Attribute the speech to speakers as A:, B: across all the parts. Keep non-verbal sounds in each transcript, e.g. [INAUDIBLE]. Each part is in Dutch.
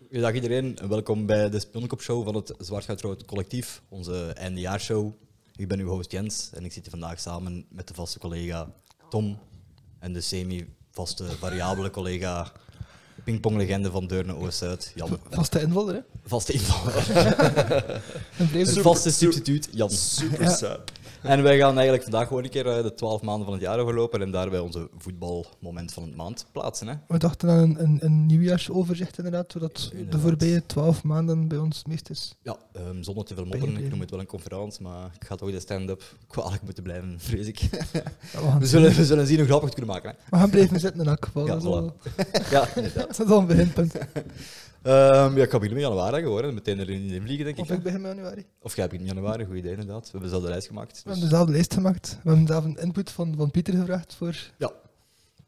A: Goedendag iedereen en welkom bij de Spionkop Show van het Zwartgoudrood Collectief, onze eindejaarshow. Ik ben uw host Jens en ik zit hier vandaag samen met de vaste collega Tom en de semi-vaste variabele collega pingponglegende van Deurne Oost-Zuid, Jan.
B: Vaste invaller, hè?
A: Vaste invaller,
B: Een vreemde
A: de vaste substituut Jan.
C: Super sap.
A: En wij gaan eigenlijk vandaag gewoon een keer eh, de 12 maanden van het jaar overlopen en daarbij onze voetbalmoment van het maand plaatsen. Hè.
B: We dachten aan een, een, een nieuwjaarsoverzicht, inderdaad, zodat de
A: Inderdaad.
B: voorbije twaalf maanden bij ons het meest is.
A: Ja, ehm, zonder te veel
B: Ben
A: moppen.
B: je-
A: Ik noem het wel een conferentie, maar ik ga toch de stand-up kwalijk moeten blijven, vrees ik.
B: Ja, we, gaan
A: We zullen, we zullen zien hoe grappig we het kunnen maken. Hè?
B: we gaan blijven zitten in elk geval.
A: Ja,
B: dat, is al,
A: Ja, inderdaad.
B: [LAUGHS] dat is al een beginpunt.
A: [LAUGHS] Ehm, ja, ik ga beginnen met januari geworden. Meteen erin in vliegen, denk ik.
B: Of
A: hè.
B: ik begin met januari.
A: Of jij begint in januari, goed idee inderdaad. We hebben dezelfde lijst gemaakt.
B: We hebben
A: Dus.
B: dezelfde lijst gemaakt. We hebben zelf een input van, van Pieter gevraagd voor...
A: Ja.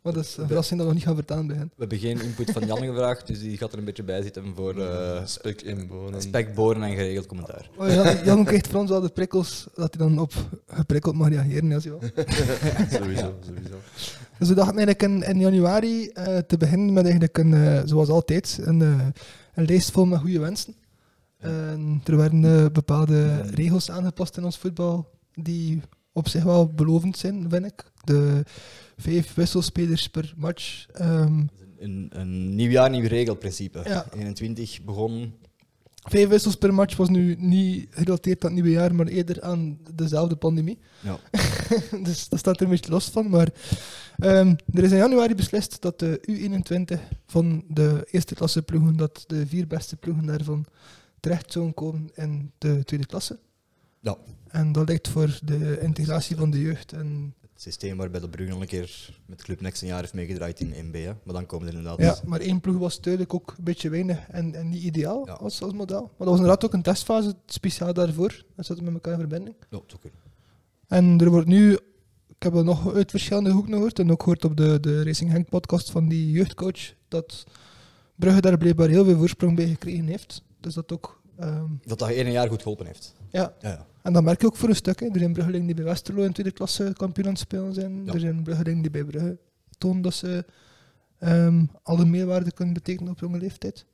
B: Maar dat is een verrassing dat we nog niet gaan vertellen bij hen.
A: We hebben geen input van Jan gevraagd, dus die gaat er een beetje bij zitten voor eh
C: Spek in bonen.
A: spekboren en geregeld commentaar.
B: Oh, Jan, Jan krijgt van ons wel de prikkels, dat hij dan op geprikkeld mag reageren. Ja, zie je wel.
C: [LAUGHS] Sowieso, sowieso.
B: Dus we dachten eigenlijk in, in januari eh, te beginnen met eigenlijk een, eh, zoals altijd, een, eh, een lijst vol met goede wensen. En er werden eh, bepaalde regels aangepast in ons voetbal die op zich wel belovend zijn, vind ik. De vijf wisselspelers per match. ehm,
A: Een, een nieuw jaar, nieuw regelprincipe.
B: Ja.
A: 21 begon.
B: vijf wissels per match was nu niet gerelateerd aan het nieuwe jaar, maar eerder aan dezelfde pandemie.
A: Ja.
B: [LAUGHS] dus dat staat er een beetje los van. Maar ehm, er is in januari beslist dat de U21 van de eerste klasse ploegen, dat de vier beste ploegen daarvan terecht zouden komen in de tweede klasse.
A: Ja.
B: En dat ligt voor de integratie van de jeugd. En,
A: Het systeem waarbij de Brugge al een keer met Club Next een jaar heeft meegedraaid in MB. Hè. Maar dan komen er inderdaad.
B: ja, maar één ploeg was duidelijk ook een beetje weinig en, en niet ideaal
A: Ja.
B: als, als model. Maar dat was inderdaad ook een testfase speciaal daarvoor. Dat zaten we met elkaar in verbinding.
A: Ja, het zou kunnen.
B: En er wordt nu, ik heb dat nog uit verschillende hoeken gehoord, en ook gehoord op de, de Racing Henk podcast van die jeugdcoach, dat Brugge daar blijkbaar heel veel voorsprong bij gekregen heeft. Dus dat ook, ehm,
A: Dat dat één jaar goed geholpen heeft.
B: ja.
A: Ja, ja.
B: En dat merk je ook voor een stuk. Hè. Er zijn Bruggelingen die bij Westerlo in tweede klasse kampioen aan het spelen zijn.
A: Ja.
B: Er zijn Bruggelingen die bij Brugge tonen dat ze ehm, alle meerwaarde kunnen betekenen op jonge leeftijd.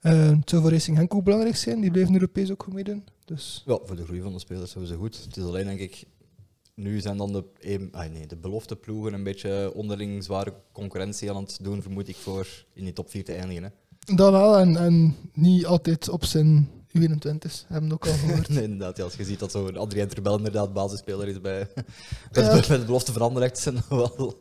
B: Eh, het zou voor Racing Henk ook belangrijk zijn. Die blijven Europees ook goed meedoen. Dus
A: Ja, voor de groei van de spelers sowieso goed. Het is alleen denk ik, nu zijn dan de, een- ah, nee, de belofte ploegen een beetje onderling zware concurrentie aan het doen, vermoed ik, voor in die top 4 te eindigen. Hè. [LAUGHS]
B: Dat wel, en, en niet altijd op zijn U21's, hebben we ook al
A: [LAUGHS]
B: gehoord.
A: Nee, inderdaad, ja, als je ziet dat zo'n Adrien Terbel inderdaad basisspeler is bij bij
B: Ja.
A: met, met belofte veranderd, [LAUGHS] zijn dat wel,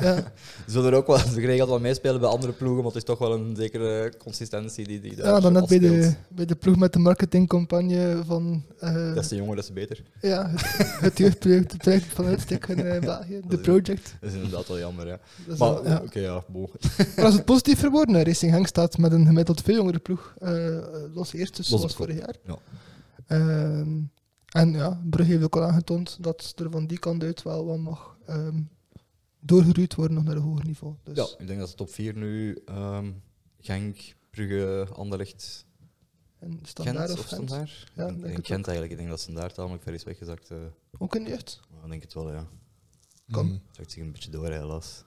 B: ja,
A: zullen er ook wel geregeld wel meespelen bij andere ploegen, want het is toch wel een zekere consistentie die, die daar
B: ja, dan net bij de,
A: afspeelt.
B: bij de ploeg met de marketingcampagne van eh,
A: Dat is de jonger, dat is beter.
B: ja, het, het jeugdproject, het project van Uitstek in eh, België,
A: Dat
B: de
A: is-
B: project.
A: Dat is inderdaad wel jammer, ja.
B: Dat is
A: Maar
B: wel- ja.
A: oké, ja, boe.
B: Maar als het positief verwoorden, hè, Racing Henk staat met een gemiddeld veel jongere ploeg, eh als eerste,
A: op
B: zoals
A: kop.
B: vorig jaar.
A: Ja.
B: Ehm, en ja, Brugge heeft ook al aangetoond dat er van die kant uit wel wat mag ehm doorgeruwd worden nog naar een hoger niveau. Dus.
A: Ja, ik denk dat de top 4 nu ehm Genk, Brugge, Anderlecht,
B: En standaard
A: Gent
B: of
A: of
B: Gent?
A: Standaard.
B: Ja,
A: Ja,
B: denk
A: ik denk
B: het
A: Gent eigenlijk. Ik denk dat Standaard tamelijk ver is weggezakt. eh.
B: Ook in de jeugd.
A: Maar ik denk het wel, ja.
B: Kan.
C: Mm.
A: Het trekt zich een beetje door, helaas.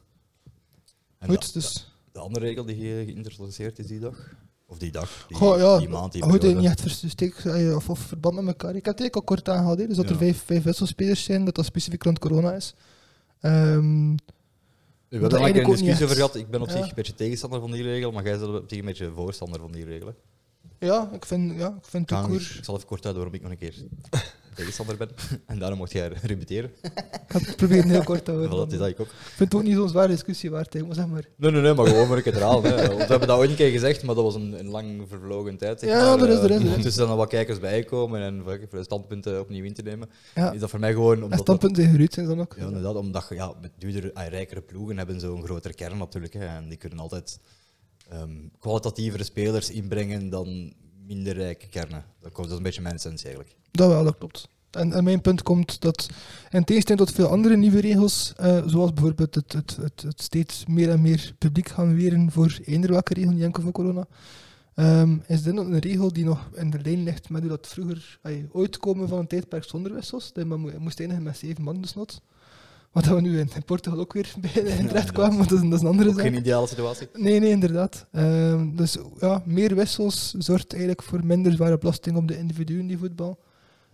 A: En
B: Goed,
A: de,
B: dus.
A: de andere regel die ge- geïntroduceerd is die dag? Of die dag? Die,
B: Goh, ja,
A: die maand, die
B: Goed,
A: periode.
B: niet echt versteek, eh, of, of verband met elkaar. Ik heb het eigenlijk al kort aangehaald, hè, dus dat er
A: Ja.
B: vijf, vijf wisselspelers zijn, dat dat specifiek rond corona is. Ehm,
A: We
B: dat
A: hebben daar een keer
B: eigenlijk
A: een
B: ook niet
A: discussie
B: echt.
A: over gehad. Ik ben op
B: Ja.
A: zich een beetje tegenstander van die regel, maar jij bent op zich een beetje voorstander van die regel. hè.
B: ja, ik vind, ja, ik vind het
A: Kan-
B: koer.
A: Ik zal even kort uit waarom ik nog een keer [LAUGHS] tegenstander ben. [LAUGHS] En daarom mocht jij repeteren.
B: Ik ga het proberen heel
A: [LAUGHS]
B: kort te houden.
A: Voilà, het is
B: dan.
A: dat ik ook.
B: Ik vind het ook niet zo'n zware discussie waard, hè, maar
A: [LAUGHS]
B: zeg maar.
A: Nee, nee, nee, maar gewoon voor ik het verhaal. Hè. Want we hebben dat ooit een keer gezegd, maar dat was een, een lang vervlogen tijd. zeg
B: Ja,
A: maar,
B: er is-
A: eh,
B: er is- er is.
A: Ondertussen zijn er wat kijkers bijgekomen en voor voor de standpunten opnieuw in te nemen.
B: Ja,
A: Is dat voor mij gewoon
B: en
A: omdat... dat-
B: standpunten zijn geruwd zijn dan ook.
A: ja, inderdaad, omdat je, ja, met duurdere en rijkere ploegen hebben zo'n grotere kern natuurlijk. Hè, en die kunnen altijd ehm, kwalitatievere spelers inbrengen dan minder rijke kernen. Dat, komt, dat is een beetje mijn essentie eigenlijk.
B: Dat wel, dat klopt. En, en mijn punt komt dat, in tegenstelling tot veel andere nieuwe regels, eh, zoals bijvoorbeeld het, het, het, het steeds meer en meer publiek gaan weren voor eender welke regel, niet enkel voor corona, ehm, is dit nog een regel die nog in de lijn ligt met hoe dat vroeger, ai, ooit komen van een tijdperk zonder wissels, dat je maar mo- moest eindigen met zeven man dus not. Wat we nu in in Portugal ook weer [LAUGHS] bij in terecht
A: inderdaad.
B: kwamen, want dat is, dat is een andere
A: Ook
B: zaak.
A: geen ideale situatie.
B: Nee, nee, inderdaad. Ehm, dus ja, meer wissels zorgt eigenlijk voor minder zware belasting op de individuen die voetbal.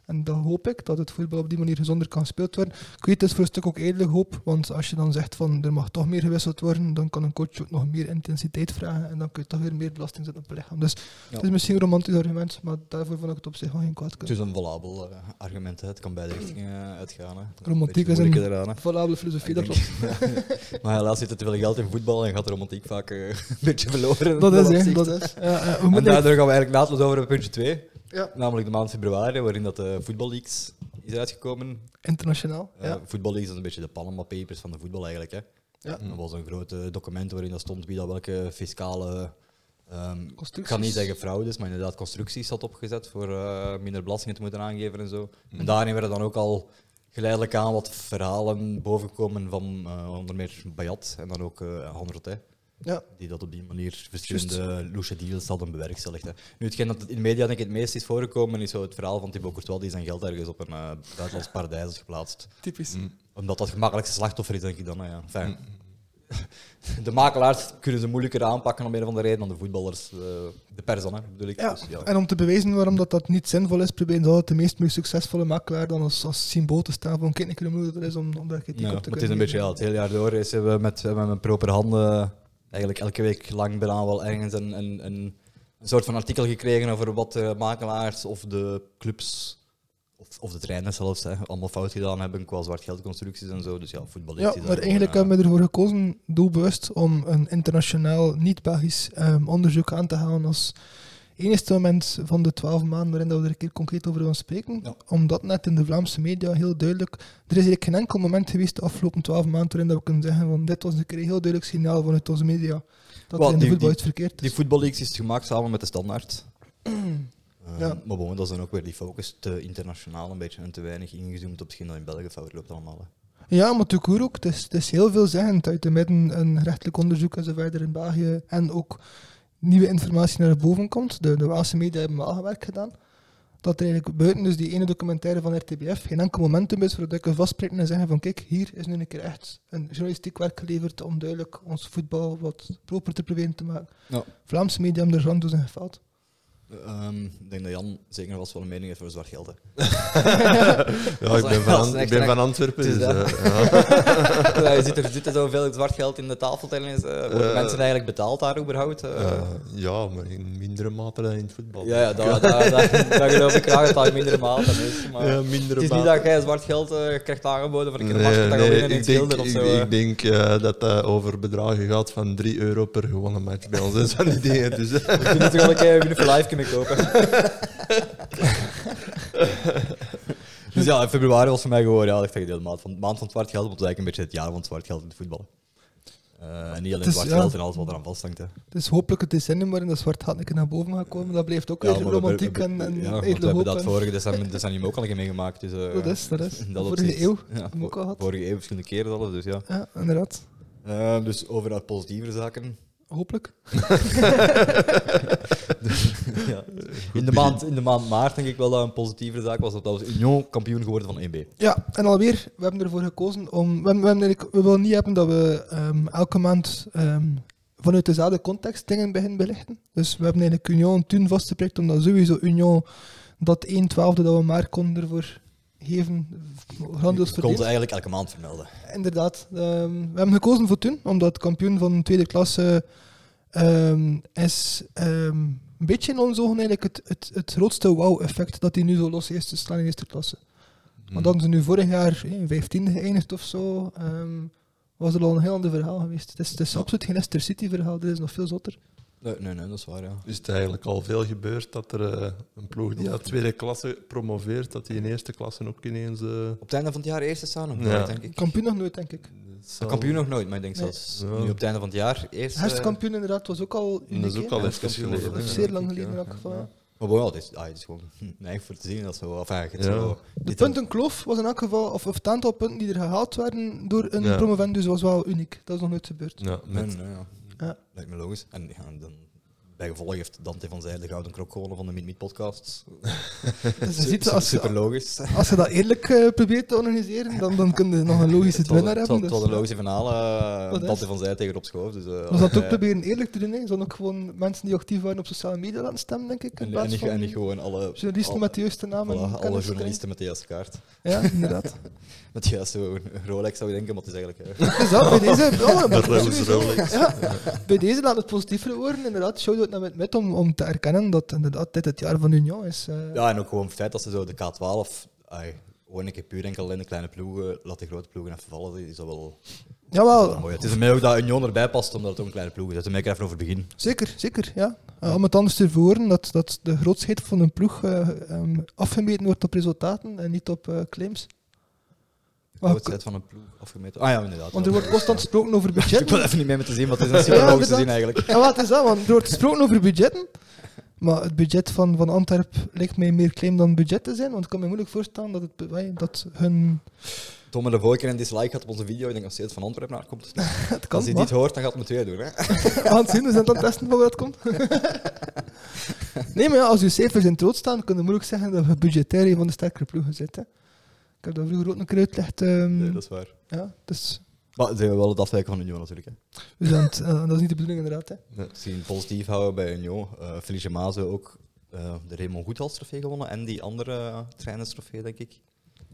B: En dan hoop ik dat het voetbal op die manier gezonder kan gespeeld worden. Ik weet, het is voor een stuk ook eerlijk hoop, want als je dan zegt van er mag toch meer gewisseld worden, dan kan een coach ook nog meer intensiteit vragen en dan kun je toch weer meer belasting zetten op het lichaam. Dus het is misschien een romantisch argument, maar daarvoor vond ik het op zich wel geen kwaad
A: Het
B: kunnen.
A: is een valabel eh, argument. hè. Het kan beide richtingen eh, uitgaan. hè. Het
B: Romantiek
A: beetje
B: is een-
A: moeilijke eraan, hè.
B: Valabele filosofie,
A: Dus- Ik
B: dat
A: denk-
B: klopt.
A: maar helaas zit er te veel geld in voetbal en gaat de romantiek vaak eh, [LAUGHS] een beetje verloren.
B: Dat is, hè,
A: opzicht.
B: dat is. Ja, eh, we
A: En
B: moeten
A: daardoor gaan we eigenlijk naadloos over op puntje 2.
B: Ja.
A: Namelijk de maand februari, waarin dat de Football Leaks is uitgekomen.
B: internationaal.
A: Eh
B: Ja.
A: Football Leaks is een beetje de Panama Papers van de voetbal eigenlijk. Hè.
B: Ja.
A: Dat was een groot eh, document waarin dat stond wie dat welke fiscale... ehm, ik
B: Constructies.
A: kan niet zeggen fraudes, maar inderdaad constructies had opgezet voor eh, minder belastingen te moeten aangeven en zo.
B: Mm.
A: En daarin werden dan ook al geleidelijk aan wat verhalen bovenkomen van eh, onder meer Bayat en dan ook eh Hanrot, hè,
B: Ja.
A: die dat op die manier verschillende loesje deals hadden bewerkstelligd. Hè. Nu, hetgeen dat in de media denk ik het meest is voorgekomen, is zo het verhaal van Thibaut Courtois, die zijn geld ergens op een eh, buitenlands paradijs is geplaatst.
B: Typisch.
A: Omdat dat gemakkelijkste slachtoffer is, denk ik dan. hè, ja. Enfin, [LAUGHS] De makelaars kunnen ze moeilijker aanpakken om een of andere reden dan de voetballers, eh, de pers dan, hè, bedoel ik.
B: Ja.
A: Dus, ja.
B: En om te bewijzen waarom dat, dat niet zinvol is, proberen ze altijd de meest, meest succesvolle makelaar dan als, als symbool te staan van kijk, ik hoe moeilijk dat is om, om daar kritiek
A: Ja,
B: op
A: maar
B: te
A: het is
B: kunnen
A: een beetje, ja,
B: geven.
A: het hele jaar door is, hebben we met, hebben we met proper handen eh, eigenlijk elke week lang bijna wel ergens een, een, een, een soort van artikel gekregen over wat de makelaars of de clubs of, of de trainers zelfs hè, allemaal fout gedaan hebben qua zwart geldconstructies en zo. Dus ja, voetbal
B: Ja, maar
A: eh,
B: eigenlijk eh, hebben we ervoor gekozen, doelbewust, om een internationaal, niet-Belgisch ehm, onderzoek aan te halen als enigste moment van de twaalf maanden waarin dat we er een keer concreet over gaan spreken.
A: Ja.
B: Omdat net in de Vlaamse media heel duidelijk, er is eigenlijk geen enkel moment geweest de afgelopen twaalf maanden waarin dat we kunnen zeggen van dit was een keer een heel duidelijk signaal vanuit onze media dat
A: Wel,
B: er in de
A: die-
B: voetbal
A: die-
B: iets verkeerd
A: Die
B: is.
A: voetballeaks is gemaakt samen met de [CLEARS THROAT] standaard. Ehm,
B: Ja.
A: Maar bon, dat is dan ook weer die focus te internationaal een beetje en te weinig ingezoomd op hetgeen dat in België fout loopt allemaal. hè.
B: Ja, maar tout court ook. Het is, het is heel veelzeggend. Uit de midden een rechtelijk onderzoek en zo verder in België. En ook nieuwe informatie naar boven komt. De, de Waalse media hebben wel werk gedaan. Dat er eigenlijk buiten dus die ene documentaire van RTBF geen enkel momentum is waarop ik kan vastspreken en zeggen van kijk, hier is nu een keer echt een journalistiek werk geleverd om duidelijk ons voetbal wat proper te proberen te maken.
A: Ja.
B: Vlaamse media hebben er grandoes in gefaald.
A: Ehm, ik denk dat Jan zeker wel eens wel een mening heeft over zwart geld. hè.
C: Ja, ik ben van,
A: Dat is
C: Ant-
A: echt
C: ik ben
A: lekker.
C: van Antwerpen.
A: Het
C: Dus,
A: is dat.
C: eh, ja.
A: [LAUGHS] ja, je ziet er, zit er zoveel zwart geld in de tafeltennis. eh worden
C: Eh.
A: mensen eigenlijk betaald daar überhaupt? eh?
C: Eh, ja, maar in mindere mate dan in het voetbal.
A: ja, ja daar, daar, daar, daar geloof ik graag dat dat in mindere mate is. Maar
C: [LAUGHS] Ja,
A: het
C: mindere
A: is niet
C: mate.
A: dat jij zwart geld eh, krijgt aangeboden van een keer een
C: Nee,
A: match dat je
C: nee,
A: winnen in
C: ik
A: het
C: denk,
A: schilder of
C: ik,
A: zo. eh.
C: ik denk eh, dat dat over bedragen gaat van 3 euro per gewonnen match bij ons. Dat zijn die dingen. Dus, eh, [LAUGHS]
A: We kunnen toch wel een keer Win for Life kunnen kopen. [LAUGHS] dus ja, in februari was voor mij gewoon ja, ik zeg, de maand van, maand van het zwart geld, want het is eigenlijk een beetje het jaar van het zwart geld in het voetbal. Eh, en niet alleen
B: is-
A: zwart
B: ja.
A: geld en alles wat eraan vasthangt. Hè.
B: Het is hopelijk het decennium waarin dat zwart gaat een keer naar boven gaat komen. Dat blijft ook weer
A: maar we-
B: romantiek
A: we- we-
B: en,
A: ja,
B: en
A: want we
B: ijdele
A: hebben
B: hoop.
A: dat
B: en-
A: vorige decennium, decennium ook al een keer meegemaakt. Dus, eh,
B: Dat is, dat is.
A: in
B: Vorige
A: opzicht.
B: eeuw
A: Ja,
B: hebben we ook al gehad.
A: Vorige eeuw verschillende keren zelfs, dus ja.
B: Ja, inderdaad.
A: Eh, dus overal positievere zaken.
B: Hopelijk.
A: [LAUGHS] ja. in, de maand, in de maand maart denk ik wel dat een positievere zaak was. want Dat was Union kampioen geworden van 1B.
B: Ja, en alweer, we hebben ervoor gekozen om. We, hebben- we, hebben eigenlijk- we willen niet hebben dat we ehm, elke maand ehm, vanuit dezelfde context dingen beginnen belichten. Dus we hebben eigenlijk Union toen vastgeprikt, omdat sowieso Union dat 1 twaalfde dat we maar konden ervoor geven, grandioos
A: Ik kon ze
B: verdiend.
A: eigenlijk elke maand vermelden.
B: Inderdaad. ehm, we hebben gekozen voor toen, omdat kampioen van tweede klasse ehm, is ehm, een beetje in ons ogen eigenlijk het, het, het grootste wow-effect dat hij nu zo los is te staan in eerste klasse.
A: Hmm.
B: Want hadden ze nu vorig jaar in 15 geëindigd of zo, ehm, was er al een heel ander verhaal geweest. Het is, het is absoluut geen Leicester City verhaal, dit is nog veel zotter.
A: Nee, nee, nee, dat is waar, ja.
C: Is het eigenlijk al veel gebeurd dat er eh, een ploeg die uit tweede klasse promoveert, dat die in eerste klasse ook ineens... eh
A: Op het einde van het jaar eerste staan, of
C: Ja.
A: nooit, denk ik.
B: Kampioen nog nooit, denk ik.
C: zal-
A: Kampioen nog nooit, maar ik denk
B: Nee.
A: zelfs
C: Ja.
A: nu op het einde van het jaar. Eerst, eh,
B: Herfstkampioen inderdaad was ook al uniek.
C: Dat is ook
B: hè.
C: al
A: Ja,
C: even
A: kampioen was
C: geleden.
B: Dat is
A: Ja,
B: zeer
A: denk
B: lang
A: ik,
B: geleden
A: ja,
B: in elk
A: ja,
B: geval.
A: ja. Maar bon, ja, het is, ah, het is gewoon nee, voor te zien. Dat is wel, enfin, het is
C: Ja.
A: zo-
B: De
A: dit-
B: puntencloof was in elk geval, of, of het aantal punten die er gehaald werden door een
C: Ja.
A: [LAUGHS]
B: promovendus was wel uniek. Dat is nog nooit gebeurd.
C: Ja,
A: Nee,
C: met
A: nee, ja.
B: Ja.
A: Lijkt me logisch. En ja, dan Bij gevolg heeft Dante van Zijl de Gouden Krok gewonnen van de Minute Podcast.
B: Dus je ziet, als,
A: Super logisch.
B: als je dat eerlijk eh, probeert te organiseren, dan, dan kun je nog een
A: [LAUGHS]
B: logische
A: Het was-
B: winnaar
A: Het was,
B: hebben.
A: het
B: Dus.
A: was een logische finale. eh,
B: Wat is?
A: Dante van Zijl tegen Rob Schoof. Dus, eh,
B: Maar ze hadden
A: eh,
B: ook proberen eerlijk te doen. Hè. Ze hadden ook gewoon mensen die actief waren op sociale media laten stemmen, denk ik. In
A: En, en,
B: plaats
A: niet-
B: van
A: en niet gewoon alle,
B: journalisten
A: al-
B: met de juiste namen.
A: voilà,
B: en
A: alle
B: kennis
A: journalisten met de juiste kaart.
B: krijgen.
A: [LAUGHS]
B: Ja, inderdaad.
A: Met de juiste een Rolex zou je denken, maar het is eigenlijk... eh,
B: Dus dat, bij deze... Oh, maar
C: Rolex
B: sowieso.
C: Rolex.
B: Ja, bij deze laat het positiever worden. Inderdaad, shout-out naar met om, om te erkennen dat inderdaad dit het jaar van Union is.
A: [LAUGHS]
B: eh.
A: Ja, en ook gewoon het feit dat ze zo de K12... Ai, gewoon een keer puur enkel in de kleine ploegen, laat de grote ploegen even vallen, is dat wel,
B: Jawel,
A: mooi. Het is voor mij ook dat Union erbij past, omdat het ook een kleine ploeg is. Dat is mij even over het begin.
B: Zeker, zeker, ja. Eh, om het anders te verwoorden, dat, dat de grootsheid van een ploeg eh, ehm, afgemeten wordt op resultaten en niet op eh, claims.
A: De
B: Maar-
A: grootheid van een ploeg afgemeten. Ah ja, inderdaad.
B: Want er wordt constant gesproken
A: [LAUGHS]
B: over
A: Ik [LAUGHS] wil
B: budgetten.
A: even niet mee met te zien, maar het is een super logisch te zien eigenlijk.
B: Ja, wat is dat? Want er wordt gesproken over budgetten. Maar het budget van, van Antwerp lijkt mij meer claim dan budget te zijn. Want ik kan me moeilijk voorstellen dat, het, be- wij-
A: [LAUGHS]
B: dat hun.
A: Tom en de vorige keer een dislike had op onze video. Ik denk nog steeds van Antwerpen naar komt.
B: Het [LAUGHS] kan
A: Als hij
B: maar.
A: dit hoort, dan gaat het me twee doen. Hè?
B: [LAUGHS] We gaan het zien, we zijn het aan het testen van waar dat
A: [LAUGHS]
B: komt. nee, maar ja, als je cijfers in het rood staan, kun je moeilijk zeggen dat je budgetair een van de sterkere ploegen zit. Hè. Ik heb dat vroeger ook een keer uitgelegd. ehm,
A: Nee, [LAUGHS] dat is waar.
B: ja, dus,
A: Maar ze hebben wel het afwijken van Union natuurlijk. Hè.
B: we zijn het- eh, dat is niet de bedoeling inderdaad. Hè.
A: Misschien positief houden bij Union. Eh Felice Maze ook eh, de Raymond Goethals trofee gewonnen. En die andere eh, trainerstrofee, denk ik.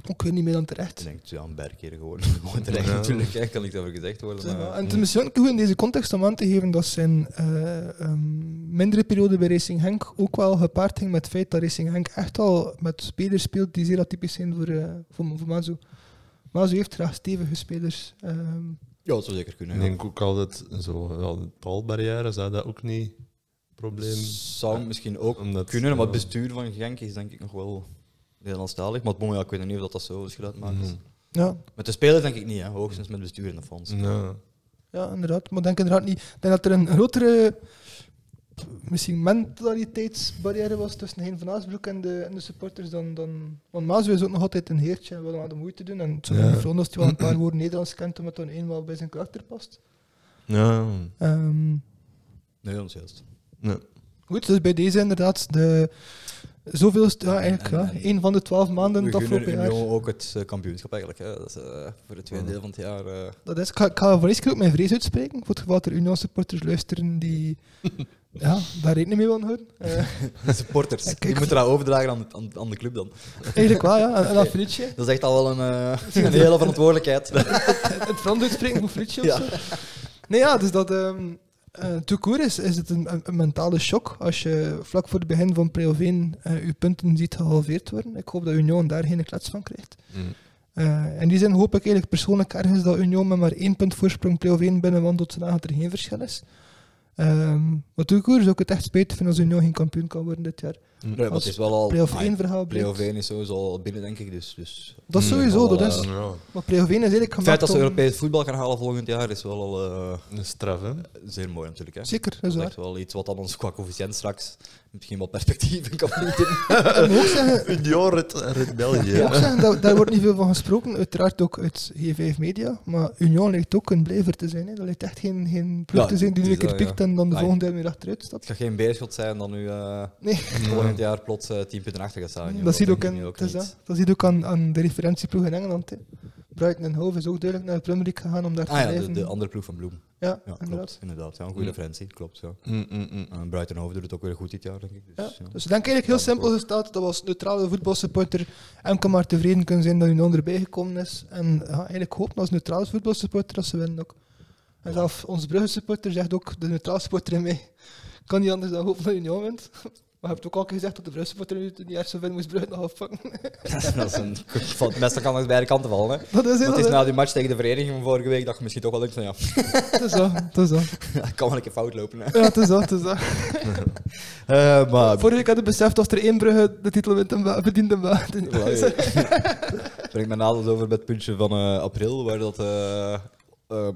B: Ook weer niet meer dan
A: Ik
B: terecht.
A: denk, ja, een berg keer gewoon. [LAUGHS] Gewoon terecht
C: Ja.
A: natuurlijk. Hè. Kan niks over gezegd worden. maar-
B: En het is misschien ook goed in deze context om aan te geven dat zijn eh, ehm, mindere periode bij Racing Henk ook wel gepaard ging met het feit dat Racing Henk echt al met spelers speelt die zeer atypisch zijn voor, eh voor, voor Mazu. Mazu heeft graag stevige spelers. ehm,
A: Ja, dat zou zeker kunnen.
C: Ik
A: Ja.
C: denk ook altijd zo, ja, de taalbarrière zou dat ook niet een probleem
A: Zou misschien ook
C: Omdat,
A: kunnen, maar het
C: ja.
A: bestuur van Genk is denk ik nog wel Nederlandstalig. Maar het bon, ja, ik weet niet of dat, dat zo verschil uitmaakt.
C: Mhm.
B: ja,
A: Met de spelers denk ik niet, hè. hoogstens met bestuur en de fonds.
C: Ja.
B: Ja, inderdaad. Maar ik denk inderdaad niet. Ik denk dat er een grotere misschien mentaliteitsbarrière was tussen Hein van Aasbroek en de, en de supporters dan, dan... Want Maaswe is ook nog altijd een heertje en wil aan de moeite doen. En het zou
C: Ja.
B: ja. als hij wel een
A: [CLEARS THROAT]
B: paar woorden Nederlands kent, omdat dan eenmaal bij zijn karakter past.
C: Ja.
B: Ehm,
A: Nee, dat is juist.
C: Ja.
B: goed, dus bij deze inderdaad de... Zoveel... Ja, eigenlijk,
A: En-
B: ja,
A: en-
B: één van de twaalf maanden
A: We
B: het
A: gunnen
B: afgelopen jaar.
A: Union ook het eh, kampioenschap eigenlijk. Hè. Dat is eh, voor het tweede deel van het jaar. eh,
B: Dat is, ik ga, ik ga voor eerst keer ook mijn vrees uitspreken, voor het geval dat er Union-supporters
A: [LAUGHS]
B: luisteren die ja, daar rekening mee willen houden. Eh,
A: de supporters.
B: Kijk,
A: Die
B: ik-
A: moeten dat overdragen aan, aan, aan de club dan.
B: eigenlijk wel, ja. Een, een affilietje.
A: Dat is echt al wel een, eh, een hele verantwoordelijkheid.
B: [LAUGHS] het Frans uitspreken voor Fritsje of
A: Ja.
B: zo. Nee, ja, dus dat... ehm eh, tout court is, is het een, een- een mentale shock als je vlak voor het begin van Preoveen eh je punten ziet gehalveerd worden. Ik hoop dat Union daar geen klets van krijgt. Eh, in die zin hoop ik eigenlijk persoonlijk ergens dat Union met maar één punt voorsprong Preoveen binnenwandelt zodat er geen verschil is. Ehm maar tout court zou ik het echt spijtig vinden als Union geen kampioen kan worden dit jaar.
A: Nee, maar het is wel al...
B: Play-off
A: ah,
B: 1 verhaal
A: play-off
B: blijkt.
A: 1 is sowieso al binnen, denk ik. Dus, dus
B: Dat is
C: Mm,
B: sowieso,
A: wel,
B: dat
A: eh,
B: is. Maar Preoveen is
A: het
B: eigenlijk
A: feit
B: gemaakt
A: dat ze
B: om-
A: Europees voetbal gaan halen volgend jaar is wel al eh,
C: Een straf, [LAUGHS] hè?
A: zeer mooi natuurlijk. Hè.
B: Zeker, dat is
A: Dat
B: waar.
A: is echt wel iets wat dan ons qua coëfficiënt straks misschien wat perspectieven [LAUGHS] kan bieden.
B: Ik moet ook zeggen,
C: Union Red, Red België.
B: Ik moet
C: Ja.
B: ook zeggen, daar, daar wordt niet veel van gesproken. Uiteraard ook uit G5 Media. Maar Union lijkt ook een blijver te zijn. Hè. Dat lijkt echt geen, geen ploeg
A: Ja,
B: te zijn die
A: het
B: nu
A: is
B: een keer
A: dat, ja.
B: pikt en dan de
A: Ah,
B: volgende jaar weer achteruit
A: Het
B: stapt.
A: gaat geen beerschot zijn dan nu eh,
B: Nee,
A: volgend jaar plots eh, 10 punten achter gaat staan.
B: dat zie je ook,
A: denk ik
B: in,
A: nu
B: het is
A: niet.
B: dat, dat zie je ook aan, aan de referentieploeg in Engeland. Hè. Brighton en Hove is ook duidelijk naar de Premier League gegaan om daar te
A: Ah ja, de,
B: blijven.
A: de andere ploeg van Bloem.
B: ja,
A: Ja, klopt.
B: inderdaad.
A: Inderdaad, ja, een goede
C: Mm.
A: referentie. Klopt, ja.
C: Mm, mm, mm.
A: Nou, En Bruitenhoven doet het ook weer goed dit jaar, denk ik.
B: Ja,
A: Dus, ja.
B: dus ik denk eigenlijk heel simpel gesteld, dat we als neutrale voetbalsupporter enkel maar tevreden kunnen zijn dat Union erbij gekomen is. En ja, eigenlijk hopen als neutrale voetbalsupporter dat ze winnen ook. En
A: Ja.
B: zelf onze Brugge supporter zegt ook, de neutrale supporter in mij, [LAUGHS] kan niet anders dan hopen dat Union wint. [LAUGHS] Maar je hebt ook al gezegd dat de Brugge supporter nu niet erg zo winnen moest Brugge nog afpakken.
A: [LAUGHS] dat is een, van het beste kan langs beide kanten vallen. Hè.
B: [LAUGHS] Dat is
A: Dat
B: heel
A: is na die match tegen de vereniging van vorige week dat je misschien toch wel denkt van ja, [LAUGHS]
B: Het is zo, het is zo.
A: ik kan wel een keer fout lopen. Hè.
B: Ja, het is zo, het is zo.
A: Eh, [LAUGHS] maar
B: Vorige week had ik beseft dat er één Brugge de titel wint en verdient en
A: Voilà, eh,
B: [LAUGHS]
A: [LAUGHS] Brengt mij naadloos over bij het puntje van eh, april, waar dat, eh, eh,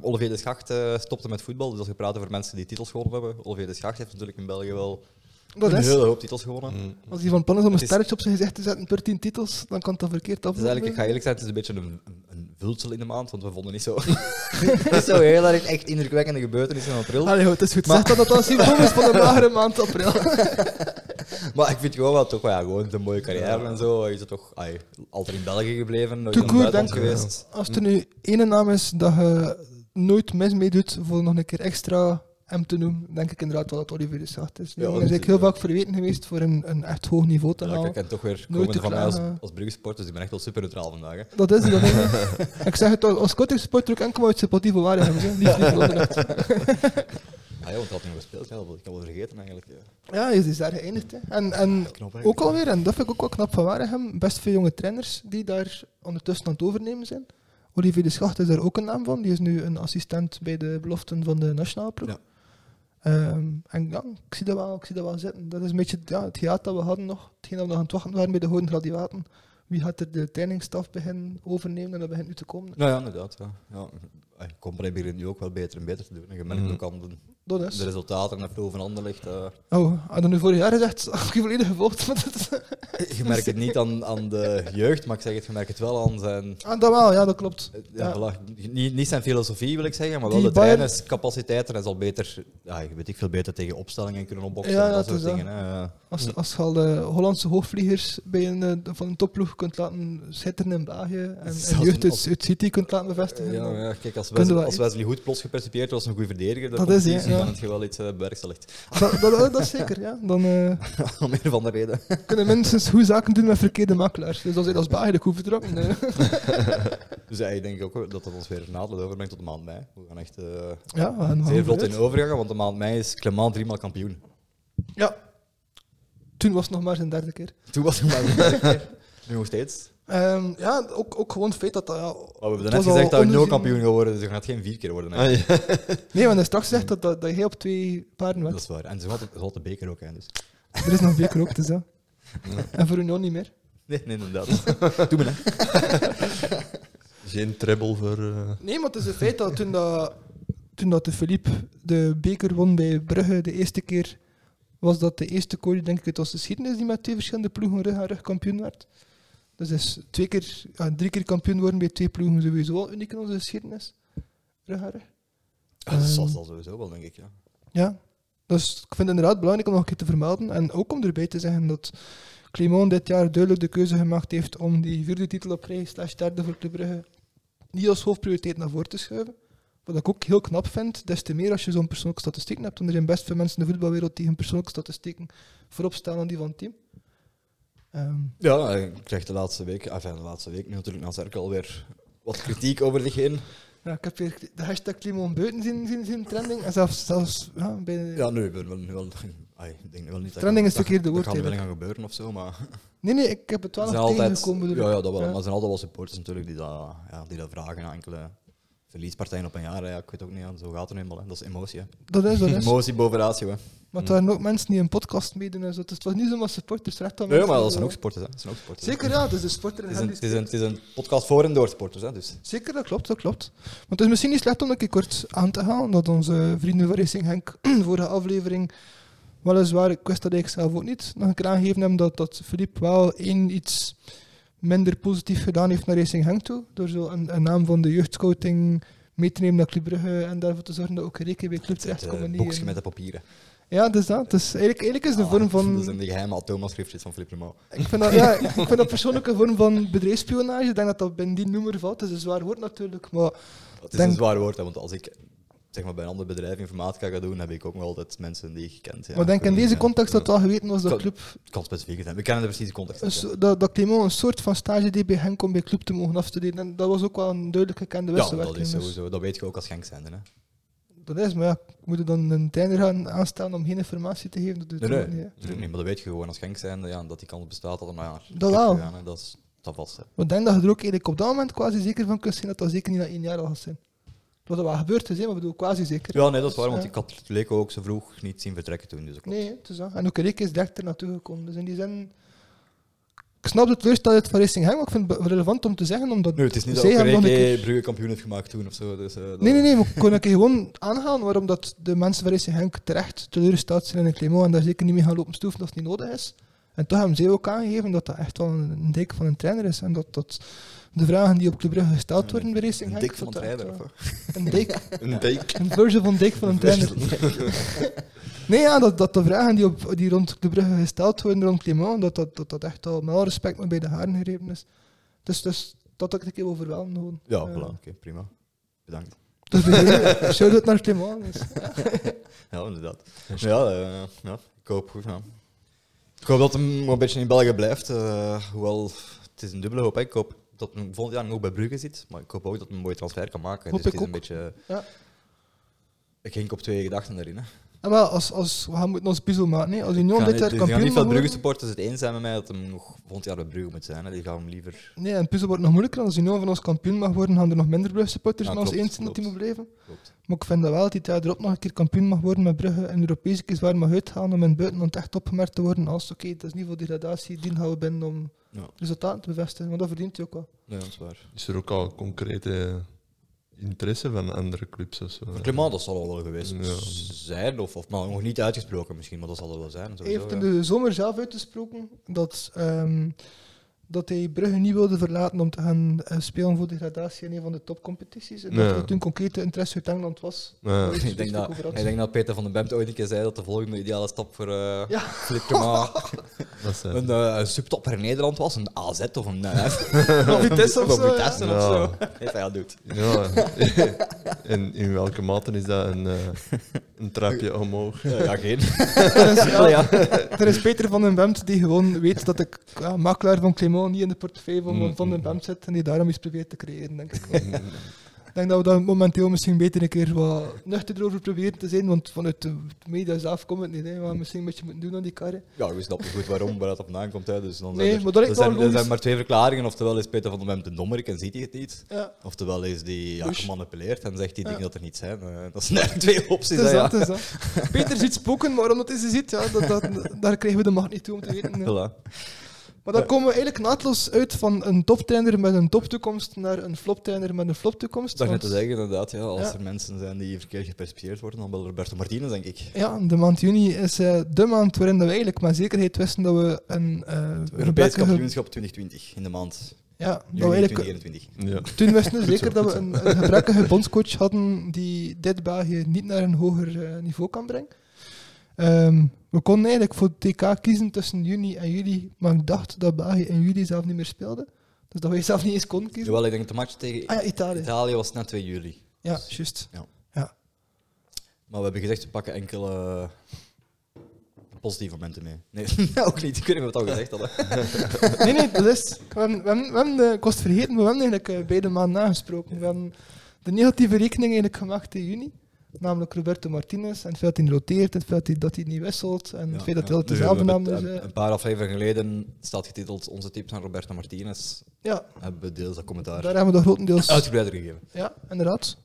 A: Olivier de Schacht eh, stopte met voetbal. Dus als je praat over mensen die titels gewonnen hebben, Olivier de Schacht heeft natuurlijk in België wel
B: Dat
A: een
B: is,
A: hele hoop titels gewonnen.
C: Mm.
B: als hij van plan is om een
A: is-
B: sterretje op zijn gezicht te zetten per tien titels, dan kan het dat verkeerd
A: Het is
B: aflopen.
A: eigenlijk, ik ga eerlijk zijn, het is een beetje een, een, een vultsel in de maand, want we vonden niet zo, [LAUGHS] niet zo heel erg echt indrukwekkende gebeurtenissen in april.
B: Allee, goed, het is goed. Zeg dat dat dat symptoom is van een magere maand april.
A: Maar ik vind gewoon wel toch, wel, ja, gewoon het een mooie carrière en zo. Je bent toch ai, altijd in België gebleven, nooit
B: Tout
A: in het
B: court,
A: buitenland
B: denk ik.
A: geweest.
B: Als er nu ene naam is dat je nooit mis meedoet, voor nog een keer extra hem te noemen, denk ik inderdaad wel dat Olivier de Sacht is.
A: Ja,
B: Ja,
A: dat
B: is eigenlijk heel
A: is-
B: vaak verweten geweest voor een, een echt hoog niveau te
A: Ja,
B: halen.
A: ik ken toch weer
B: Nooit te
A: komen van mij als,
B: klagen.
A: als Brugge-supporter, dus ik ben echt wel super neutraal vandaag. Hè.
B: Dat is het, dat is het. Ik zeg het al, als Celtic supporter ook enkel uit sympathie voor waar hebben. hè. Niet niet voor Anderlecht.
A: Ah, ja, want ik had nog gespeeld, ja, dat wil ik heb wel vergeten eigenlijk. Ja.
B: Ja, hij is daar geëindigd. hè. En, en
A: Knap, hè.
B: ook alweer, en dat vind ik ook wel knap van Waregem, best veel jonge trainers die daar ondertussen aan het overnemen zijn. Olivier de Schacht is daar ook een naam van. Die is nu een assistent bij de beloften van de nationale ploeg.
A: Ja.
B: Ehm, en ja, ik zie dat wel, ik zie dat wel zitten. Dat is een beetje ja, het gejaagd dat we hadden nog. Hetgeen dat we nog aan het wachten waren bij de Hoorn Gladiaten. Wie gaat er de trainingsstaf beginnen overnemen en dat begint nu te komen.
A: Nou ja, inderdaad. Ja. Ja. Ai, Company begint nu ook wel beter en beter te doen. En je merkt
C: Mhm.
A: ook aan de,
B: Dat is.
A: de resultaten en flow van ander ligt.
B: Oh, had dat nu vorig jaar gezegd, [LAUGHS] had ik volledig gevolgd. [LAUGHS] maar dat is-
A: je merkt het niet aan, aan de jeugd, maar ik zeg het, je merkt het wel aan zijn...
B: ah, dat wel, ja, dat klopt.
A: Ja,
B: Ja.
A: voilà. niet, niet zijn filosofie wil ik zeggen, maar wel
B: Die
A: de
B: Bayern-
A: trainerscapaciteit. En hij zal beter, ja, je weet ik veel beter tegen opstellingen kunnen opboksen.
B: Ja,
A: Ja,
B: ja,
A: dat
B: het
A: soort
B: is
A: dingen. Hè. Ja.
B: Als, als je al de Hollandse hoofdvliegers bij een, eh, van een topploeg kunt laten schitteren in België
A: [LAUGHS]
B: en, en
A: Zelfs
B: jeugd
A: een
B: uit, uit City kunt laten bevestigen.
A: Ja,
B: dan-
A: maar ja, kijk, als
B: Kunnen
A: Wesley,
B: we-
A: als Wesley Hoed plots gepercipieerd was, een goede verdediger, dan
B: Dat
A: komt
B: is,
A: die
B: ja,
A: zin
B: ja.
A: van het geweld iets eh, bewerkstelligd. [LAUGHS]
B: Ah, Dat, dat, dat, dat is zeker, ja. Dan eh,
A: Om meer van de reden.
B: kunnen mensen goede zaken doen met verkeerde makelaars. Dus als je als België de koe
A: [LAUGHS]
B: vertrokken. eh.
A: Dus ja, ik denk ook wel dat dat ons weer nadeel overbrengt tot de maand mei. We gaan echt eh,
B: Ja, we gaan- we gaan
A: zeer vlot in
B: vooruit.
A: overgangen, want de maand mei is Clement driemaal kampioen.
B: Ja. Toen was het nog maar zijn derde keer.
A: Toen was het maar de derde [LAUGHS] keer. Nu nog steeds.
B: Ehm, ja, ook, ook gewoon het feit dat dat... Ja,
A: Maar Oh, we hebben
B: het
A: net
B: was
A: gezegd
B: al
A: dat we nul
B: onzin-
A: kampioen gaan worden, dus we gaan het geen vier keer worden. hè.
C: Ah, ja.
B: Nee, want hij straks zegt dat, dat, dat hij op twee paarden
A: Dat
B: werd.
A: is waar. En ze had de beker ook, hè, dus.
B: Er is nog beker ook, dus ja.
A: [LAUGHS]
B: En voor Union niet meer.
A: Nee, nee, inderdaad. [LAUGHS] Doe me hè.
C: Geen treble voor. eh,
B: Nee, maar het is een feit dat toen, dat, toen dat de Philippe de beker won bij Brugge de eerste keer, was dat de eerste kooi, denk ik, uit onze geschiedenis die met twee verschillende ploegen rug aan rug kampioen werd. Dus hij is twee keer, ja, drie keer kampioen worden bij twee ploegen sowieso al uniek in onze geschiedenis. Rug aan rug.
A: Dat
B: Ehm.
A: zal zal sowieso wel, denk ik. Ja.
B: Ja, dus ik vind het inderdaad belangrijk om nog een keer te vermelden. En ook om erbij te zeggen dat Clément dit jaar duidelijk de keuze gemaakt heeft om die vierde titel op rij, slash derde voor Club Brugge, niet als hoofdprioriteit naar voren te schuiven. Wat ik ook heel knap vind, des te meer als je zo'n persoonlijke statistieken hebt. Want er zijn best veel mensen in de voetbalwereld die hun persoonlijke statistieken voorop staan aan die van het team. Ehm,
A: Ja, ik krijg de laatste week, enfin, de laatste week nu natuurlijk na Zerkel alweer wat kritiek over zich heen.
B: ja, ik heb hier de hashtag Clément Beuten zien, zien, zien trending. En zelfs, zelfs ja, bij...
A: Ja, nu, ik ben wel, wel, ai, ik denk wel niet dat
B: Trending is het
A: dat-
B: verkeerde woord,
A: Dat gaat wel
B: eigenlijk.
A: gaan gebeuren of zo, maar er
B: Nee, nee, ik heb
A: [LAUGHS]
B: het wel
A: zijn
B: nog
A: altijd,
B: tegengekomen. bedoel
A: ja,
B: ik.
A: ja, dat wel, maar er zijn altijd wel supporters natuurlijk die dat, ja, die dat vragen aan enkele verliespartijen op een jaar. hè. Ja, ik weet ook niet, ja, zo gaat het nu eenmaal. hè. Dat is emotie. Hè.
B: Dat
A: [LAUGHS]
B: is, [LAUGHS] dat is.
A: Emotie boven ratio. Hè.
B: Maar
A: Hmm.
B: het waren ook mensen die een podcast meedoen en zo. Dus het was niet zomaar supporters recht aan
A: Nee,
B: mensen,
A: maar dat zijn
B: zo.
A: ook sporters. Hè. Dat zijn ook sporters hè.
B: Zeker ja, dus de sporter en
A: Het is, een,
B: hen
A: het,
B: die-
A: is een, het is een podcast voor en door sporters. Hè, dus.
B: Zeker, dat klopt, dat klopt. Maar het is misschien niet slecht om een keer kort aan te halen dat onze vrienden van Racing [CLEARS THROAT] Henk vorige aflevering weliswaar, ik wist dat eigenlijk zelf ook niet, nog een keer aangegeven hebben dat, dat Philippe wel één iets minder positief gedaan heeft naar Racing Henk toe. Door zo een, een naam van de jeugdscouting mee te nemen naar Club Brugge en daarvoor te zorgen dat ook Reken bij Club
A: Het
B: terechtkomen.
A: eh,
B: die,
A: boekje
B: eh,
A: met de papieren.
B: Ja, dus dat. Dus eigenlijk, eigenlijk is de
A: Ah,
B: vorm
A: [LAUGHS]
B: van...
A: Dat zijn de geheime atoomafschriftjes van Philippe Lemo.
B: Ik vind dat, ja, ik vind dat persoonlijk een vorm van bedrijfsspionage. Ik denk dat dat binnen die noemer valt. Het is een zwaar woord natuurlijk, maar
A: Het is
B: Denk-
A: een zwaar woord, hè, want als ik zeg maar, bij een ander bedrijf informatica ga doen, heb ik ook nog altijd mensen die ik gekend. Ja,
B: maar ik denk in
A: kunnen,
B: deze
A: ja.
B: context dat het wel geweten was dat
A: Kan-
B: club
A: Het kan specifiek zijn. We kennen de precieze context.
B: een
A: niet,
B: so- dat, dat Clément een soort van stage deed bij Henk om bij club te mogen afstuderen. En dat was ook wel een duidelijk gekende
A: hè. Ja, dat
B: wisselwerking.
A: is
B: dus
A: sowieso. Dat weet je ook als Genk zijnde. Hè.
B: dat is, maar ja, moet je dan een trainer gaan aanstaan om geen informatie te geven? Dat doet
A: Nee,
B: hij
A: nee.
B: ook niet, hè.
A: Natuurlijk niet, maar dat weet je gewoon als Genk zijnde, ja, dat die kans bestaat. Dat, maar ja, ik
B: Dat
A: heb
B: wel.
A: gegaan, hè, dat is dat vast. Hè.
B: Maar ik denk dat je er ook eigenlijk op dat moment quasi zeker van kunt zijn dat dat zeker niet na één jaar al gaat zijn. Wat er wel gebeurd is, hè, maar ik bedoel, quasi zeker.
A: Ja, nee, dat is waar,
B: Dus,
A: want
B: ja.
A: ik had Leko ook zo vroeg niet zien vertrekken toen. Dus dat klopt.
B: Nee, het is dat. En ook Rick is direct er naartoe gekomen. Dus in die zin. Ik snap de teleurstelling van Racing Heng, maar ik vind het be- relevant om te zeggen. Omdat
A: Nee, het is niet
B: zij
A: dat
B: hem nog
A: ook
B: een keer-
A: Reke Brugge kampioen heeft gemaakt toen of zo. Dus, eh, dat-
B: Nee, nee, nee, maar ik kon een keer gewoon aanhalen waarom dat de mensen van Racing Henk terecht teleurgesteld zijn in een Clément en daar zeker niet mee gaan lopen stoeven als het niet nodig is. En toch hebben ze ook aangegeven dat dat echt wel een, een dik van een trainer is. En dat, dat de vragen die op Club Brugge gesteld worden bij Racing
D: Een
B: Genk...
D: dik van een
B: dat dat
D: trainer.
B: echt
D: of
B: wel-
D: wat?
A: [LAUGHS]
B: Een dik.
C: Een dijk.
B: Een versie van dik van een trainer. Nee, ja, dat, dat de vragen die, op, die rond de bruggen gesteld worden, rond Clément, dat dat, dat, dat echt al met alle respect maar bij de haren gegrepen is. Dus, dus dat had ik een keer overweldigd gewoon.
A: Ja,
B: Eh,
A: voilà, oké, prima.
B: [LAUGHS]
A: Bedankt.
B: Dus bij deze, [LAUGHS] shout-out naar Clément. Dus.
A: Ja, inderdaad. Ja, eh, ja, ik hoop goed. Ja. Ik hoop dat hem nog een beetje in België blijft. eh, hoewel, het is een dubbele hoop. hè. Ik hoop dat hem volgend jaar nog bij Brugge zit. Maar ik hoop ook dat hij een mooie transfer kan maken.
B: Hoop
A: dus het
B: ik
A: is een beetje...
B: Ja.
A: Ik ging op twee gedachten daarin. Hè.
B: En wel, als, als, we gaan moeten ons puzzel maken. Nee. Als Union
A: Ik ga
B: dit
A: niet-
B: jaar
A: er
B: kampioen
A: gaan niet veel
B: mag
A: Brugge
B: worden-
A: supporters het eens zijn met mij dat hem nog volgend jaar bij Brugge moet zijn. Hè. Die gaan hem liever...
B: Nee, en puzzel wordt nog moeilijker. Als Union van ons kampioen mag worden, gaan er nog minder Brugge supporters
A: Ja,
B: met ons
A: klopt,
B: eens zijn dat die moet
A: klopt.
B: blijven.
A: Klopt.
B: Maar ik vind dat wel dat hij het jaar erop nog een keer kampioen mag worden met Brugge en Europese keer zwaar mag uitgaan om in het buitenland echt opgemerkt te worden als oké, het is niet voor degradatie, die gaan we binnen om
A: Ja.
B: resultaten te bevestigen, want dat verdient hij ook wel.
A: Nee, dat is waar.
C: Is er ook al concrete interesse van andere clubs of zo?
A: Maar Clement, dat zal al wel geweest
C: Ja.
A: zijn. Of, of maar nog niet uitgesproken misschien, maar dat zal er wel zijn.
B: Hij
A: Sowieso,
B: heeft in
A: ja.
B: de zomer zelf uitgesproken dat, ehm, dat hij Brugge niet wilde verlaten om te gaan eh, spelen voor degradatie in een van de topcompetities. En
C: Ja.
B: dat er toen concrete interesse uit Engeland was.
C: Ja.
B: Daar is
A: Ik denk,
B: het ook
A: dat,
B: over had.
A: ik denk dat Peter van den Bemt ooit een keer zei dat de volgende ideale stap voor eh [LAUGHS]
B: Ja.
A: Philippe Clement
B: [LAUGHS]
C: Dat zijn
A: een, eh, een subtopper in Nederland was. Een AZ of een
B: [LAUGHS]
A: eh, Vitesse of
B: Of
A: zo.
B: Vitesse
A: ja.
C: of zo.
A: Heeft hij al doet.
C: Ja, [LAUGHS] en in welke mate is dat een, eh, een trapje omhoog?
A: Eh, Ja, ja, geen. [LAUGHS]
B: Er is, ja,
A: ja.
B: er is Peter van den Bemt die gewoon weet dat ik ja, makelaar van Clément niet in de portefeuille van
C: Mm,
B: Van den
C: mm,
B: Bemt zit en die daarom iets probeert te creëren, denk ik. Ik denk dat we daar momenteel misschien beter een keer wat nuchter over proberen te zijn, want vanuit de media zelf komt het niet. Hè. We gaan misschien een beetje moeten doen aan die karren.
A: Ja, we snappen goed waarom, waar dat vandaan komt. Hè. Dus dan
B: Nee,
A: zijn er,
B: maar dat is
A: er
B: wel
A: zijn, er
B: logisch.
A: zijn maar twee verklaringen. Oftewel is Peter van den Bemt een dommerik en ziet hij het niet.
B: Ja,
A: Oftewel is die ja,
B: Bush.
A: gemanipuleerd en zegt hij
B: Ja.
A: dingen dat er niet zijn. Eh, dat zijn eigenlijk twee opties.
B: het is
A: hè,
B: dat,
A: ja.
B: het is dat. Peter ziet spoken, maar omdat hij ze ziet, ja, dat, dat, daar krijgen we de macht niet toe om te weten. hè.
A: Voilà.
B: Maar dan komen we eigenlijk naadloos uit van een toptrainer met een toptoekomst naar een floptrainer met een floptoekomst.
A: Dat is net te
B: want-
A: zeggen, inderdaad. Ja, als
B: Ja.
A: er mensen zijn die verkeerd gepercipieerd worden, dan wel Roberto Martinez, denk ik.
B: Ja, de maand juni is eh, de maand waarin we eigenlijk met zekerheid wisten dat we een eh
A: Europees
B: Rebecca-
A: kampioenschap 2020 in de maand
B: Ja, dat we
A: juni
B: eigenlijk
A: 2021.
C: Ja.
B: toen
A: [LAUGHS]
B: wisten we zeker dat we een, een gebrekkige bondscoach hadden die dit België niet naar een hoger eh, niveau kan brengen. Ehm, we konden eigenlijk voor het TK kiezen tussen juni en juli, maar ik dacht dat België in juli zelf niet meer speelde. Dus dat wij zelf niet eens konden kiezen.
A: Jawel, ik denk de match tegen
B: Ah ja, Italië.
A: Italië was net 2 juli.
B: Ja, juist.
A: Maar we hebben gezegd, we pakken enkele eh, positieve momenten mee. Nee, [LAUGHS] nou, ook niet. Ik weet niet of we het al gezegd
B: [LAUGHS]
A: hadden.
B: Nee, nee, dat is. We hebben, we hebben, we hebben de, ik was het vergeten, maar we hebben eigenlijk eh, beide maanden nagesproken. We hebben de negatieve rekening eigenlijk gemaakt in juni. Namelijk Roberto Martinez. En het feit dat hij roteert, het feit dat hij- dat hij niet wisselt. En het feit dat hij
A: Ja,
B: altijd
A: ja.
B: dezelfde
A: We
B: naam
A: hebben
B: is.
A: het, eh,
B: eh,
A: Een paar afleveringen geleden staat getiteld Onze tips aan Roberto Martinez.
B: ja,
A: Hebben we deels dat
B: daar
A: commentaar
B: hebben we dat grotendeels.
A: uitgebreider gegeven.
B: Ja, inderdaad.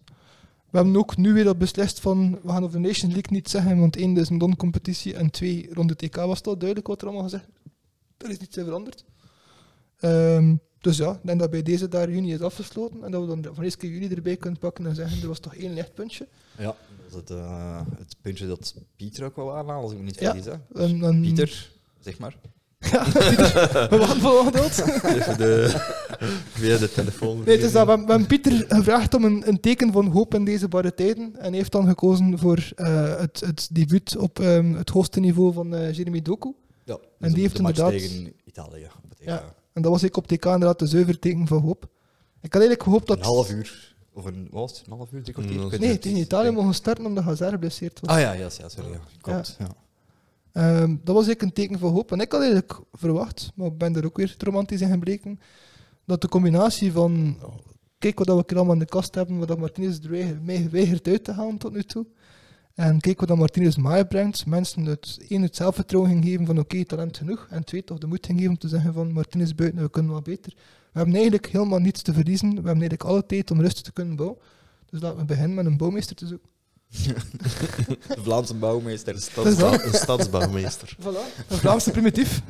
B: We hebben ook nu weer al beslist van we gaan over de Nations League niet zeggen, want één, dat is een non-competitie en twee, rond de TK was het al duidelijk wat er allemaal gezegd werd. Er is niets in veranderd. Ehm, dus ja, ik denk dat bij deze daar juni is afgesloten en dat we dan de- van eerste keer juli erbij kunnen pakken en zeggen er was toch één lichtpuntje.
A: Ja, dat is het, eh, het puntje dat Pieter ook wel aanhaalde, als ik me niet
B: Ja. Mm.
A: vergis. hè.
B: En, dan-
A: Pieter, zeg maar.
B: [LAUGHS] We waren veroordeeld.
C: Even de, via de telefoon.
B: Nee, het is dat, we, hebben- we hebben Pieter gevraagd om een, een teken van hoop in deze barre tijden en hij heeft dan gekozen voor eh, het, het debuut op ehm, het hoogste niveau van eh Jeremy Doku.
A: Ja,
B: die
A: Dus de
B: heeft
A: match
B: inderdaad-
A: tegen Italië. op het EK.
B: Ja. En dat was ik op TK inderdaad de zuiver teken van hoop. Ik had eigenlijk gehoopt dat...
A: Een half uur. Of een, wat was het? Een half uur, drie kwartier?
C: Nee,
A: Ik weet
B: Mm, Nee,
A: het
B: tegen
A: niet.
B: Italië mogen starten omdat Hazard geblesseerd was.
A: Ah ja, ja, ja sorry. Ja. Klopt. Ja.
B: Ehm, dat was eigenlijk een teken van hoop. En ik had eigenlijk verwacht, maar ik ben er ook weer te romantisch in gebleken, dat de combinatie van... Kijk wat we hier allemaal in de kast hebben, wat dat Martinez er weiger- mee weigert uit te halen tot nu toe. En kijk wat dat Martinez mij brengt. Mensen het, één, het zelfvertrouwen ging geven van oké, talent genoeg. En twee, toch de moed ging geven om te zeggen van Martinez buiten, we kunnen wat beter. We hebben eigenlijk helemaal niets te verliezen. We hebben eigenlijk alle tijd om rustig te kunnen bouwen. Dus laten we beginnen met een bouwmeester te zoeken.
A: De Vlaamse bouwmeester.
B: is dat.
C: Een stadsbouwmeester.
B: Voilà, een Vlaamse primitief.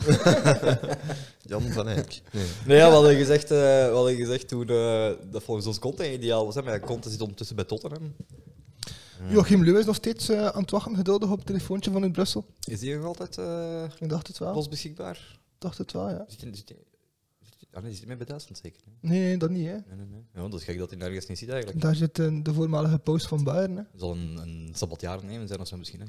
C: Jan van Eyck. [LAUGHS] Nee.
A: Nee, ja, we hadden gezegd, eh, we hadden gezegd toen eh, dat volgens ons Conte ideaal was. Hè, maar ja, Conte zit ondertussen bij Tottenham. Eh,
B: Joachim Leu is nog steeds eh, aan het wachten, geduldig op het telefoontje van in Brussel.
A: Is die nog altijd eh
B: Ik dacht het wel.
A: los beschikbaar?
B: dacht het wel, ja.
A: Zit hij zit die- zit die- ah nee, zit hij met bij Duitsland zeker? hè?
B: Nee, nee, dat niet, hè.
A: Nee, nee, nee. Ja, dat is gek dat hij hem ergens niet ziet eigenlijk.
B: Daar zit eh, de voormalige post van Bayern, hè.
A: Hij zal een, een sabbatjaar nemen zijn als we misschien. hè.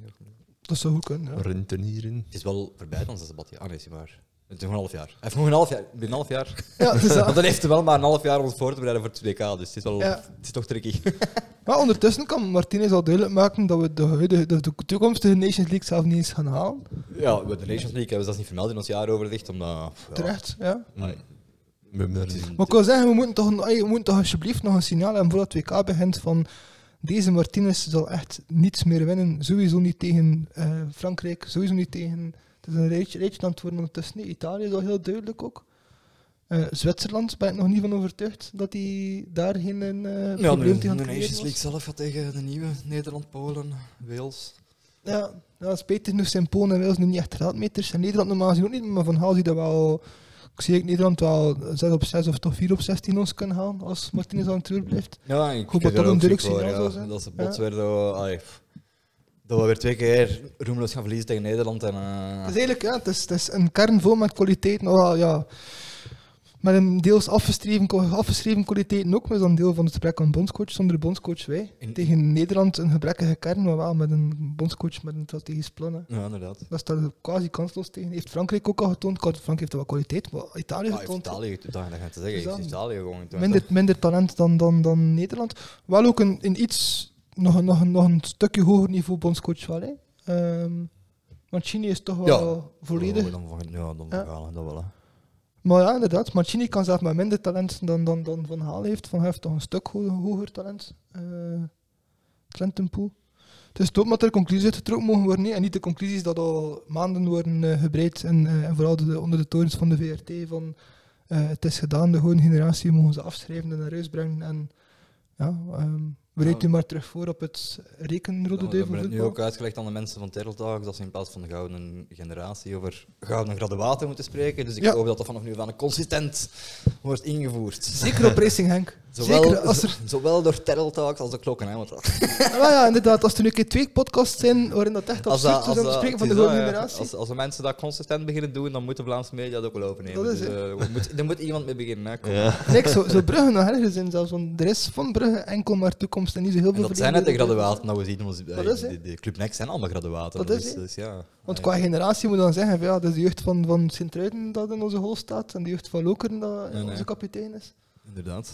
B: Dat zou goed kunnen, ja.
C: Rentenieren.
A: Het is wel voorbij dan zijn sabbatjaar. Ah nee, zie maar. Het is nog een half jaar. Hij heeft nog een half jaar. Binnen een half jaar.
B: Ja, dus dat-
A: Want dan heeft hij wel maar een half jaar om ons voor te bereiden voor het WK. Dus het is, wel,
B: Ja.
A: het is toch tricky.
B: [LAUGHS] Maar ondertussen kan Martinez al duidelijk maken dat we de, huidige, dat de toekomstige Nations League zelf niet eens gaan halen.
A: [LAUGHS] Ja, met de Nations League hebben ze dat niet vermeld in ons jaaroverzicht. Omdat, ja,
B: Terecht, ja.
A: Amai.
C: We hebben daar
A: Het is-
B: Maar ik wil zeggen, we moeten, toch, een- ey, we moeten toch alsjeblieft nog een signaal hebben voordat het WK begint van deze Martinez zal echt niets meer winnen. Sowieso niet tegen eh, Frankrijk, sowieso niet tegen... Het is een rijtje, rijtje aan het worden ondertussen. nee, Italië is al heel duidelijk ook. Eh, Zwitserland ben ik nog niet van overtuigd dat hij daar geen eh
A: Ja, de,
B: probleem
A: de
B: tegen aan
A: Nations
B: het creëren
A: League
B: was.
A: zelf gaat tegen de nieuwe Nederland, Polen, Wales.
B: Ja, ja spijtig genoeg zijn Polen en Wales nu niet echt raadmeters. En Nederland normaal gezien ook niet, maar Van Gaal ziet dat wel... Ik zie ik Nederland wel 6 op 6 of toch 4 op 6 tegen ons kunnen halen als Martinez aan het uur blijft.
A: Ja, ik
B: Goed,
A: heb
B: maar
A: daar
B: toch een
A: ook
B: druk
A: schrik voor,
B: signaal
A: ja.
B: zou zijn.
A: Dat ze plots
B: Ja.
A: weer zo, allee, pff. dat we weer twee keer roemloos gaan verliezen tegen Nederland. En, eh,
B: Het is eigenlijk ja, het is, het is een kern vol met kwaliteiten. Wel, ja, met een deels afgeschreven, afgeschreven kwaliteiten ook, maar dat is een deel van het gebrek aan bondscoach. Zonder bondscoach wij.
A: In-
B: Tegen Nederland een gebrekkige kern, maar wel met een bondscoach met een strategisch plan. Hè.
A: ja, inderdaad.
B: Dat staat er quasi kansloos tegen. Heeft Frankrijk ook al getoond. Kort, Frankrijk heeft wel kwaliteit, maar Italië
A: Ah, heeft
B: getoond.
A: Italië getoond, dat gaan te zeggen.
B: Dus
A: Heeft
B: dan-
A: Italië gewoon getoond.
B: minder, minder talent dan, dan, dan Nederland. Wel ook een, een iets, nog, een- nog, een- nog een stukje hoger niveau bondscoach wel. Hè. Ehm, want Chini is toch wel volledig
A: Oh, dan van, ja, dan van
B: Ja.
A: Gaal, dat wel. Hè.
B: Maar ja, inderdaad. Mancini kan zelf met minder talent dan, dan, dan Van Haal heeft. Van Gaal heeft toch een stuk ho- hoger talent. eh Trentenpoel. Het is top dat er conclusies uitgetrokken mogen worden. hè. En niet de conclusies dat al maanden worden eh, gebreid. En, eh, en vooral de- onder de torens van de VRT. Van eh, het is gedaan, de gewone generatie mogen ze afschrijven en naar huis brengen. En ja, ehm bereid
A: Ja.
B: u maar terug voor op het rekenrode
A: We
B: duivel
A: hebben het nu
B: voetbal.
A: ook uitgelegd aan de mensen van Terreldagen dat ze in plaats van de gouden generatie over gouden graduaten moeten spreken. Dus ik
B: Ja.
A: hoop dat dat vanaf nu van consistent wordt ingevoerd.
B: Zeker op Racing Henk.
A: [LAUGHS] Zowel,
B: Zeker als er
A: z- zowel door Terreldagen als de klokken. Hè, want dat-
B: Ah, ja, inderdaad. Als er nu een keer twee podcasts zijn waarin dat echt
A: dat-
B: absurd is om te
A: dat-
B: spreken van
A: het
B: de
A: is
B: gewone
A: dat, ja.
B: generatie.
A: Als, als de mensen dat consistent beginnen doen, dan moeten Vlaamse media dat ook wel overnemen.
B: Dat is
A: dus,
B: het.
A: eh, we moet, er moet iemand mee beginnen. Hè, kom.
B: Niks, zo, zo Brugge nog ergens in zelfs, want er is van Brugge enkel maar toekomst en niet zo heel
A: En
B: veel
A: dat zijn net de graduaten dat we zien. Ons,
B: Dat is, hè.
A: de, de Club Next zijn allemaal graduaten.
B: Dat
A: dus,
B: is, hè.
A: dus ja.
B: Want qua generatie moet je dan zeggen, van, ja, dat is de jeugd van, van Sint-Truiden dat in onze hol staat en de jeugd van Lokeren dat
A: Nee, nee.
B: onze kapitein is.
A: Inderdaad.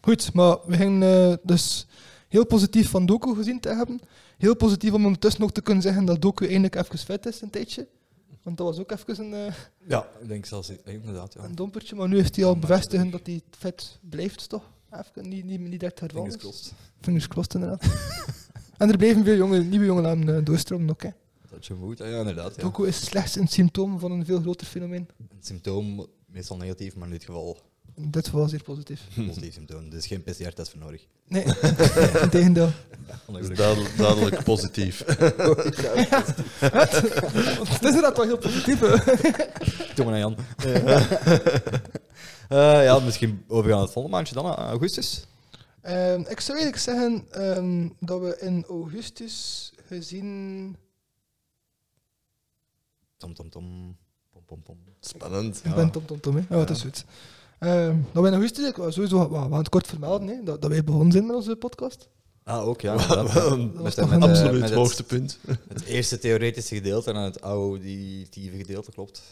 B: Goed, maar we gingen eh, dus heel positief van Doku gezien te hebben. Heel positief om ondertussen ook te kunnen zeggen dat Doku eindelijk even vet is een tijdje. Want dat was ook even een, eh,
A: Ja, ik denk zelfs inderdaad. Ja.
B: een dompertje, maar nu heeft hij al
A: Maar-
B: bevestigen dat hij vet blijft, toch? Even, niet, niet, niet direct hervallen.
A: Fingers
B: is.
A: crossed.
B: Fingers crossed, inderdaad. [LAUGHS] en er bleven veel jonge, nieuwe jongeren eh, doorstromen ook. Hè.
A: Dat je moet. Ja, inderdaad. Ja.
B: Doku is slechts een symptoom van een veel groter fenomeen.
A: Een symptoom, meestal negatief, maar in dit geval
B: In dit geval zeer positief.
C: Hm.
A: een positief symptoom. Dus geen PCR-test voor nodig. [LAUGHS]
B: Nee, integendeel.
C: Dat is [LAUGHS]
A: Ongelukkig.
C: duidelijk, duidelijk positief.
B: Het is inderdaad wel heel positief. hè.
A: Doe maar naar Jan. [LAUGHS] Eh, ja, misschien overgaan naar het volgende maandje dan, eh, augustus.
B: Ehm, ik zou eigenlijk zeggen ehm, dat we in augustus gezien...
A: Tom, tom, tom. Pom, pom, pom.
C: Spannend.
B: Ik ben Tom Tom Tom, hè. Ja, dat is goed. Ehm, dat we in augustus ik wou sowieso we gaan het kort vermelden hè, dat, dat wij begonnen zijn met onze podcast.
A: Ah, ook, ja.
C: [LAUGHS]
A: inderdaad.
C: Een
B: was
A: Met,
B: toch
A: met, eh,
B: een-
C: Absoluut
A: met het,
C: hoogtepunt.
A: het eerste theoretische gedeelte en het auditieve gedeelte, klopt.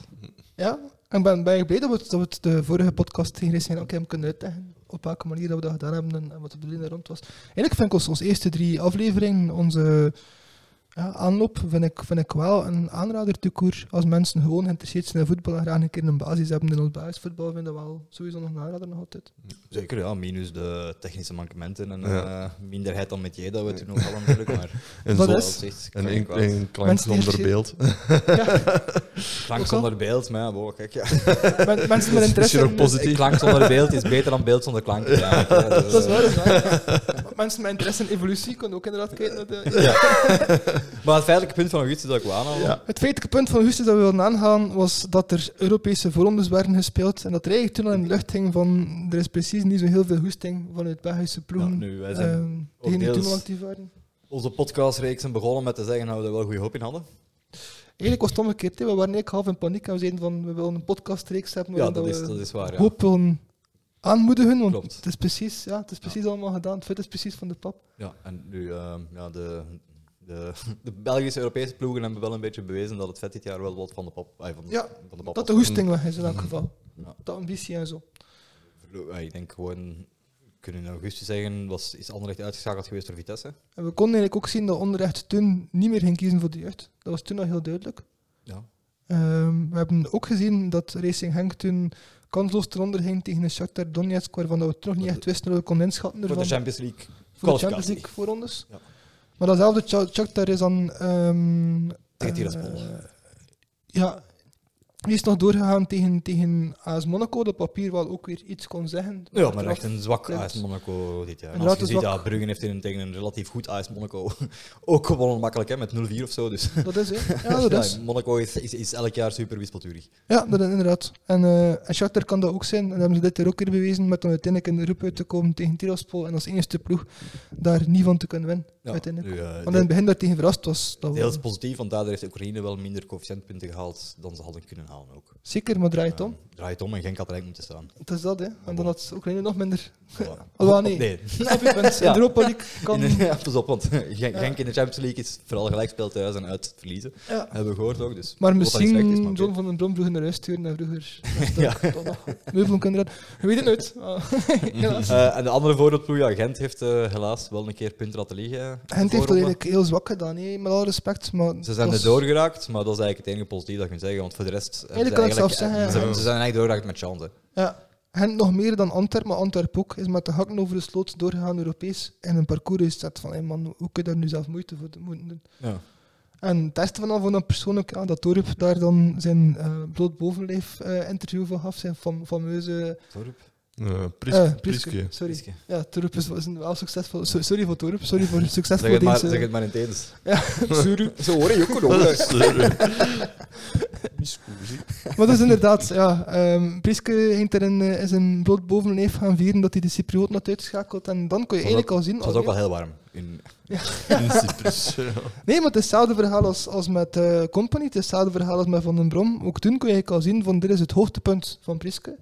B: Ja, ik ben, ben blij dat we, het- dat we het de vorige podcast tegen Racing ook hebben kunnen uitleggen. Op welke manier dat we dat gedaan hebben en, en wat de bedoeling daar rond was. Eigenlijk vind ik ons, onze eerste drie afleveringen, onze ja, aanloop, vind ik, vind ik wel een aanrader toekoer. Als mensen gewoon geïnteresseerd zijn in voetbal en graag een keer een basis hebben in ons basisvoetbal, vind ik dat wel sowieso nog een aanrader nog altijd. [LAUGHS]
A: Zeker, ja. Minus de technische mankementen en
C: Ja.
A: eh, minderheid dan met jij, dat we toen ook al natuurlijk. Maar
C: [LAUGHS] En
B: Dat
C: zo-
B: is-
A: op zich kan
C: En
A: je
C: een,
A: kwaad.
C: een klank
B: Mensen die
C: zonder
B: er-
C: [LAUGHS] beeld. Eh,
A: Klank
B: Ook al?
A: zonder beeld, maar ja, wow, kijk, ja.
B: Men- mensen met interesse
C: Misschien ook
B: in-
C: positief.
A: Klank zonder beeld is beter dan beeld zonder klank. Ja, eh,
B: Dat is waar, dat is [LAUGHS] waar. Maar mensen met interesse in evolutie kunnen ook inderdaad kijken naar de...
A: Maar het feitelijke punt van augustus dat ik wel aanhaal.
C: Ja.
B: Het feitelijke punt van augustus dat we wilden aangaan was dat er Europese voorrondes werden gespeeld en dat er eigenlijk toen al in de lucht ging van er is precies niet zo heel veel goesting vanuit Belgische
A: Ja,
B: ploegen
A: Nou, nu, wij zijn
B: ehm, degenen die
A: deels-
B: toen al actief waren.
A: onze podcastreeksen begonnen met te zeggen dat we er wel goede hoop in hadden.
B: Eigenlijk was het omgekeerd. hè. We waren eigenlijk half in paniek en we zeiden van we willen een podcastreeks hebben.
A: Ja,
B: waarin
A: dat
B: we
A: is, dat is waar. Ja.
B: hoop willen aanmoedigen, want
A: Klopt.
B: het is precies, ja, het is precies allemaal gedaan. Het vet is precies van de pap.
A: Ja, en nu, ehm, ja, de, de, [LAUGHS] de Belgische Europese ploegen hebben wel een beetje bewezen dat het vet dit jaar wel wat van de pop, ay, van, de-
B: Ja,
A: van de pop
B: Dat de
A: was.
B: hoesting weg is in elk geval.
A: Mhm. Ja.
B: De ambitie en zo.
A: Verlo- ay, Ik denk gewoon, kunnen we in augustus zeggen, was, is Anderlecht uitgeschakeld geweest door Vitesse.
B: En we konden eigenlijk ook zien dat onderrecht toen niet meer ging kiezen voor de jeugd. Dat was toen al heel duidelijk.
A: Ja.
B: Ehm, we hebben ook gezien dat Racing Henk toen kansloos ten onder ging tegen een Shakhtar Donetsk, waarvan we toch niet
A: Voor de-
B: echt wisten hoe we konden inschatten.
A: Voor de
B: ervan.
A: Champions League.
B: voor de
A: Kwalificatie.
B: Champions League voorrondes.
A: Ja.
B: Maar datzelfde Cha- Shakhtar is dan... ehm
A: Tegen
B: eh,
A: Tiraspol.
B: ja, die is nog doorgegaan tegen, tegen AS Monaco, dat papier wel ook weer iets kon zeggen.
A: Ja, maar
B: Achteraf.
A: echt een zwak
B: Klopt.
A: AS Monaco dit jaar. En als
B: Een
A: je
B: laatste
A: ziet,
B: zwak-
A: ja, Bruggen heeft in, tegen een relatief goed AS Monaco [LAUGHS] ook gewonnen makkelijk, hè, met 0-4 of zo. Dus.
B: Dat
A: [LAUGHS]
B: is, hè. Ja, dat is.
A: Ja, Monaco is, is, is elk jaar super wispelturig.
B: Ja, dat is inderdaad. En, eh en Shakhtar kan dat ook zijn. En dat hebben ze dit jaar ook weer bewezen met dan uiteindelijk in de groep uit te komen tegen Tiraspol en als eerste ploeg daar niet van te kunnen winnen.
A: Ja,
B: uiteindelijk.
A: nu, eh,
B: Want in het begin daar tegen verrast was. Dat
A: Heel
B: wel.
A: is positief, want daardoor heeft Oekraïne wel minder coëfficiëntpunten gehaald dan ze hadden kunnen halen ook.
B: Zeker, maar draait om.
A: Eh, draait om en Genk had er eigenlijk moeten
B: [LAUGHS]
A: staan.
B: Het is dat, hè. En dan had Oekraïne nog minder.
A: Voilà.
B: Alhoewel, Oh, nee.
A: Oh, Nee.
B: [LAUGHS] Snap je,
A: [LAUGHS]
B: punt.
A: Ja.
B: In de Europa League kan...
A: In- [LAUGHS] ja, pas op, want Genk, Genk in de Champions League is vooral gelijkspel thuis en uit verliezen.
B: Ja.
A: Hebben we gehoord ook. Dus
B: Maar
A: Wat dat niet slecht is,
B: misschien
A: maar
B: John
A: oké.
B: van den Brom vroeger naar huis sturen
A: [LAUGHS]
B: en vroeger
A: Ja.
B: meubelen kunnen redden. Je weet het nooit. Ah, helaas.
A: Eh, en de andere voorbeeldploeg, ja, Gent heeft eh, helaas wel een keer punten laten liggen. eh, in de
B: Gent heeft dat
A: voorronde.
B: eigenlijk heel zwak gedaan, hè. met alle respect. Maar
A: Ze zijn
B: dat
A: er
B: is-
A: doorgeraakt, maar dat is eigenlijk het enige positief dat ik kan zeggen. Want voor de rest. hebben
B: Eigenlijk
A: ze
B: kan ik zelf zeggen, ja.
A: Ze, hebben- ze zijn eigenlijk doorgeraakt met chance.
B: Ja. Gent nog meer dan Antwerp, maar Antwerp ook is met de hakken over de sloot doorgegaan Europees. En een parcours is dat van, hey man, hoe kun je daar nu zelf moeite voor doen- moeten doen?
A: Ja.
B: En het eerste van al van een persoonlijk, ja, dat Torp daar dan zijn eh bloot bovenlijf eh, interview van gaf, zijn fam- fameuze...
C: Eh, Pris-
B: eh,
C: Priske.
B: Sorry.
A: Priske.
B: Ja, Torp is, was een wel succesvol. so- Sorry voor Torp, sorry
A: [LAUGHS]
B: voor succesvol
A: Zeg, het maar,
B: deze-
A: zeg het maar in het eens.
B: [LAUGHS] Sorry.
A: Zo hoor je ook
C: [LAUGHS] Dat
A: nog.
C: is, eh, Miskoezie.
B: Maar dat is inderdaad, ja. ehm Priske ging er in, eh, in zijn bloot bovenlijf gaan vieren dat hij de Cyprioten had uitgeschakeld. En dan kon je
A: Het was
B: eigenlijk al zien...
A: Het was
B: oké,
A: ook wel heel warm. In,
C: In Cyprus. ja. Mm,
B: Nee, maar het is hetzelfde verhaal als, als met eh, Company. Het is hetzelfde verhaal als met Van den Brom. Ook toen kon je eigenlijk al zien van dit is het hoogtepunt van Priske.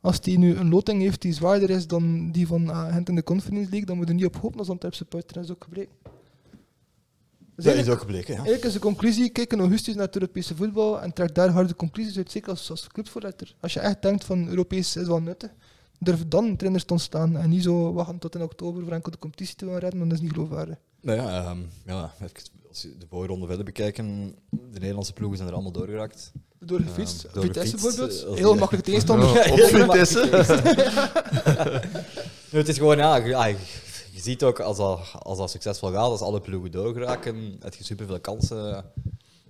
B: Als die nu een loting heeft die zwaarder is dan die van ah, Gent in de Conference League, dan moet je niet op hopen als Antwerp supporter. Dat is ook gebleken. Dus
A: dat is
B: eigenlijk,
A: ook gebleken. Ja.
B: eigenlijk is de conclusie, kijk in augustus naar het Europese voetbal en trek daar harde conclusies uit, zeker als, als clubvoorlichter. Als je echt denkt van Europees is wel nuttig, durf dan trainers te ontstaan en niet zo wachten tot in oktober voor enkel de competitie te gaan redden, want dat is niet geloofwaardig.
A: Nou ja, ehm, ja, even als je de voorronde verder bekijken, de Nederlandse ploegen zijn er allemaal doorgeraakt.
B: Door gefietst.
A: Ja, Ehm, door
B: Vitesse
A: gefietst, eh,
B: bijvoorbeeld.
A: als
B: Heel
A: die- [LAUGHS] Oh,
B: makkelijk tegenstander. [LAUGHS]
C: Ja, op Vitesse.
A: [LAUGHS] Nu, het is gewoon, ja, je, ah, je- je ziet ook als dat, als dat succesvol gaat, als alle ploegen doorgeraken, heb je superveel kansen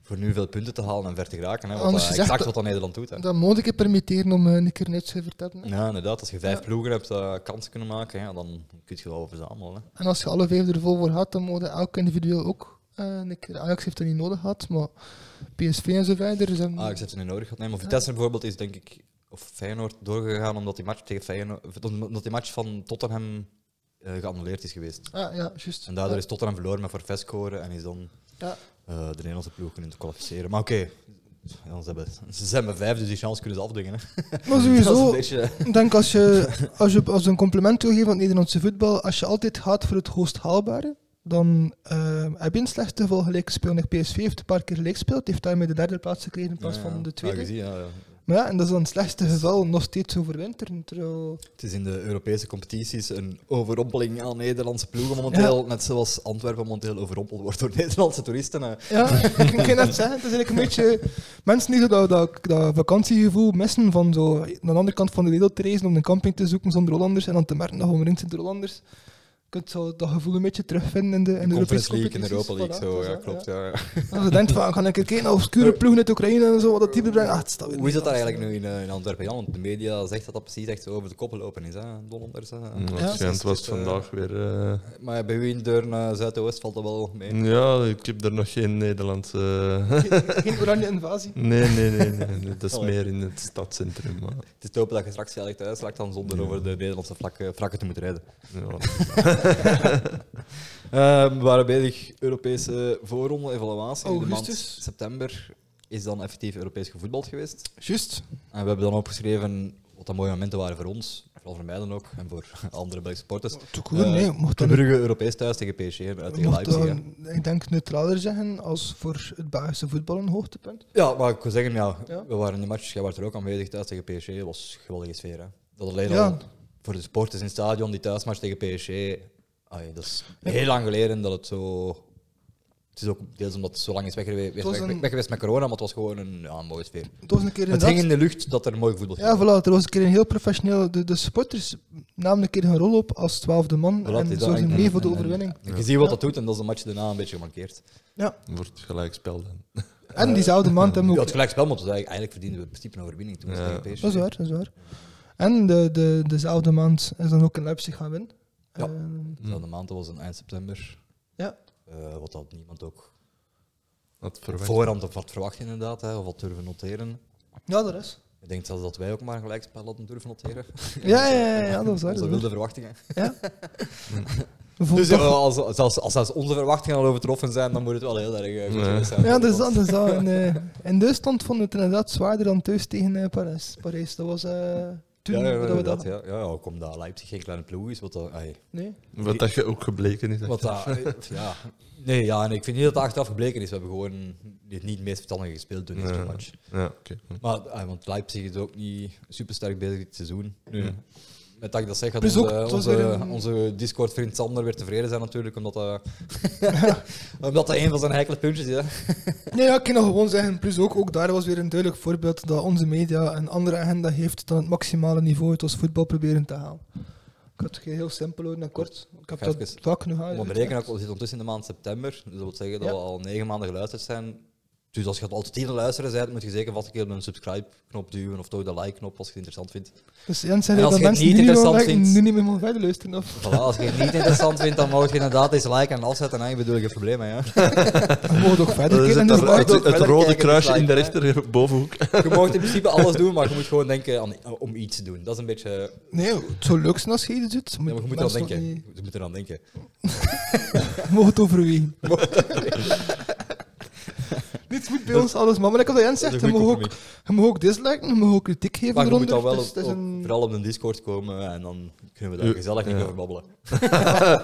A: voor nu veel punten te halen en ver te geraken. Hè, wat
B: Anders
A: dat,
B: gezegd,
A: exact wat dat Nederland doet. Hè.
B: Dat moet ik je permitteren om eh, een keer een uitcijfer te hebben. hè.
A: Ja, inderdaad. Als je vijf ploegen hebt eh kansen kunnen maken, ja, dan kun je wel verzamelen. Hè.
B: En als je alle vijf er vol voor had, dan moet elk individueel ook. eh, een keer. Ajax heeft dat niet nodig gehad, maar PSV en zo verder. Zijn...
A: Ajax heeft het niet nodig gehad. Nee, maar Vitesse bijvoorbeeld is denk ik, of Feyenoord, doorgegaan omdat die match, tegen Feyenoord, omdat die match van Tottenham eh, geannuleerd is geweest.
B: Ah, ja, juist.
A: En daardoor
B: Ja,
A: is Tottenham verloren met Forfait scoren en is dan
B: ja.
A: eh, de Nederlandse ploeg kunnen te kwalificeren. Maar oké, ja, ze, hebben, ze zijn met vijf, dus die chance kunnen ze afdwingen. Hè.
B: [LAUGHS]
A: Dat
B: Maar
A: is een
B: sowieso,
A: beetje,
B: ik denk als je,
A: [LAUGHS]
B: als je als een compliment wil geven aan het Nederlandse voetbal, als je altijd gaat voor het hoogst haalbare, dan eh, heb je in het slechtste geval gelijk gespeeld. PSV heeft een paar keer gelijk gespeeld, heeft daarmee de derde plaats gekregen in plaats
A: Ja, ja. Ah,
B: van de
A: Ja,
B: tweede.
A: je ziet, ja, ja.
B: Maar ja, en dat is dan het slechtste geval nog steeds overwinteren. Terwijl...
A: Het is in de Europese competities een overrompeling aan Nederlandse ploegen momenteel. Net zoals Antwerpen momenteel overrompeld wordt door [LAUGHS] Nederlandse toeristen. hè. [LAUGHS]
B: Ja, ik kan het zeggen. Het is eigenlijk een beetje mensen die zo dat, dat, dat vakantiegevoel missen van zo aan de andere kant van de wereld te reizen om een camping te zoeken zonder Hollanders en dan te merken dat we omringd zijn door Hollanders. Je kunt zo dat gevoel een beetje terugvinden in de, in de Europese
A: Conference League en
B: competities.
A: Europa League,
B: Voilà,
A: zo,
B: dat
A: ja, klopt.
B: is dat, ja.
A: Ja. ja.
B: Als je denkt van, gaan ik een keer naar
A: [LAUGHS]
B: obscure ploegen uit Oekraïne en zo, wat dat type brengt. Ah, het staat weer
A: Hoe is dat
B: niet
A: daar
B: aan.
A: eigenlijk nu in, eh, in Antwerpen? Ja, want de media zegt dat dat precies echt zo over de koppen lopen is, hè? Donders. Hè?
C: Ja,
A: Dus het
C: Gent
A: is,
C: Mm, was
A: eh,
C: vandaag weer... eh,
A: Maar bij wie in Deurne, eh, Zuidoost valt dat wel mee.
C: ja, ik heb er nog geen Nederlandse...
B: Geen oranje invasie.
C: [LAUGHS] nee, nee, nee, nee, nee, Dat is
A: Allee.
C: meer in het stadcentrum. Maar,
A: Het is te hopen dat je straks veilig thuis raakt dan zonder
C: Ja.
A: over de Nederlandse vlak, eh, vlakken te moeten rijden.
C: ja.
A: Eh, we waren bezig Europese voorronde, evaluatie. In de maand
B: Augustus.
A: september is dan effectief Europees gevoetbald geweest.
B: Juist.
A: En we hebben dan opgeschreven wat dat mooie momenten waren voor ons, vooral voor mij dan ook, en voor [LAUGHS] andere Belgische supporters.
B: Te koer,
A: Eh,
B: nee. Mocht
A: Club
B: dat,
A: Brugge Europees thuis tegen PSG, hè, uit tegen
B: mocht
A: Leipzig.
B: dat,
A: hè.
B: ik denk, neutraler zeggen als voor het Belgische voetbal een hoogtepunt.
A: Ja, maar ik wil zeggen, ja,
B: Ja.
A: we waren in de match, jij was er ook aanwezig thuis tegen PSG, het was een geweldige sfeer. Hè. Dat alleen
B: Ja.
A: al voor de supporters in het stadion, die thuismatch tegen PSG, ai, dat is heel lang geleden dat het zo... Het is ook deels omdat het zo lang is weg, gewe- weg,
B: was
A: weg-
B: een-
A: weg geweest met corona, maar het was gewoon een, ja, een mooie sfeer.
B: Het was een keer
A: Het hing
B: inderdaad...
A: in de lucht dat er mooi voetbal
B: Ja, voilà, er was een keer een heel professioneel... De, de supporters namen een keer hun rol op als twaalfde
A: Voilà,
B: man
A: het is
B: en
A: dat.
B: zorgden
A: En-
B: mee voor de
A: en- en-
B: overwinning.
A: en Je ziet wat
B: Ja.
A: dat doet en dat is de match daarna een beetje gemarkeerd.
C: Wordt gelijkspel dan.
B: En diezelfde maand hebben
A: Ja,
B: we ook
A: het gelijkspel, maar het was eigenlijk, eigenlijk verdienden we in principe een overwinning toen we
C: Ja.
A: tegen PSG.
B: Dat is waar, dat is waar. En de, de, dezelfde maand is dan ook in Leipzig gaan winnen.
A: Ja.
B: Eh,
A: Dezelfde maand, dat was in eind september.
B: Ja.
A: Eh, wat had niemand ook
C: Dat
A: op
C: verwacht.
A: voorhand of wat verwacht inderdaad, hè, of wat durven noteren.
B: ja, dat is.
A: Ik denk zelfs dat wij ook maar een gelijkspel hadden durven noteren.
B: Ja, ja, ja, ja, dat is waar.
A: Onze
B: dat
A: wilde
B: is waar. [LAUGHS]
A: verwachtingen.
B: We vonden
A: Dus ja,
B: toch-
A: als, zelfs, als zelfs onze verwachtingen al overtroffen zijn, dan moet het wel heel erg eh, goed
C: Nee.
A: geweest zijn.
B: ja, dus dat is dat. dat is dat. En, eh, in Duitsland vonden we het inderdaad zwaarder dan thuis tegen eh, Parijs. Parijs, dat was eh, toen
A: Ja, ja,
B: dat we
A: inderdaad,
B: dat...
A: ja. Ja, ja, ook omdat Leipzig geen kleine ploeg is. Wat, dat- ai,
B: Nee?
C: Wat dat je ook gebleken is.
A: wat dat, eh, ja. Nee, ja, en ik vind niet dat het achteraf gebleken is. We hebben gewoon niet het meest verstandig gespeeld toen in
C: Nee.
A: die match.
C: Ja, oké.
A: Maar, ah, want Leipzig is ook niet supersterk bezig dit seizoen. Nu,
C: Ja.
A: Met dat ik dat zeg, gaat
B: Plus ook,
A: onze,
B: het was
A: onze,
B: weer een-
A: onze Discord-vriend Sander weer tevreden zijn natuurlijk, omdat dat, [LAUGHS] omdat dat een van zijn heikele puntjes is. Hè.
B: Nee, ja, ik kan dat gewoon zeggen. Plus ook, ook daar was weer een duidelijk voorbeeld dat onze media een andere agenda heeft dan het maximale niveau het als voetbal proberen te halen. Ik had het heel simpel houden en kort. Ik heb
A: Ga
B: dat
A: even-
B: vaak nu gehad.
A: Want we rekenen ook, we zitten ondertussen in de maand september, dus dat wil zeggen dat
B: Ja.
A: we al negen maanden geluisterd zijn. Dus als je het altijd hier luisteren bent, moet je zeker vast een keer op een subscribe-knop duwen of toch de like-knop als je het interessant vindt.
B: Dus Jens zei
A: En
B: dat
A: als je het
B: mensen
A: niet
B: nu, niet
A: interessant
B: meer mogen-
A: vindt-
B: nu niet meer mogen verder luisteren.
A: [LAUGHS]
B: Of?
A: Voilà, als je het niet interessant vindt, dan mag je inderdaad eens liken en afzetten. En dan bedoel ik een probleem,
B: [LAUGHS]
A: hè. ja.
B: We mogen ook verder
C: Dat is
B: kijken.
C: het,
B: dus
A: waar.
C: het,
A: Ook
C: het
A: verder
C: rode
A: kijken,
C: kruisje
A: dus
C: in de
A: lijkt, [LAUGHS]
C: rechterbovenhoek.
A: Je mag in principe alles doen, maar je moet gewoon denken aan, om iets te doen. Dat is een beetje
B: Nee, het zou leuk zijn als je iets doet.
A: Ja, maar je moet
B: mensen
A: eraan denken.
B: ook niet-
A: Je moet eraan denken.
B: Je mag
A: [LAUGHS]
B: het overwegen. Dit moet bij ons alles, man. Maar ik heb dat Jens
A: Dat
B: zegt,
A: is
B: je
A: een
B: mag
A: Dus goed
B: ook,
A: compromis.
B: je mag ook disliken, je mag ook kritiek geven
A: Maar je moet dan
B: eronder.
A: wel
B: Dus het is
A: op- op-
B: een-
A: vooral op de Discord komen en dan kunnen we daar
C: Ja.
A: gezellig niet
C: Ja.
A: over babbelen.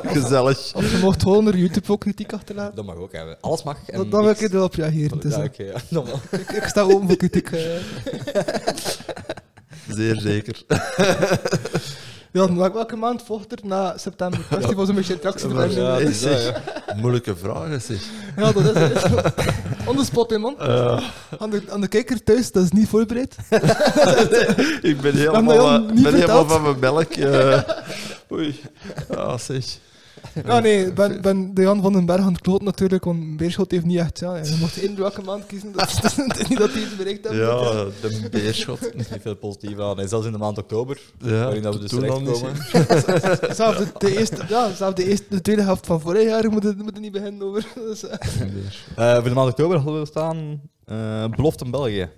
C: [LAUGHS] Gezellig.
B: Of je mocht gewoon onder YouTube ook kritiek achterlaten.
A: Dat mag ook. Hè. Alles mag. en
B: Dan, dan wil ik
A: niks.
B: er wel op reageren. Het is
A: Ja,
B: dat.
A: oké, [LAUGHS] ja, dan wel.
B: ik, ik sta open voor
A: [LAUGHS]
B: kritiek. eh.
C: Zeer zeker.
B: Ja, maar welke maand volgt er na september? Dat was een beetje interactie.
C: Maar,
B: erbij.
A: Ja,
C: eh,
A: dat is dat,
C: zeg, Moeilijke vragen, zeg.
B: Ja, dat is het. [LAUGHS] On the spot, hè, man.
C: Eh,
B: Aan de, aan de kijker thuis, dat is niet voorbereid.
C: ik ben
B: Dat hebben we
C: helemaal,
B: al
C: eh,
B: niet
C: ben helemaal
B: verteld.
C: van mijn melk.
A: [LAUGHS]
C: eh. oei. Ah, zeg.
B: Ja, nee, ik ben, ben de Jan van den Berg aan het kloot natuurlijk, want Beerschot heeft niet echt. Ja, je mocht één welke maand kiezen, dat is [LAUGHS] dat is niet dat hij iets bereikt heeft.
C: Ja, de beerschot.
A: Er is [LAUGHS] niet veel positief aan. En zelfs in de maand oktober,
C: Ja,
A: waarin dat we dus
C: toen al niet,
A: terechtkomen.
B: Zelfs de, de eerste, ja, zelfs de, eerste, de tweede helft van vorig jaar moet het, moet het niet beginnen over. [LAUGHS] Dus, eh,
C: zeg. Beerschot.
A: Eh, voor de maand oktober hadden we staan eh Belofte in België.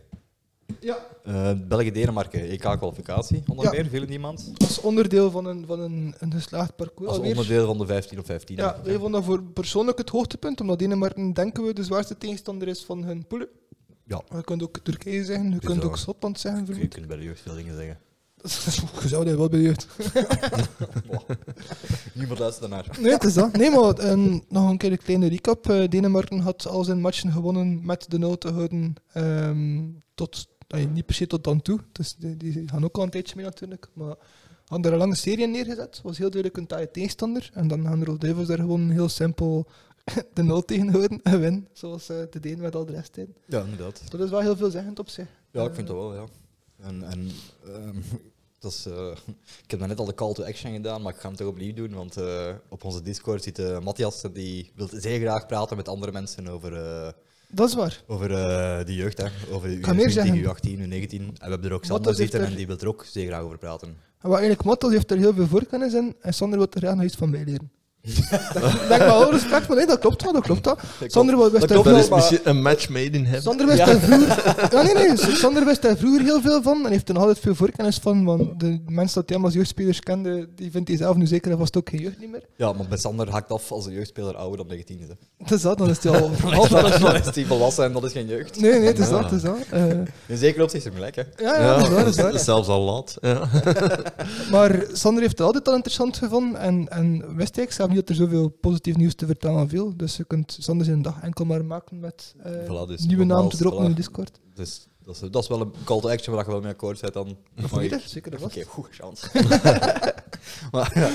B: ja,
A: Eh, België-Denemarken, EK-kwalificatie onder
B: Ja.
A: meer, veel in die maand.
B: als onderdeel van een, van een, een geslaagd parcours.
A: Als
B: alweer.
A: onderdeel van de 15 of 15.
B: Ja, wij vonden dat voor persoonlijk het hoogtepunt, omdat Denemarken, denken we, de zwaarste tegenstander is van hun poelen.
A: Ja.
B: Je kunt ook Turkije zeggen, je
A: Is
B: kunt
A: dat-
B: ook Schotland zeggen.
A: Je
B: vermoed.
A: kunt bij de jeugd veel dingen zeggen.
B: Je zou [LAUGHS] dat wel benieuwd.
A: Niemand luistert daarnaar.
B: Nee, het is dat. Nee, maar ehm, nog een keer een kleine recap. Eh, Denemarken had al zijn matchen gewonnen met de nul te houden. ehm, tot, eh, niet per se tot dan toe. Dus die, die gaan ook al een tijdje mee natuurlijk. Maar hadden er een lange serie in neergezet. Was heel duidelijk een taaie tegenstander. En dan gaan de Rode Duivels daar gewoon heel simpel [LAUGHS] de nul tegen houden en winnen. Zoals eh te deden met al de rest in. Dus
A: Ja, inderdaad.
B: Dat is wel heel veelzeggend op zich.
A: Ja, ik vind dat wel, ja. En, en ehm, [LAUGHS] dat is, eh, [LAUGHS] ik heb net al de call to action gedaan, maar ik ga hem toch opnieuw doen, want eh, op onze Discord zit eh, Matthias en die wil zeer graag praten met andere mensen over, eh,
B: Dat is waar.
A: over eh, de jeugd, hè. over de
B: ga meer
A: U20,
B: zeggen.
A: U18, U19. En we hebben er ook Sander
B: Matthias heeft
A: zitten
B: er-
A: en die wil er ook zeer graag over praten.
B: En wat eigenlijk Mottos heeft er heel veel voorkennis in. En Sander wil er graag nog iets van bijleren. [LAUGHS] Ik Denk maar, oh, respect, maar nee, dat klopt wel, dat klopt wel. Sander wist daar
C: Dat
A: klopt,
B: vroeger-
C: is
A: maar-
C: misschien een match made in heaven.
B: Sander wist
A: Ja.
B: daar vroeger... Ja, nee, nee, Sander wist daar vroeger heel veel van en heeft er nog altijd veel voorkennis van, want de mensen dat hij hem als jeugdspelers kende, die vindt hij zelf nu zeker en vast ook geen jeugd niet meer.
A: Ja, maar bij Sander haakt af als een jeugdspeler ouder dan 19 is.
B: [LAUGHS]
A: hè.
B: Het is dat, dan is hij [LAUGHS] al half...
A: [LAUGHS] Dan is die volwassen en dat is geen jeugd.
B: Nee, nee, het is dat, het is dat. Eh,
A: In zekere opzicht is hem gelijk, hè.
B: ja, ja, dat is waar, dat is
C: [LAUGHS]
B: waar.
C: zelfs al laat. Ja.
B: Maar Sander heeft het altijd al interessant gevonden en, en wist ik zelf niet dat er zoveel positief nieuws te vertellen viel. Dus je kunt Sander zijn dag enkel maar maken met eh,
A: Voilà, dus
B: nieuwe naam te
A: nogmaals,
B: droppen in de
A: voilà.
B: Discord.
A: Dus dat is, dat is wel een call to action waar je wel mee akkoord bent. Dan mag je-
B: Zeker, zeker
A: Oké,
B: vast.
A: goede chance.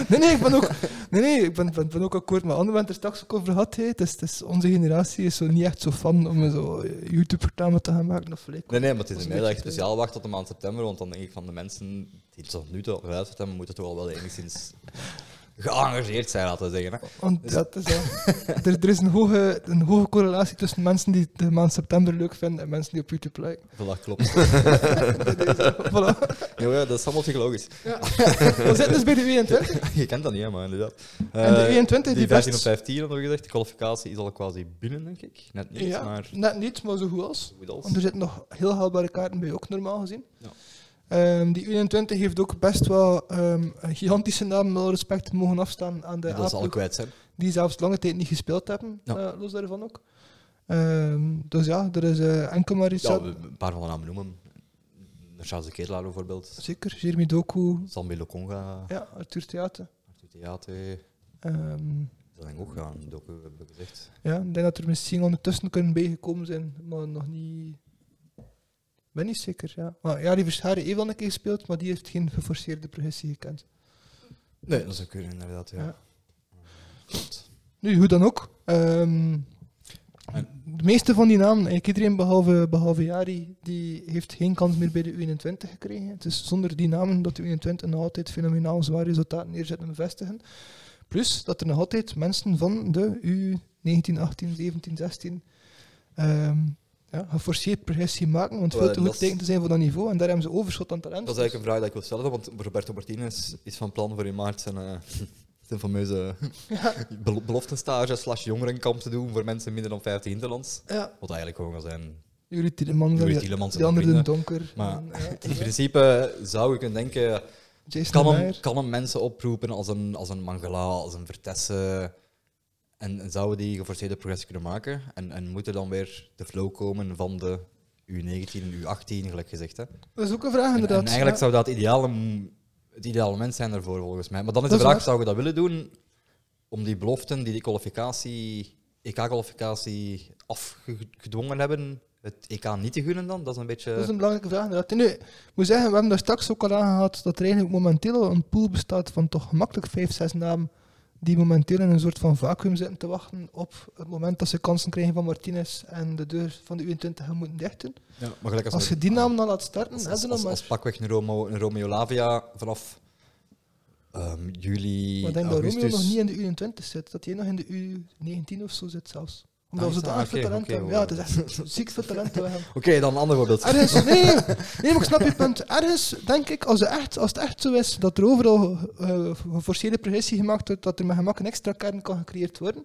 B: Nee, nee, ik ben ook, [LAUGHS] nee, nee, ik ben, ben, ben ook akkoord met anderen, we hebben het er straks ook over gehad. hè. Het is, het is, onze generatie is zo niet echt zo fan om zo YouTube-reclame te gaan maken. Of gelijk.
A: Nee, nee, maar het is
B: Dat is
A: een
B: een
A: mij dat ik
B: beetje-
A: speciaal wacht tot de maand september, want dan denk ik van de mensen die het tot nu toe al geluisterd hebben, moeten toch al wel
B: [LAUGHS]
A: enigszins geëngageerd zijn, laten we zeggen. Hè.
B: Want dat is dat.
A: [LAUGHS]
B: er, er is een hoge, een hoge correlatie tussen mensen die de maand september leuk vinden en mensen die op YouTube liken.
A: Voilà, klopt.
B: [LAUGHS] voilà.
A: [LAUGHS] Ja, ja, dat is allemaal psychologisch. [LAUGHS]
B: We zitten dus bij de 21.
A: Je kent dat niet, hè, maar inderdaad.
B: En de
A: Eh,
B: 21
A: die
B: die
A: 15 op
B: best...
A: 15 hadden we gezegd. De kwalificatie is al quasi binnen, denk ik. Net niet,
B: ja,
A: maar
B: net niet, maar zo goed als.
A: goed als.
B: Want dus er zitten nog heel haalbare kaarten bij, ook normaal gezien.
A: Ja.
B: Ehm, die U21 heeft ook best wel ehm, een gigantische naam, met alle respect, mogen afstaan aan de
A: Die dat ze al
B: A-ploeg,
A: kwijt zijn.
B: die zelfs lange tijd niet gespeeld hebben,
A: Ja.
B: eh, los daarvan ook. Ehm, dus ja, er is eh, enkel maar iets
A: Ja,
B: aan-
A: we- een paar van de namen noemen. Charles de Ketelaar bijvoorbeeld.
B: Zeker, Jeremy Doku,
A: Sambi Lokonga.
B: ja, Arthur Theater.
A: Arthur Theate.
B: Ehm,
A: Dat denk ik ook gaan. Doku hebben we gezegd.
B: ja, ik denk dat er misschien ondertussen kunnen bijgekomen zijn, maar nog niet... Ik ben niet zeker, ja. Maar ja, die Verscharen heeft wel een keer gespeeld, maar die heeft geen geforceerde progressie gekend.
A: Nee, dat zou kunnen, inderdaad. Ja.
B: Ja.
A: Klopt.
B: Nu, hoe dan ook. ehm, de meeste van die namen, eigenlijk iedereen behalve, behalve Jari, die heeft geen kans meer bij de U21 gekregen. Het is zonder die namen dat de U21 nog altijd fenomenaal zwaar resultaat neerzet en vestigen. Plus dat er nog altijd mensen van de U19, 18, 17, 16 ehm, ja, geforceerd progressie maken, want veel
A: Wel,
B: te
A: dat
B: goed
A: is-
B: teken te zijn voor dat niveau en daar hebben ze overschot aan talent.
A: Dat is eigenlijk een vraag die ik wil stellen, want Roberto Martinez is van plan voor in maart zijn, eh, [LAUGHS] zijn
B: [LAUGHS]
A: fameuze belo- beloftenstage slash jongerenkamp te doen voor mensen minder dan 50 interlands.
B: Ja,
A: Wat eigenlijk gewoon gaan zijn
B: Jurie Tielemans,
A: Jurie
B: die-
A: Tielemans en
B: die andere de
A: vrienden.
B: donker.
A: Maar
B: en, ja,
A: in principe zou je kunnen denken,
B: Jason
A: kan hem,
B: Meijer.
A: kan hem mensen oproepen als een, als een Mangala, als een Vertessen? En, en zouden die geforceerde progressie kunnen maken? En, en moet er dan weer de flow komen van de U19 en U18, gelijk gezegd? Hè? En-
B: Dat is ook een vraag,
A: En,
B: inderdaad.
A: eigenlijk
B: ja.
A: zou dat ideale, m- het ideale mens zijn daarvoor, volgens mij. Maar dan is
B: Dat
A: de
B: is
A: vraag,
B: waar.
A: zou je dat willen doen om die beloften die die kwalificatie, EK-kwalificatie afgedwongen hebben, het EK niet te gunnen dan? Dat is een beetje...
B: Dat is een belangrijke vraag. Inderdaad. En Nu, ik moet zeggen, we hebben daar straks ook al aangehaald dat er eigenlijk momenteel al een pool bestaat van toch gemakkelijk vijf, zes namen die momenteel in een soort van vacuüm zitten te wachten op het moment dat ze kansen krijgen van Martinez en de deur van de U20 gaan moeten dichten.
A: Ja, maar gelijk
B: Als
A: we-
B: je die naam dan laat starten,
A: Als,
B: hebben ze
A: als,
B: nog
A: als,
B: maar...
A: als pakweg een, Romo, een Romeo Lavia vanaf ehm, juli,
B: Maar ik denk dat
A: augustus.
B: Romeo nog niet in de U21 zit, dat hij nog in de U19 of zo zit zelfs. Omdat
A: Ah,
B: we
A: is
B: zodanig
A: dat-
B: veel
A: oké,
B: talent
A: oké,
B: hebben. Ja,
A: wow.
B: het is echt ziek veel talent dat we hebben.
A: Oké, dan een ander voorbeeld.
B: Ergens, Ah, nee, nee, nee, maar ik snap je punt. Ergens denk ik, als, er echt, als het echt zo is dat er overal eh geforceerde progressie gemaakt wordt, dat er met gemak een extra kern kan gecreëerd worden,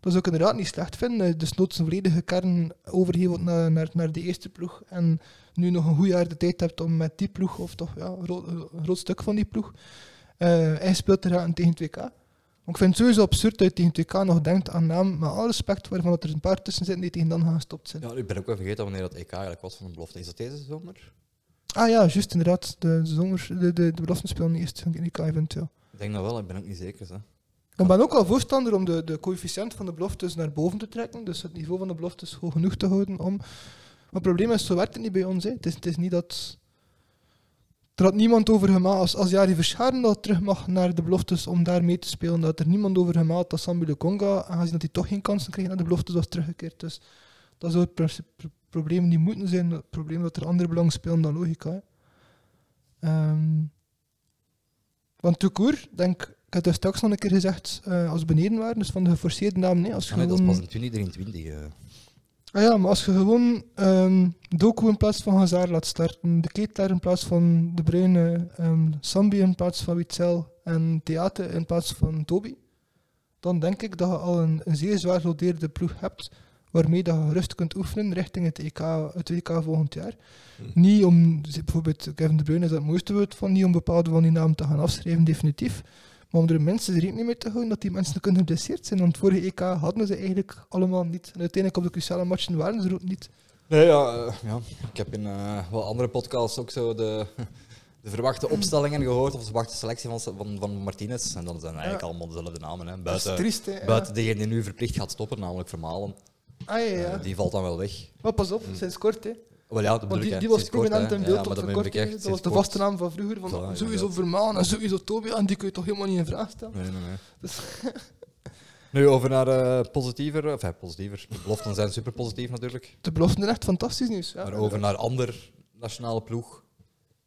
B: dat zou ik inderdaad niet slecht vinden. Eh, Dus noods een volledige kern overheveld naar, naar, naar de eerste ploeg en nu nog een goed jaar de tijd hebt om met die ploeg, of toch ja, een groot, een groot stuk van die ploeg, eh ingespeeld te raken tegen 2K. Want ik vind het sowieso absurd dat je tegen 2K nog denkt aan naam, met alle respect, waarvan dat er een paar tussen zitten die tegen dan gaan gestopt zijn.
A: Ja, ik ben ook wel vergeten wanneer dat EK eigenlijk was van de belofte. Is dat deze zomer?
B: Ah ja, juist inderdaad. De, zomer, de, de, de beloften spelen eerst van ik eventueel.
A: Ik denk dat wel, ik ben ook niet zeker. Hè.
B: Ik ben ook wel voorstander om de, de coëfficiënt van de beloftes naar boven te trekken. Dus het niveau van de beloftes hoog genoeg te houden om. Maar het probleem is, zo werkt het niet bij ons. Hè. Het, is, het is niet dat. Er had niemand over gemaakt. Als, als Jari Verscharen dat terug mag naar de beloftes om daar mee te spelen, dat er niemand over gemaakt dat Sambu de Conga, aangezien dat hij toch geen kansen kreeg naar de beloftes, was teruggekeerd. Dus dat zou het pro- pro- probleem niet moeten zijn. Het probleem dat er andere belang spelen dan logica. Hè. Ehm, want tout court, denk ik, had daar straks nog een keer gezegd eh, als we beneden waren, dus van de geforceerde naam, nee. Als je
A: Ah, nee, dat is
B: gewoon-
A: pas in 2023. eh.
B: Ah ja, maar als je gewoon ehm Doku in plaats van Hazard laat starten, de Ketelaar in plaats van De Bruyne, ehm Sambi in plaats van Witzel en Theater in plaats van Toby, dan denk ik dat je al een, een zeer zwaar gelodeerde ploeg hebt, waarmee dat je gerust kunt oefenen richting het, EK, het WK volgend jaar.
C: Hm.
B: Niet om, bijvoorbeeld Kevin De Bruyne is dat het mooiste woord van, niet om bepaalde van die namen te gaan afschrijven, definitief. Maar om er mensen rekening mee te houden dat die mensen kunnen geblesseerd zijn. Want vorige EK hadden ze eigenlijk allemaal niet. En uiteindelijk op de cruciale matchen waren ze er ook niet.
A: Nee, ja, eh, ja. Ik heb in eh, wel andere podcasts ook zo de, [LAUGHS] de verwachte opstellingen gehoord, of de verwachte selectie van, van, van Martinez. En dan zijn eigenlijk
B: Ja.
A: allemaal dezelfde namen. Hè.
B: Dat is
A: Buiten,
B: triest, hè. ja.
A: buiten degene die nu verplicht gaat stoppen, namelijk Vermalen.
B: Ah, ja, ja.
A: Eh, die valt dan wel weg.
B: Maar pas op, sinds kort, hè.
A: Wel ja, dat bedoel
B: Want
A: ik,
B: die,
A: hè.
B: die was
A: Sinds kort,
B: prominent
A: hè.
B: in
A: Ja,
B: beeld
A: maar
B: tot
A: dat
B: voor
A: ben
B: kort.
A: ik echt
B: hè. Dat
A: sinds
B: was de
A: kort.
B: vaste naam van vroeger. Van,
A: Voilà,
B: sowieso
A: inderdaad.
B: Vermaan en sowieso Tobian, die kun je toch helemaal niet in vraag stellen?
A: Nee, nee, nee.
B: [LAUGHS] Dus-
A: Nu over naar eh, positiever, of positiever. De beloften zijn super positief natuurlijk.
B: De beloften zijn echt fantastisch nieuws. Ja.
A: maar over naar ander nationale ploeg,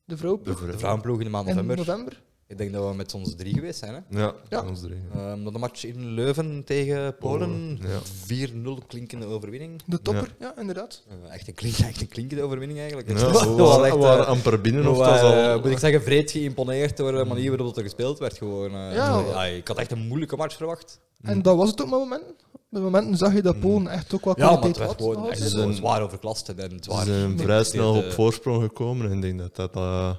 B: De vrouwenploeg
C: De
A: de
C: vrouw.
A: vrouwenploeg in de maand
B: in
A: november.
B: november.
A: Ik denk dat we met ons drie geweest zijn. Hè?
C: Ja,
B: Ja.
C: ons drie.
A: Ehm, dan de match in Leuven tegen Polen.
C: Polen, ja.
A: 4-0 klinkende overwinning.
B: De topper, ja, inderdaad.
A: Eh, echt, een klink, [LAUGHS] echt een klinkende overwinning eigenlijk.
C: Ja,
A: Dus
C: we
A: [LAUGHS] dat was-
C: waren,
A: dat was echt,
C: we
A: eh,
C: waren amper binnen of
A: we
C: dat is
A: waren, eh,
C: al...
A: moet ik zeggen, vreed geïmponeerd door de manier waarop dat er gespeeld werd. Gewoon, eh,
B: Ja.
A: ja, ik had echt een moeilijke match verwacht.
B: En dat was het ook met momenten. Met momenten zag je dat Polen echt ook wel
A: Mm. Ja, maar het
B: kwaliteit
A: werd
B: had. nog
A: gewoon echt
B: altijd.
C: Ze zijn-
A: zwaar overklast. En het
C: Ze
A: zwaar
C: zijn
A: Nee,
C: vrij
A: dit,
C: snel
A: eh,
C: op voorsprong gekomen en ik denk dat dat... eh, eh,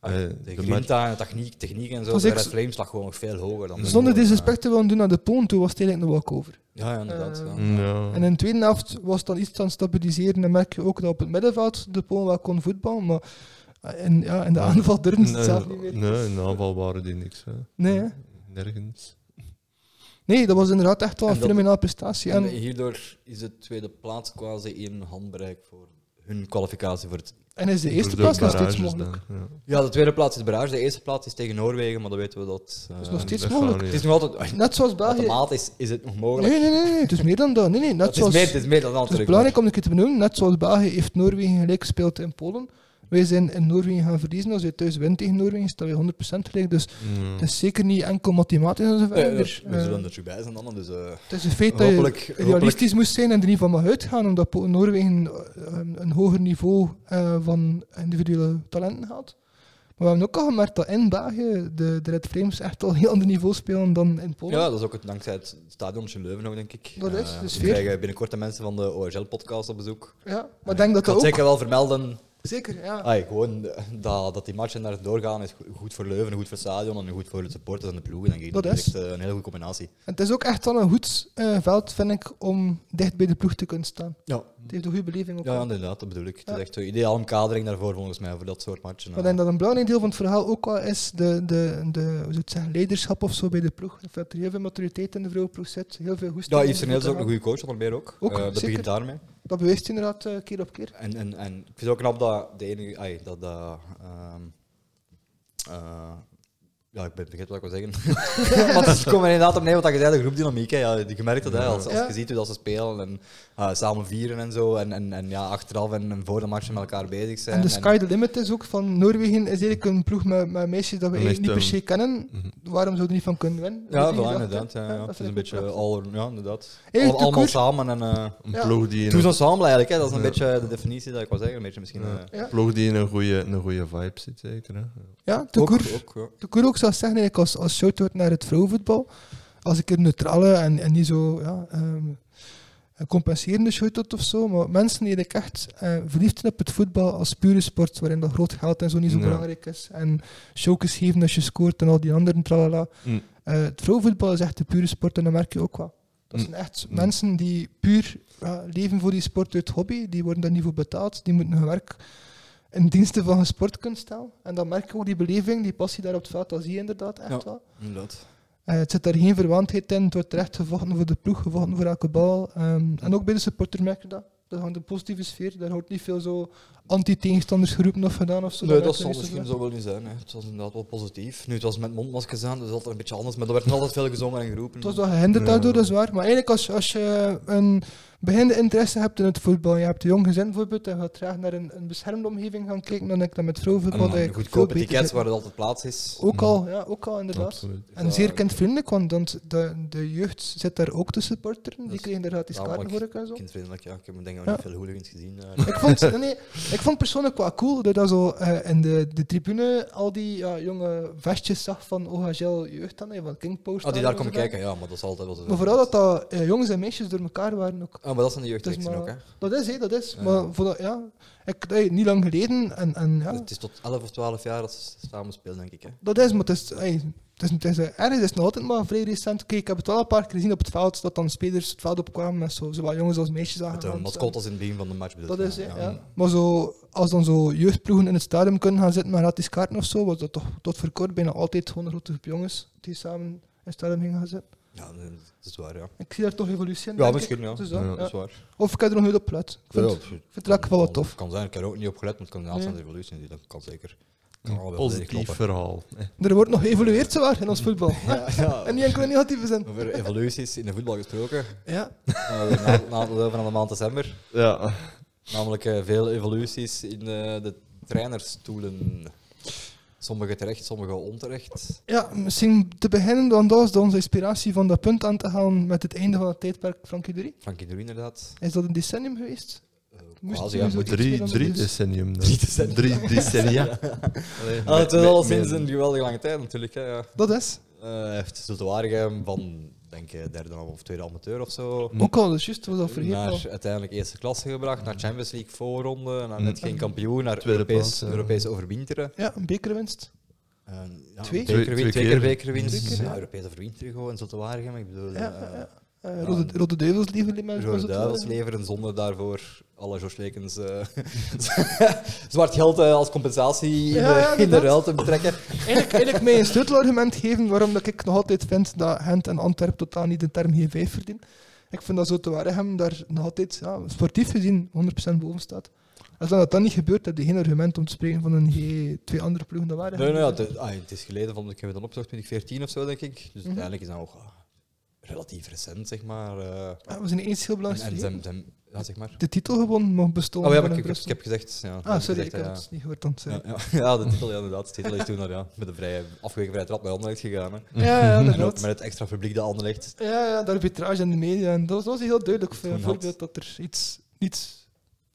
A: Ah, De
C: de match-
A: grinta en de techniek, techniek en zo.
B: Was
A: de
B: ik-
A: red flames lag gewoon nog veel hoger dan.
B: Zonder
A: Ja.
B: disrespect te willen doen naar de Polen, toen was het eigenlijk een walkover.
A: Ja, ja, inderdaad. ja.
C: Mm, ja.
B: En in de tweede helft was het dan iets aan het stabiliseren. En merk je ook dat op het middenveld de Polen wel kon voetballen. Maar eh, in, ja, in de
C: Ja.
B: aanval durfden ze
C: Nee,
B: het zelf niet meer.
C: Nee, in de aanval waren die niks. Hè.
B: Nee, hè.
C: Nergens.
B: Nee, dat was inderdaad echt wel
A: En
B: een
A: dat-
B: fenomenale prestatie.
A: En
B: En,
A: hierdoor is de tweede plaats quasi in handbereik voor hun kwalificatie voor het.
B: en is de eerste
C: Door
B: plaats nog steeds
C: barrages
B: mogelijk.
C: dan, ja.
A: Ja, de tweede plaats is Barrage, de eerste plaats is tegen Noorwegen, maar dan weten we dat. eh,
B: Dat is nog steeds
C: dat
B: mogelijk.
C: gaan
A: het
C: we
A: is
C: niet.
A: nog altijd.
B: Net zoals België.
A: Automatisch is het nog mogelijk.
B: Nee, nee, nee, nee, het is meer dan dat. Nee, nee, net
A: het, is
B: zoals,
A: meer, het is meer dan
B: het is
A: natuurlijk.
B: belangrijk om een keer te benoemen. Net zoals België heeft Noorwegen gelijk gespeeld in Polen. Wij zijn in Noorwegen gaan verliezen. Als je thuis wint tegen Noorwegen, staan we 100% gelijk. Dus
C: Ja.
B: het is zeker niet enkel mathematisch en zo
A: maar- Eh,
B: verder.
A: we zullen
B: Eh,
A: er terug bij zijn dan. Dus, eh,
B: het is een feit dat je
A: Hopelijk-
B: realistisch
A: hopelijk-
B: moest zijn en er niet van mag uitgaan, omdat Po- Noorwegen eh, een, een hoger niveau eh, van individuele talenten had. Maar we hebben ook al gemerkt dat in België de, de Red Frames echt al een heel ander niveau spelen dan in Polen.
A: ja, dat is ook het, dankzij het stadion in Leuven nog, denk ik.
B: Dat is,
A: Eh,
B: de
A: we
B: sfeer.
A: krijgen binnenkort de mensen van de ORL-podcast op bezoek.
B: Ja, maar ik denk dat
A: Ik ga
B: dat
A: het
B: ook...
A: zeker wel vermelden.
B: Zeker, ja.
A: Ai, gewoon eh, dat, dat die matchen daar doorgaan is go- goed voor Leuven, goed voor het stadion en goed voor de supporters en de ploegen, denk ik.
B: Dat is.
A: echt eh, een hele goede combinatie.
B: En het is ook echt wel een goed eh, veld, vind ik, om dicht bij de ploeg te kunnen staan.
A: Ja.
B: Het heeft een goede beleving ook.
A: Ja,
B: al.
A: inderdaad, dat bedoel ik. Het
B: Ja.
A: is echt een ideale omkadering daarvoor, volgens mij, voor dat soort matchen.
B: Maar ik denk dat een belangrijk deel van het verhaal ook wel is de, de, de hoe zou ik het zeggen, leiderschap of zo bij de ploeg. Of dat er heel veel maturiteit in de vrouwenploeg zit, heel veel goesting.
A: Ja,
B: om
A: Yves Terneels is
B: te
A: ook een
B: gaan.
A: goede coach, onder meer ook.
B: Ook,
A: Eh, dat
B: zeker.
A: begint daarmee.
B: Dat bewijst inderdaad eh, keer op keer.
A: En, en, en ik vind het ook knap dat de enige... Ai, dat, dat, ehm, eh, ja, ik ben- vergeet wat ik wil zeggen. [LAUGHS] maar het komt er inderdaad op neer, want je zei, de groepdynamiek. Hè, ja, je merkt dat, hè, als, als
B: Ja.
A: je ziet hoe dat ze spelen en eh, samen vieren en zo. En, en, en ja, achteraf en, en voor de matchen met elkaar bezig zijn.
B: En
A: en-
B: de Sky the Limit is ook van Noorwegen, is eigenlijk een ploeg met, met meisjes dat we
C: Een
B: eigenlijk niet per
C: echte-
B: se kennen.
C: Mhm.
B: Waarom zouden we niet van kunnen winnen?
A: ja,
B: Dat is
A: voilà,
B: niet
A: inderdaad. Ja,
B: gedacht,
A: ja,
B: hè. Dat
A: het is
B: vind
A: een
B: ik
A: beetje
B: ook prachtig.
A: al, ja, inderdaad.
B: Eigenlijk
A: Al-
B: de
A: allemaal
B: koers-
A: samen en... eh,
C: Een
B: Ja.
C: ploeg die in
A: Toen
C: een,
A: ensemble eigenlijk, hè. dat is een
C: Ja.
A: beetje de definitie dat ik wil zeggen. Een beetje misschien.
C: Ja.
A: eh,
B: Ja.
C: ploeg die in een goede, een goede vibe zit, zeker. Hè?
B: Ja, de koers.
A: ook, ja.
B: De Koer ook zou zeggen, eigenlijk als, als shout-out naar het vrouwenvoetbal, als ik een neutrale en, en niet zo ja, ehm, een compenserende shout-out of zo, maar mensen die eigenlijk echt eh, verliefd zijn op het voetbal als pure sport, waarin dat groot geld en zo niet zo
C: Ja.
B: belangrijk is, en showcase geven als je scoort en al die anderen, tralala.
C: Mm.
B: Eh, het vrouwenvoetbal is echt de pure sport en dat merk je ook wel. Dat
C: Mm.
B: zijn echt
C: Mm.
B: mensen die puur ja, leven voor die sport uit hobby, die worden daar niet voor betaald, die moeten hun werk in diensten van een sport kunt stellen. En dan merk je ook die beleving, die passie daar op het veld, dat zie je inderdaad echt
A: Ja.
B: wel.
A: Inderdaad.
B: Eh, het zit daar geen verwaandheid in, het wordt terecht gevochten voor de ploeg, gevochten voor elke bal. Ehm, en ook bij de supporter merk je dat. Dat hangt een positieve sfeer, daar wordt niet veel zo anti-tegenstanders geroepen of gedaan of zo.
A: Nee, dat
B: merk je
A: zal
B: niet zoveel.
A: misschien zo wel niet zijn. Hè. Het was inderdaad wel positief. Nu, het was met mondmaskers aan, dus altijd een beetje anders. Maar er werd nog altijd veel gezongen en geroepen.
B: Het was wel gehinderd
C: Ja.
B: daardoor, dat is waar. Maar eigenlijk, als, als je een beginnende interesse hebt in het voetbal, je hebt een jong gezin bijvoorbeeld, en je gaat graag naar een, een beschermde omgeving gaan kijken, dan denk ik dat met
A: En
B: vrouwenvoetbal... dat
A: een
B: je
A: goedkope
B: eh, veel beter
A: tickets
B: zit.
A: waar Mhm. het altijd plaats is.
B: Ook al, ja, ook al inderdaad.
C: Absoluut.
B: En zeer kindvriendelijk, want dan- de, de jeugd zit daar ook te supporteren. Die
A: Dus
B: krijgen daar gratis kaarten
A: namelijk
B: voor ik en zo.
A: Kindvriendelijk, ja. Ik denk denk dat we
B: Ja.
A: niet veel hooligans gezien eh. Ah, hebben.
B: Ik vond, nee, nee, ik vond persoonlijk wel cool dat dat zo eh, in de, de tribune al die ja, jonge vestjes zag van OHL Jeugd dan, eh, van King Post.
A: Ah, die
B: dan
A: daar komen
B: en zo
A: kijken, ja, maar dat is altijd wel zo.
B: Maar vooral dat dat eh, jongens en meisjes door elkaar waren ook.
A: Ah, maar dat zijn de
B: Het is
A: jeugdrechten
B: maar-
A: ook, hè.
B: Dat is, hè, dat is.
A: Ja.
B: Maar voor dat, ja, ik, eh, niet lang geleden en, en ja,
A: Het is tot 11 of 12 jaar dat ze samen spelen, denk ik. Hè.
B: dat is, maar het is, eh, het is, het is eh, ergens is het nog altijd maar vrij recent. Kijk, ik heb het wel een paar keer gezien op het veld, dat dan spelers het veld opkwamen met zo, zowel jongens als meisjes
A: Met de
B: aangehaald.
A: mascotte als in het begin van de match. bedoel
B: eh, Dat is,
A: ik,
B: hè, ja. Maar zo, als dan zo jeugdploegen in het stadion kunnen gaan zitten met gratis kaarten of zo, was dat toch tot voor kort bijna altijd gewoon een grote groep jongens die samen in het stadion gingen gaan zitten.
A: Ja, nee, dat is waar, ja.
B: Ik zie daar toch evolutie in.
A: Ja,
B: denk
A: misschien,
B: ik.
A: ja.
B: Het is dat,
C: Ja,
B: ja.
A: Dat is waar.
B: Of ik heb er nog nooit op gelet. Ik vind,
A: Ja,
B: ik
A: absoluut.
B: vind het eigenlijk wel wat tof.
A: Kan zijn, ik heb er ook niet op gelet, maar het kan inderdaad
B: Nee.
A: zijn de evolutie. die- Dat kan zeker. Kan wel
C: Positief
A: kloppen.
C: verhaal.
B: Er wordt nog geëvolueerd zwaar in ons voetbal. [LAUGHS]
A: Ja, ja.
B: En niet enkel in negatieve zin.
A: Over evoluties in de voetbal gesproken.
B: Ja.
A: Nou, na, na het van de maand december.
C: Ja.
A: Namelijk eh, veel evoluties in eh, de trainerstoelen. Sommige terecht, sommige onterecht.
B: ja, misschien te beginnen dan dat is dan onze inspiratie van dat punt aan te halen met het einde van het tijdperk Frankie de Rie.
A: Frankie de Ruin, inderdaad.
B: Is dat een decennium geweest?
A: Eh,
B: Moest
A: quasi,
B: u
A: ja,
B: zo- Dus
A: moet-
C: Drie, drie decennium. dan.
A: Drie decennia.
C: Drie decennia. Allee,
A: Ah, het
C: met-
A: is al
C: met-
A: sinds
C: met-
A: een geweldige lange tijd natuurlijk. Hè, ja.
B: Dat is.
A: Eh, hij heeft zo te waardigheid van denk ik, derde of tweede amateur of zo.
C: Mm.
B: Ook al, dus juist, was dat vergeten. al.
A: Hm. Naar uiteindelijk eerste klasse gebracht, naar Champions League voorronde, naar
C: Mm.
A: net geen kampioen, naar
C: Tweede
A: Europees,
C: plaats, ja.
A: Europese overwinteren.
B: Ja, een bekerwinst.
A: En, Ehm, ja,
B: Twee?
A: bekerwin-
C: Twee- twee
A: twee keer
C: keer.
A: bekerwinst.
B: Twee keer,
A: ja,
B: ja.
A: Europese overwinteren gewoon, en zo te waardigheid. Ik bedoel,
B: Ja,
A: eh,
B: ja, ja. Eh,
A: ja,
B: Rode,
A: en-
B: Rode Duivels liever niet meer.
A: Rode Duivels leveren zonder daarvoor alle George Lekens eh, [LAUGHS] zwart geld eh, als compensatie in de-
B: Ja, ja,
A: in de
B: inderdaad.
A: ruil te betrekken.
B: Eigenlijk, eigenlijk mij een sleutelargument geven waarom dat ik nog altijd vind dat Gent en Antwerp totaal niet de term G5 verdienen. Ik vind dat zo te Waregem daar nog altijd ja, sportief gezien 100% boven staat. Als dan dat dan niet gebeurt, heb je geen argument om te spreken van een G2 andere ploegen dan Waregem.
A: Nee, nee, ja, het, ah, het is geleden van, ik heb het dan opgezocht, 2014 of zo, denk ik. Dus
B: Mhm.
A: uiteindelijk is dat nog ah, relatief recent, zeg maar. eh,
B: Ja, Ah, we zijn eens heel
A: en
B: belangrijk.
A: en
B: vergeten.
A: zijn, zijn, ja, zeg maar.
B: De titel gewonnen mag bestaan.
A: Oh ja,
B: van
A: maar ik,
B: een
A: ik, heb- ik
B: Brussel.
A: heb gezegd. Ja,
B: Ah, sorry,
A: gezegd,
B: ik had
A: ja,
B: het niet gehoord. Dan,
A: ja,
B: sorry.
A: ja, ja, de titel, ja, inderdaad. De titel is toen naar, ja, met een vrije, afgeweken vrije trap bij Anderlecht gegaan. Hè.
B: Ja, ja,
A: [LAUGHS] En ook
B: inderdaad.
A: met het extra publiek dat Anderlecht
B: Ja, ja, de arbitrage en de media. En dat was, dat was een heel duidelijk
A: Toen had-
B: voorbeeld dat er iets, niets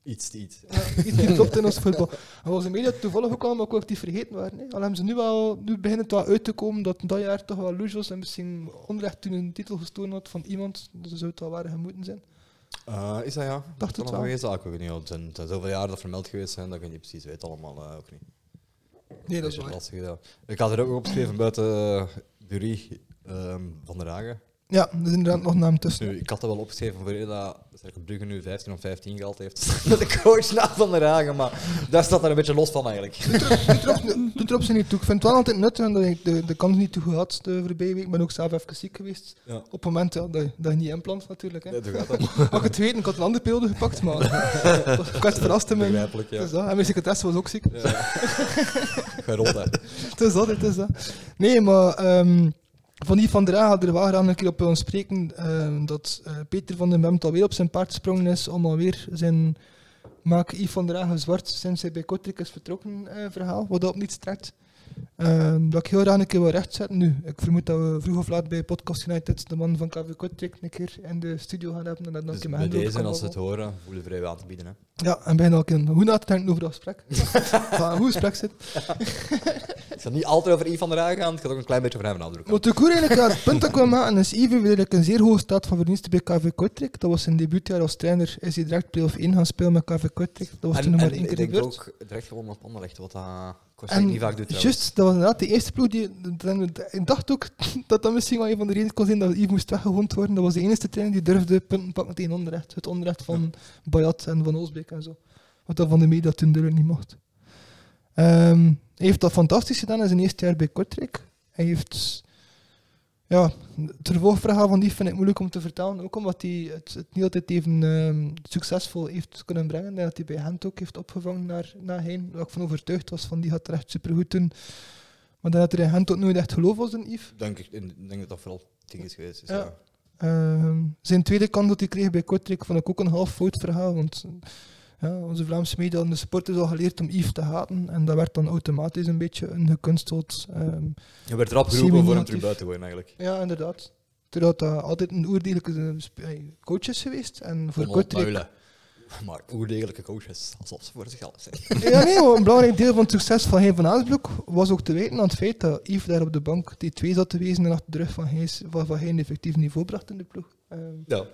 A: iets, iets.
B: Ja, Eh, iets niet klopt in ons voetbal. En onze media toevallig ook allemaal collectief vergeten waren. Hè. Al hebben ze nu wel, nu begint het wel uit te komen dat dat jaar toch wel Lujos en misschien onrecht toen een titel gestolen had van iemand. Dus dat zou het wel waar moeten zijn.
A: Eh, is dat ja?
B: Dacht
A: kan
B: het
A: nog
B: wel.
A: geen zaak, ik weet niet. ja, Het zijn, het zijn zoveel jaren dat vermeld geweest zijn dat ik het niet precies weet allemaal. eh, ook niet.
B: Nee, dat is
A: Beetje
B: waar.
A: lastig, ja. Ik had er ook opgeschreven buiten eh, Durie ehm, van der Hagen.
B: Ja, er is inderdaad nog naam tussen.
A: Nu, ik had er wel opgeschreven voor eerder dat Cercle Brugge nu 15 of 15 gehaald heeft. [LAUGHS] Met de coach na van der Hagen, maar daar staat daar een beetje los van eigenlijk.
B: Doet erop zijn niet toe. Ik vind het wel altijd nuttig en dat ik de, de kans niet toe gehad de voorbije week. Ik ben ook zelf even ziek geweest.
A: Ja.
B: Op het moment ja, dat, je- dat je niet inplant natuurlijk. Hè.
A: Ja,
B: [LAUGHS]
A: zo gaat [LAUGHS] dat.
B: Had ik het weten, ik had een andere periode gepakt,
A: [LAUGHS]
B: maar ik werd verrast in mijn...
A: Begrijpelijk, ja.
B: Het is dat. Dus, En mijn secretaresse was ook ziek.
A: Ja. Ga rond, hè.
B: Het is dat, het is dat. Nee, maar ehm, Van die Van der Haag had er wel graag een keer op willen spreken ehm, dat eh, Peter van den Bemt alweer op zijn paard gesprongen is om alweer zijn maak Yves van der Haag zwart sinds hij bij Kortrijk is vertrokken eh, verhaal, wat dat op niets trekt. Ehm, dat ik heel graag een keer wil rechtzetten nu. Ik vermoed dat we vroeg of laat bij Podcast United de man van KV Kortrijk een keer in de studio gaan hebben en dat dan
A: Dus
B: een keer
A: bij
B: met hem
A: deze,
B: over
A: als ze
B: kan
A: het horen, voelen vrij aan te bieden. Hè.
B: babbelen. Ja, en bijna al een keer hoe na te denken over dat gesprek. [LAUGHS] Van hoe gesprek zit.
A: Ik zal niet altijd over Yves van der Hagen gaan, het gaat ook een klein beetje over hem nadrukken.
B: Maar de koer eigenlijk ja, het punt dat ik wil maken is Ivo eigenlijk een zeer hoge staat van verdiensten bij KV Kortrijk. Dat was zijn debuutjaar als trainer. Is hij direct play-off 1 gaan spelen met KV Kortrijk. Dat was
A: En-
B: toen nog maar
A: en
B: één keer
A: ik denk
B: gebeurd.
A: ook direct gewoon op Anderlecht, wat dat Kortrijk
B: En
A: niet vaak doet trouwens.
B: juist, dat was inderdaad de eerste ploeg die... dan- Ik dacht ook [LAUGHS] dat dat misschien wel een van de redenen kon zijn dat Ivo moest weggewoond worden. Dat was de enige trainer die durfde punten pakken tegen onrecht. Het onrecht van Bayat en van Oosbeek en zo. Wat dat van de media toen duidelijk niet mocht. Ehm, hij heeft dat fantastisch gedaan in zijn eerste jaar bij Kortrijk. Hij heeft... Ja, het vervolgverhaal van die vind ik moeilijk om te vertalen. Ook omdat hij het, het niet altijd even ehm, succesvol heeft kunnen brengen. Ik denk Dat hij bij Gent ook heeft opgevangen naar, naar Hein. Waar ik van overtuigd was van die gaat het echt supergoed doen. Maar ik denk dat er in Gent ook nooit echt geloof was in Yves.
A: Denk ik ik denk dat dat vooral ding is geweest. Dus
B: Ja.
A: ja.
B: Ehm, zijn tweede kans dat hij kreeg bij Kortrijk vond ik ook een half fout verhaal. Want ja, onze Vlaamse media hadden de supporters al geleerd om Yves te haten. En dat werd dan automatisch een beetje een gekunsteld. ehm,
A: Je werd erop geroepen voor hem
B: Semi-negatief.
A: terug buiten te gooien eigenlijk.
B: ja, inderdaad. Terwijl dat altijd een oordelijke eh, sp- eh, coach is geweest. En voor
A: Om op te
B: Kortrijk
A: huilen. [LAUGHS] Maar oerdegelijke coaches, alsof ze voor zichzelf zijn.
B: Ja, nee, maar een belangrijk deel van het succes van Hein van Aasbroek was ook te wijten aan het feit dat Yves daar op de bank die twee zat te wezen en achter de rug van Gijs, van, van Hein effectief niveau bracht in de ploeg. Ehm,
C: Ja.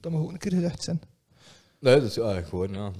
B: dat mag ook een keer gezegd zijn.
A: Nee, dus ja, gewoon, ja.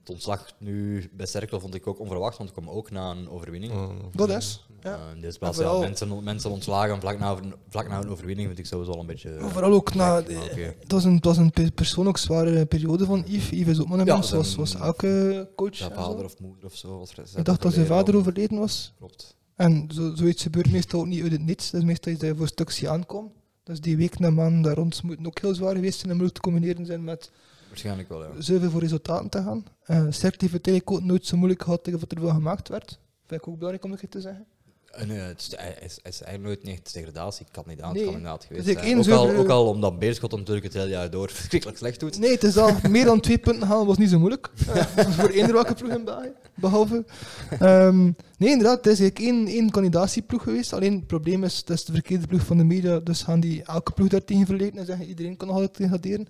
A: Het ontslag nu bij Cerkel vond ik ook onverwacht, want ik kwam ook na een overwinning.
C: Oh,
B: Dat is. Ja.
A: Eh, in dit spel,
B: En
A: zijn
B: vooral-
A: mensen, mensen ontslagen vlak na, vlak na een overwinning vind ik sowieso al een beetje... eh,
B: Maar Vooral ook na.
A: Ja, oké.
B: Het was een, het was een pe- persoonlijk zware periode van Yves. Yves is ook maar een
A: Ja,
B: mens,
A: zijn-
B: zoals, zoals elke coach.
A: Zijn
B: en zo.
A: vader of moeder of zo. Was
B: Ik dacht dat zijn vader overleden was.
A: Klopt.
B: En zo, zoiets gebeurt meestal ook niet uit het niets. Dat is meestal iets dat je voor stukje aankomt. Dus die week na maand daar rond moet ook heel zwaar geweest zijn en moeilijk te combineren zijn met
A: Waarschijnlijk wel, ja.
B: zoveel voor resultaten te gaan. Uh, Certi heeft uiteindelijk ook nooit zo moeilijk gehad tegen wat er van gemaakt werd. Vind ik ook belangrijk om dat keer te zeggen.
A: En, eh, het is, hij, is, hij is eigenlijk nooit een echt degradatiekandidaat
B: Nee.
A: kandidaat geweest.
B: Dus ik
A: zijn.
B: één
A: ook, al,
B: zoveel-
A: ook al omdat Beerschot hem natuurlijk het hele jaar door [LAUGHS] verschrikkelijk slecht doet.
B: Nee, het is al meer dan twee punten halen was niet zo moeilijk. Eh, voor eender welke ploeg in België, behalve. Ehm, nee, inderdaad, het is eigenlijk één, één kandidatieploeg geweest. Alleen het probleem is, dat is de verkeerde ploeg van de media, dus gaan die elke ploeg daartegen verleden en zeggen iedereen kan nog altijd degraderen.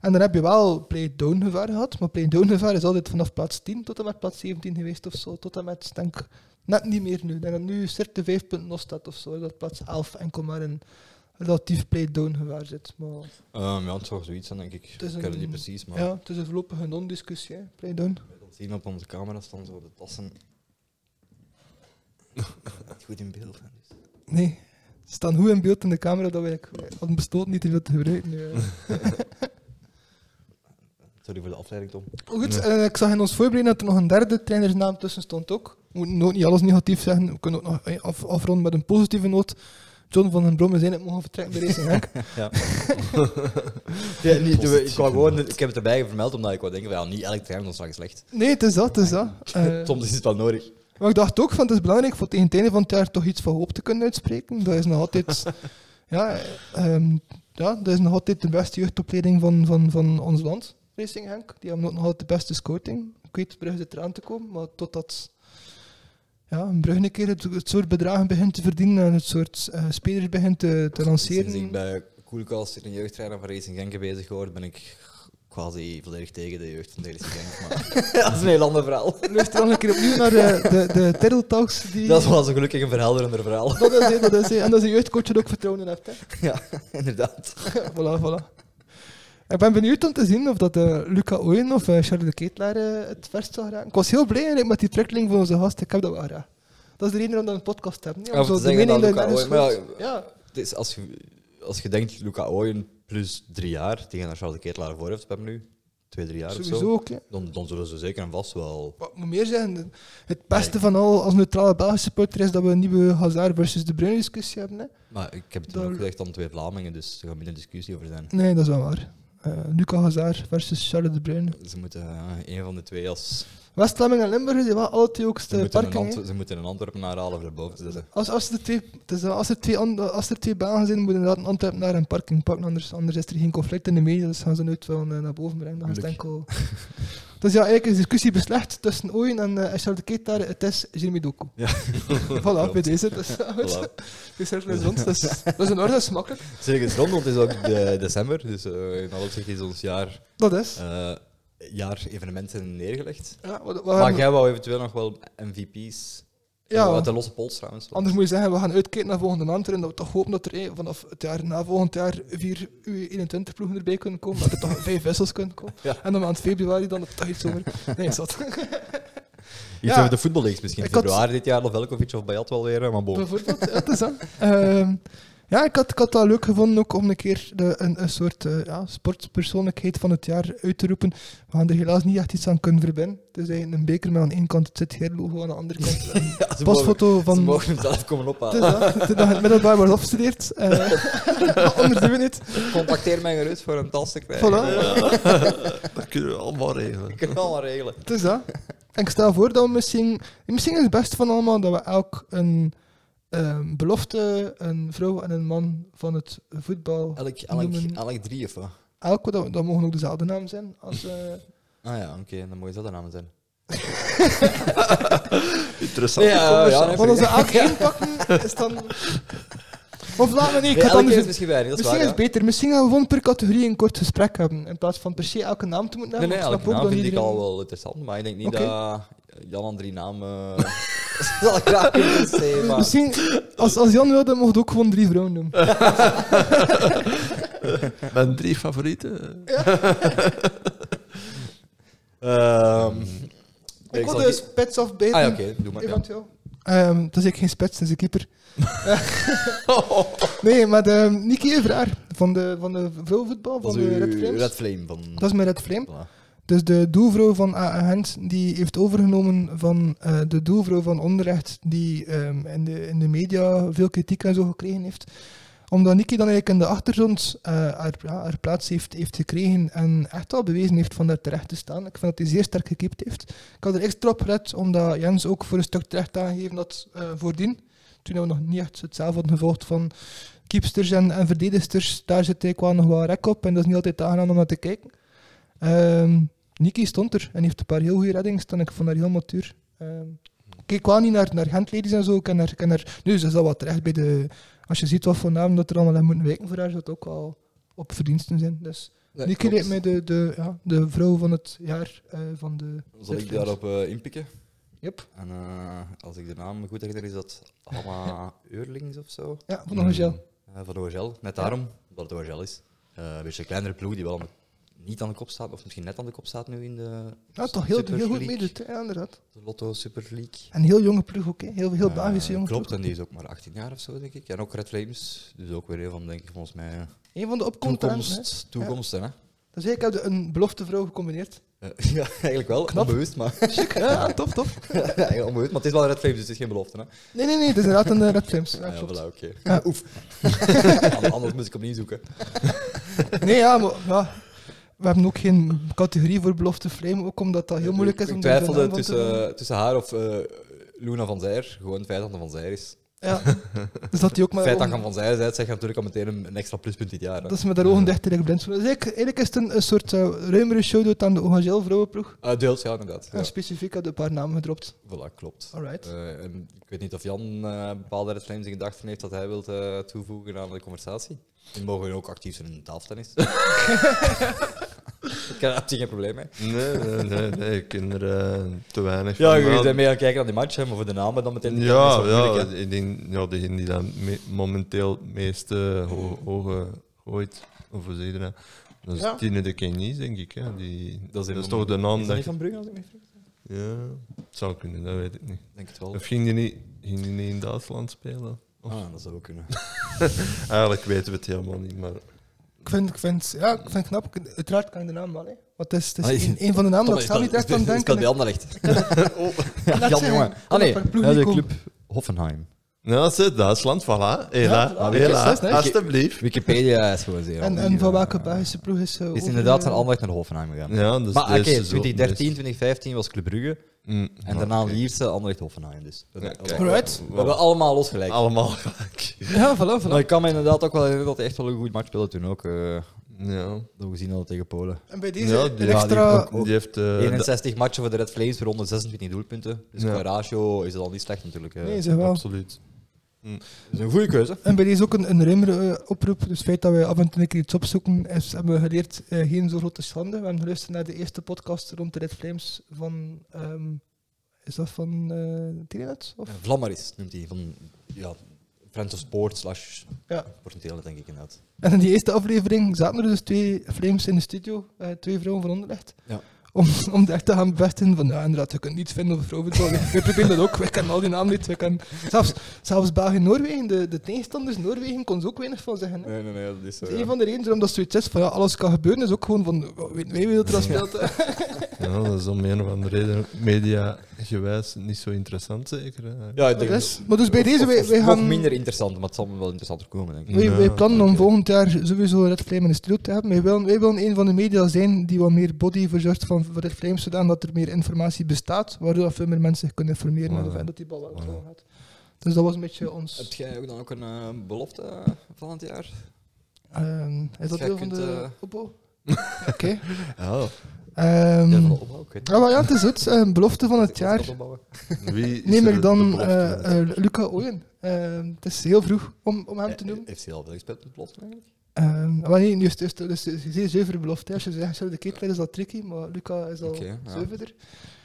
B: En dan heb je wel play-down gevaar gehad, maar play-down gevaar is altijd vanaf plaats 10 tot en met plaats 17 geweest of zo, tot en met, denk ik, net niet meer nu. Ik denk dat nu circa 5 punten nog staat of zo, dat plaats 11 enkel maar een relatief play-down gevaar zit. Maar
A: Ehm, ja, het zou zoiets zijn, denk ik. Ik
B: is
A: ken het
B: een-
A: niet precies, maar
B: ja, het is een voorlopige non-discussie, hè. Blij doen.
A: we dat zien op onze camera staan zo de [LAUGHS] tassen. Niet goed in beeld. hè, dus.
B: Nee, ze staan goed in beeld in de camera, dat ik hadden besloten niet te veel te gebruiken. nu, hè.
A: Sorry voor de afleiding, Tom.
B: Goed, eh, ik zag in ons voorbereiding dat er nog een derde trainersnaam tussen stond ook. We moeten ook niet alles negatief zeggen, we kunnen ook nog eh, af, afronden met een positieve noot. John van den Bromme zijn het mogen vertrekken bij Racing Henk.
A: Ja. ja niet, ik,
C: Positieve
A: wou gewoon, ik heb het erbij vermeld omdat ik wou denken, van, ja, niet elk terrein is straks slecht.
B: Nee, het is dat, het is dat. Eh,
A: Soms is het wel nodig.
B: Maar ik dacht ook van het is belangrijk voor tegen het einde van het jaar toch iets van hoop te kunnen uitspreken. Dat is nog
A: [LAUGHS]
B: altijd, ja, ehm, ja, dat is nog altijd de beste jeugdopleiding van, van, van ons land, Racing Henk. Die hebben ook nog altijd de beste scouting. Ik weet, Brugge zit eraan te komen, maar totdat ja, een Brugge een keer het, het soort bedragen begint te verdienen en het soort eh, spelers begint te, te
A: Sinds ik
B: lanceren.
A: bij Koelkast in een jeugdtrainer van Racing Genk bezig geworden, ben ik quasi volledig tegen de jeugd van de Racing Genk.
B: [LAUGHS]
A: Maar dat is een heel ander verhaal.
B: Luister dan een keer opnieuw naar eh, de, de Terrell Talks. Die,
A: [LAUGHS] Dat was een gelukkig een verhelderender verhaal. [LAUGHS]
B: [LAUGHS] dat is, hè, dat is, hè. en dat is een jeugdcoach die er ook vertrouwen in hebt. Hè.
A: Ja, inderdaad.
B: [LAUGHS] voilà, voilà. Ik ben benieuwd om te zien of dat eh, Luca Ooyen of eh, Charles de Ketelaar eh, het verst zal raken. Ik was heel blij eigenlijk met die terugkling van onze gast. Ik heb dat wel graag. Dat is de reden waarom we een podcast hebben. hè, om
A: Ja, om
B: zo
A: te
B: de
A: zeggen
B: mening
A: dat
B: daar
A: Luca
B: nergens
A: Ooyen-
B: hoort.
A: maar
B: Ja,
A: Het is als, je, als je denkt, Luca Ooyen plus drie jaar, tegen naar Charles de Ketelaar voor heeft bij hem nu, twee, drie jaar of
B: sowieso
A: zo,
B: ook. hè.
A: dan, dan zullen ze zeker en vast wel...
B: Wat moet meer zijn? Het beste van al als neutrale Belgische supporter is dat we een nieuwe Hazard versus De Bruyne discussie hebben. Hè.
A: Maar ik heb het
B: Dan-
A: ook gezegd dan twee Vlamingen, dus er gaat minder discussie over zijn.
B: Nee, dat is wel waar. Eh, Luca Hazard versus Charles De Bruyne.
A: Ze moeten eh, één van de twee als...
B: west Vlaming en Limburg, die waren alle twee ook
A: Ze
B: de
A: moeten, een
B: parking. hè.
A: Antwer- ze moeten een Antwerpenaar halen om erboven te zetten.
B: Als, als, er twee, het is wel- als, er twee, an- als er twee banen zijn, moet inderdaad een Antwerpen naar een parking pakken. Anders, anders is er geen conflict in de media, dus gaan ze nooit wel eh, naar boven brengen. Dan is het
A: Moeilijk.
B: enkel... [LAUGHS] dus ja, eigenlijk is de discussie beslecht tussen Ooyen en eh Charles de Keetaar. Het is Jeremy Doku.
A: Ja.
B: [LAUGHS] voilà, bij deze. Dus, [LAUGHS] goed.
A: Voilà.
B: De cirkel is rond. Dat is, dat is in orde, dat is makkelijk.
A: Zeker is rond, want het is ook de- [LAUGHS] december, dus eh, in alle opzichten is ons jaar,
B: Dat is.
A: eh, jaar evenementen neergelegd.
B: Ja, wat, wat-
A: Maar jij wou eventueel nog wel MVP's
B: Ehm, Ja.
A: eh, uit de losse pols trouwens. want-
B: Anders moet je zeggen, we gaan uitkijken naar volgende maand en dat we toch hopen dat er eh, vanaf het jaar na volgend jaar vier U21-ploegen erbij kunnen komen, dat er toch vijf wissels kunnen komen.
A: Ja.
B: En dan maand februari dan dat het toch iets over... Nee, zat.
A: Iets
B: Ja.
A: over de voetballeaks misschien.
B: Ik had-
A: Februari dit jaar, of Velkovic of Bayat wel weer, maar bon.
B: Bijvoorbeeld, ja, het is dat. Ehm, ja, ik had, ik had dat leuk gevonden ook om een keer de, een, een soort eh, ja, sportpersoonlijkheid van het jaar uit te roepen. We gaan er helaas niet echt iets aan kunnen verbinden. Het is eigenlijk een beker met aan de ene kant het zit logo aan de andere kant. Een
A: [LAUGHS] Ja, ze mogen-
B: pasfoto
A: Ze
B: van...
A: mogen hem zelf komen
B: Het
A: ophalen.
B: is dat, het is dat het middelbaar wordt afgestudeerd. Eh, anders doen we niet.
A: Contacteer mij gerust voor een tas te krijgen.
B: Voilà.
C: Dat kunnen we allemaal regelen.
A: [LAUGHS] Ik kan het allemaal regelen.
B: Het is dat. En ik stel voor dat we misschien... Misschien is het beste van allemaal dat we elk een ehm, belofte, een vrouw en een man van het voetbal...
A: Elk, elk,
B: Noemen-
A: elk drie of wat?
B: Elk, dat, dat mogen ook dezelfde naam zijn. Als, eh,
A: Ah ja, oké, dan moet je dat de naam zijn.
C: Interessant.
A: Ja, ja, ja.
B: want als we elk één pakken, is dan... Of laat me niet, ik
A: Nee,
B: ga het
A: elke
B: anders
A: keer is
B: doen.
A: misschien weinig, dat is
B: Misschien is
A: waar.
B: het
A: ja.
B: beter. Misschien gaan we gewoon per categorie een kort gesprek hebben. In plaats van per se elke naam te moeten
A: Nee,
B: hebben.
A: nee,
B: want ik
A: elke naam
B: snap ook dat
A: vind ik
B: iedereen-
A: al wel interessant, maar ik denk niet
B: Oké.
A: dat Jan aan drie [LAUGHS] namen eh, zal ik graag kunnen
B: [LAUGHS]
A: zeggen, maar...
B: Misschien, als, als Jan wilde, mocht ook gewoon drie vrouwen doen.
C: Mijn drie favorieten.
A: Ehm, zal
B: Ik wil dus de
A: die-
B: spits afbeten.
A: Ah ja, oké, doe maar. Ja.
B: Eventueel. Ehm, dat is ik geen spits, dat is een
A: [LAUGHS]
B: keeper. Eh, nee, maar de, Niki Evraar van de, van de vrouwenvoetbal,
A: Dat
B: van
A: is
B: de Red
A: uw
B: Flames.
A: Red Flame van...
B: Dat is mijn Red Flame.
A: Voilà.
B: Dus de doelvrouw van AA Gent, die heeft overgenomen van eh, de doelvrouw van Onderrecht, die ehm, in, de, in de media veel kritiek en zo gekregen heeft. Omdat Niki dan eigenlijk in de achtergrond eh, haar, ja, haar plaats heeft, heeft gekregen en echt al bewezen heeft van daar terecht te staan. Ik vind dat hij zeer sterk gekiept heeft. Ik had er extra op gelet, omdat Jens ook voor een stuk terecht aangegeven had eh, voordien. Toen we nog niet echt hetzelfde hadden gevolgd van keepsters en, en verdedigsters, daar zit eigenlijk wel nog wel rek op en dat is niet altijd aangenaam om naar te kijken. Ehm, Niki stond er en heeft een paar heel goede reddings. Dan ik vond haar heel matuur. Ehm, ik keek wel niet naar, naar Gentladies en zo. Ik ken haar, ik ken haar, nu ze is dat wel terecht bij de. Als je ziet wat voor namen dat er allemaal aan moeten wijken voor haar, zou het ook wel op verdiensten zijn. Dus
A: Nee,
B: Niki
A: klopt.
B: lijkt mij de, de, ja, de vrouw van het jaar eh, van de.
A: Zal ik daarop eh, inpikken?
B: Yep.
A: En eh, als ik de naam goed herinner, is dat Hanna [LAUGHS] Eurlings of zo?
B: Ja, van Angel.
A: Eh, van de OGL. Net daarom, omdat het OGL is. Eh, een beetje een kleinere ploeg die wel niet aan de kop staat, of misschien net aan de kop staat nu in de
B: Ja, toch heel,
A: Super
B: heel goed
A: League.
B: meedoet, hè, ja, inderdaad.
A: de Lotto Super League.
B: En heel jonge ploeg ook, hè. heel, heel
A: Eh,
B: Belgische jonge
A: Klopt,
B: ploeg.
A: en die is ook maar 18 jaar of zo, denk ik. En ook Red Flames, dus ook weer een van, denk ik, volgens mij, eh,
B: Een van de opkomsttalenten. hè.
A: toekomst, toekomsten. Hè?
B: Dus ik heb een belofte vrouw gecombineerd.
A: Eh, [LAUGHS] ja, eigenlijk wel,
B: Knap.
A: onbewust, maar,
B: [LAUGHS] ja, tof, tof.
A: Ja, eigenlijk onbewust, maar het is wel Red Flames, dus het is geen belofte. Hè?
B: Nee, nee, nee, het is inderdaad een eh, Red Flames. Ja,
A: Ah, ja,
B: klopt.
A: voilà, oké.
B: Ja.
A: [LAUGHS] Oef. Anders moest ik opnieuw zoeken.
B: Nee, ja, maar ja, we hebben ook geen categorie voor belofte frame, ook omdat dat heel moeilijk is
A: Ik
B: om daar zo'n
A: twijfelde
B: naam van te noemen.
A: tussen, tussen haar of eh, Luna van Zijer. Gewoon het feit dat het van Zijer is.
B: Ja. [LAUGHS] Dus dat die ook
A: Het
B: maar...
A: eh, [LAUGHS] feit dat
B: om-
A: je van Zijer bent, zegt natuurlijk al meteen een, een extra pluspunt dit jaar. hè.
B: dat is met haar ogen dicht tegen blind. Dus eigenlijk, eigenlijk is het een, een soort eh, ruimere show aan de Orangel vrouwenploeg.
A: Eh, deels, ja, inderdaad. Ja.
B: En specifiek hadden we een paar namen gedropt.
A: Voilà, klopt.
B: Alright.
A: Eh, en ik weet niet of Jan eh bepaalde Red Flames in gedachten heeft dat hij wil eh, toevoegen aan de conversatie. Die mogen ook actief zijn in tafeltennis. ik heb daar geen probleem mee.
C: Nee, nee, nee, nee. Ik ken er eh, te weinig
A: Ja,
C: van.
A: je bent mee gaan kijken naar die match, hè, maar voor de namen dan meteen...
C: Ja,
A: dat is wel
C: ja,
A: moeilijk, hè.
C: ik denk, ja, degene die daar me- momenteel het meeste ho- hoge gooit, of hoe zeg je dat? Dat is
B: Ja.
C: Tine de Kenyes, denk ik. Hè. Die,
A: Dat
C: dat
A: is
C: is,
A: een-
C: toch de naam
A: Is dat
C: dat...
A: niet van Brugge, als ik me niet vergis?
C: je- Ja, het zou kunnen, dat weet ik niet.
A: Ik denk het wel.
C: Of ging die niet, ging die niet in Duitsland spelen? Of-
A: Ah, dat zou ook kunnen.
C: Eigenlijk weten we het helemaal niet, maar...
B: Ik vind, ik vind, ja, ik vind het knap. Ik- Uiteraard kan ik de naam wel, hè. Want het is, het is
A: Ai.
B: een, een van de namen dat ik
A: is
B: zelf niet echt aan
A: Is dat bij
B: denken.
A: Anderlecht?
B: [LAUGHS] Laat
A: [LAUGHS] Ja, Jan
B: zeggen,
A: Jongen. Ah
B: dat
A: nee,
B: per ploeg
A: ja,
B: niet
A: de
B: komen.
A: club Hoffenheim.
C: Nou, dat is het, Duitsland, voilà. Hela,
B: Ja, voilà.
C: hela,
B: Succes, hè.
C: alstublieft.
A: Wikipedia is gewoon zeer.
B: En, en van welke Belgische ploeg is... eh,
A: Het is
B: over-
A: inderdaad van Anderlecht naar Hoffenheim gegaan.
C: Ja, dus
A: maar oké,
C: deze is ook
A: 2013,
C: best.
A: 2015 was Club Brugge.
C: Mm,
A: En
C: maar
A: daarna
C: oké.
A: Lierse, Anderlecht, Hoffenheim. Dus we
C: Ja, kijk.
B: Alright.
A: we hebben allemaal losgelijk.
C: Allemaal gelijk.
B: Ja, voilà, voilà.
A: Nou, ik kan me inderdaad ook wel herinneren dat hij echt wel een goed match speelde toen ook. eh
C: Ja.
A: dat we gezien hadden tegen Polen.
B: En bij deze
C: Ja,
B: een
C: die- ja,
B: extra...
A: ook-
C: Die heeft... eh, de-
A: 61 matchen voor de Red Flames, weer 126 doelpunten. Dus
C: Ja.
A: qua ratio is dat al niet slecht natuurlijk. eh.
B: nee, zeg wel.
C: Absoluut.
A: Dat is een goede keuze.
B: En bij deze ook een, een ruimere eh, oproep. Dus het feit dat wij af en toe een keer iets opzoeken, is, hebben we geleerd eh, geen zo grote schande. We hebben geluisterd naar de eerste podcast rond de Red Flames van... ehm, is dat van eh Telenet? Of?
A: Eh, Vlammaris noemt hij. Van, ja, Friends of Sport slash
B: Ja.
A: Portentelen, denk ik inderdaad.
B: En in die eerste aflevering zaten er dus twee Flames in de studio. eh, twee vrouwen van onderlegd.
A: Ja.
B: Om, om echt te gaan bevestigen van, ja inderdaad, je kunt niets vinden over vrouwenvoetbal. Wij- Wij proberen dat ook, wij kennen al die namen niet. Wij kennen, zelfs, zelfs België-Noorwegen, de, de tegenstanders Noorwegen, kon ze ook weinig van zeggen. hè.
A: Nee, nee, nee, dat is eh,
B: Dat is een van de redenen waarom dat zoiets is van ja, alles kan gebeuren, is ook gewoon van "Wa- weet wij wie dat er al speelt. hè?"
C: Ja, dat is om een of andere reden media gewijs niet zo interessant, zeker. hè.
A: Ja, ik
B: Dat
A: denk
B: is- maar dus bij deze, wij, wij
A: nog
B: gaan,
A: minder interessant, maar het zal wel interessanter komen, denk ik.
B: wij, wij
C: Ja,
B: plannen om
C: oké.
B: volgend jaar sowieso Red Flame in de studio te hebben. Wij willen, wij willen een van de media zijn die wat meer body verzorgt van voor Red Flame, zodat er meer informatie bestaat, waardoor dat veel meer mensen zich kunnen informeren
C: Voilà.
B: en of- en dat die bal wel
C: Voilà.
B: gewoon gaat. Dus dat was een beetje
A: Heb
B: ons...
A: jij ook dan ook een eh, belofte van het jaar?
B: ehm, is dat
A: Jij
B: deel van
A: kunt, [LAUGHS]
B: de
A: eh,
B: opbouw? Oké.
C: Ja.
B: Ehm, Ehm,
A: Oh. Ja, van de opbouw, ik weet het
B: ja, maar ja, het is het. eh, belofte van het jaar
C: Wie is
B: neem
C: er
B: ik
C: de
B: dan
C: belofte?
B: eh, eh, Luca Ooyen. Ehm, het is heel vroeg om, om hem
A: niet.
B: te
A: Eh,
B: noemen.
A: Heeft hij al wel gespeeld met Boston eigenlijk?
B: Ehm, maar nee, nu is het eerst- dus het is een zeer zuivere belofte. hè. Als je zegt, zo, de keeper is dat tricky, maar Luca is al
A: Oké, ja.
B: zuiverder.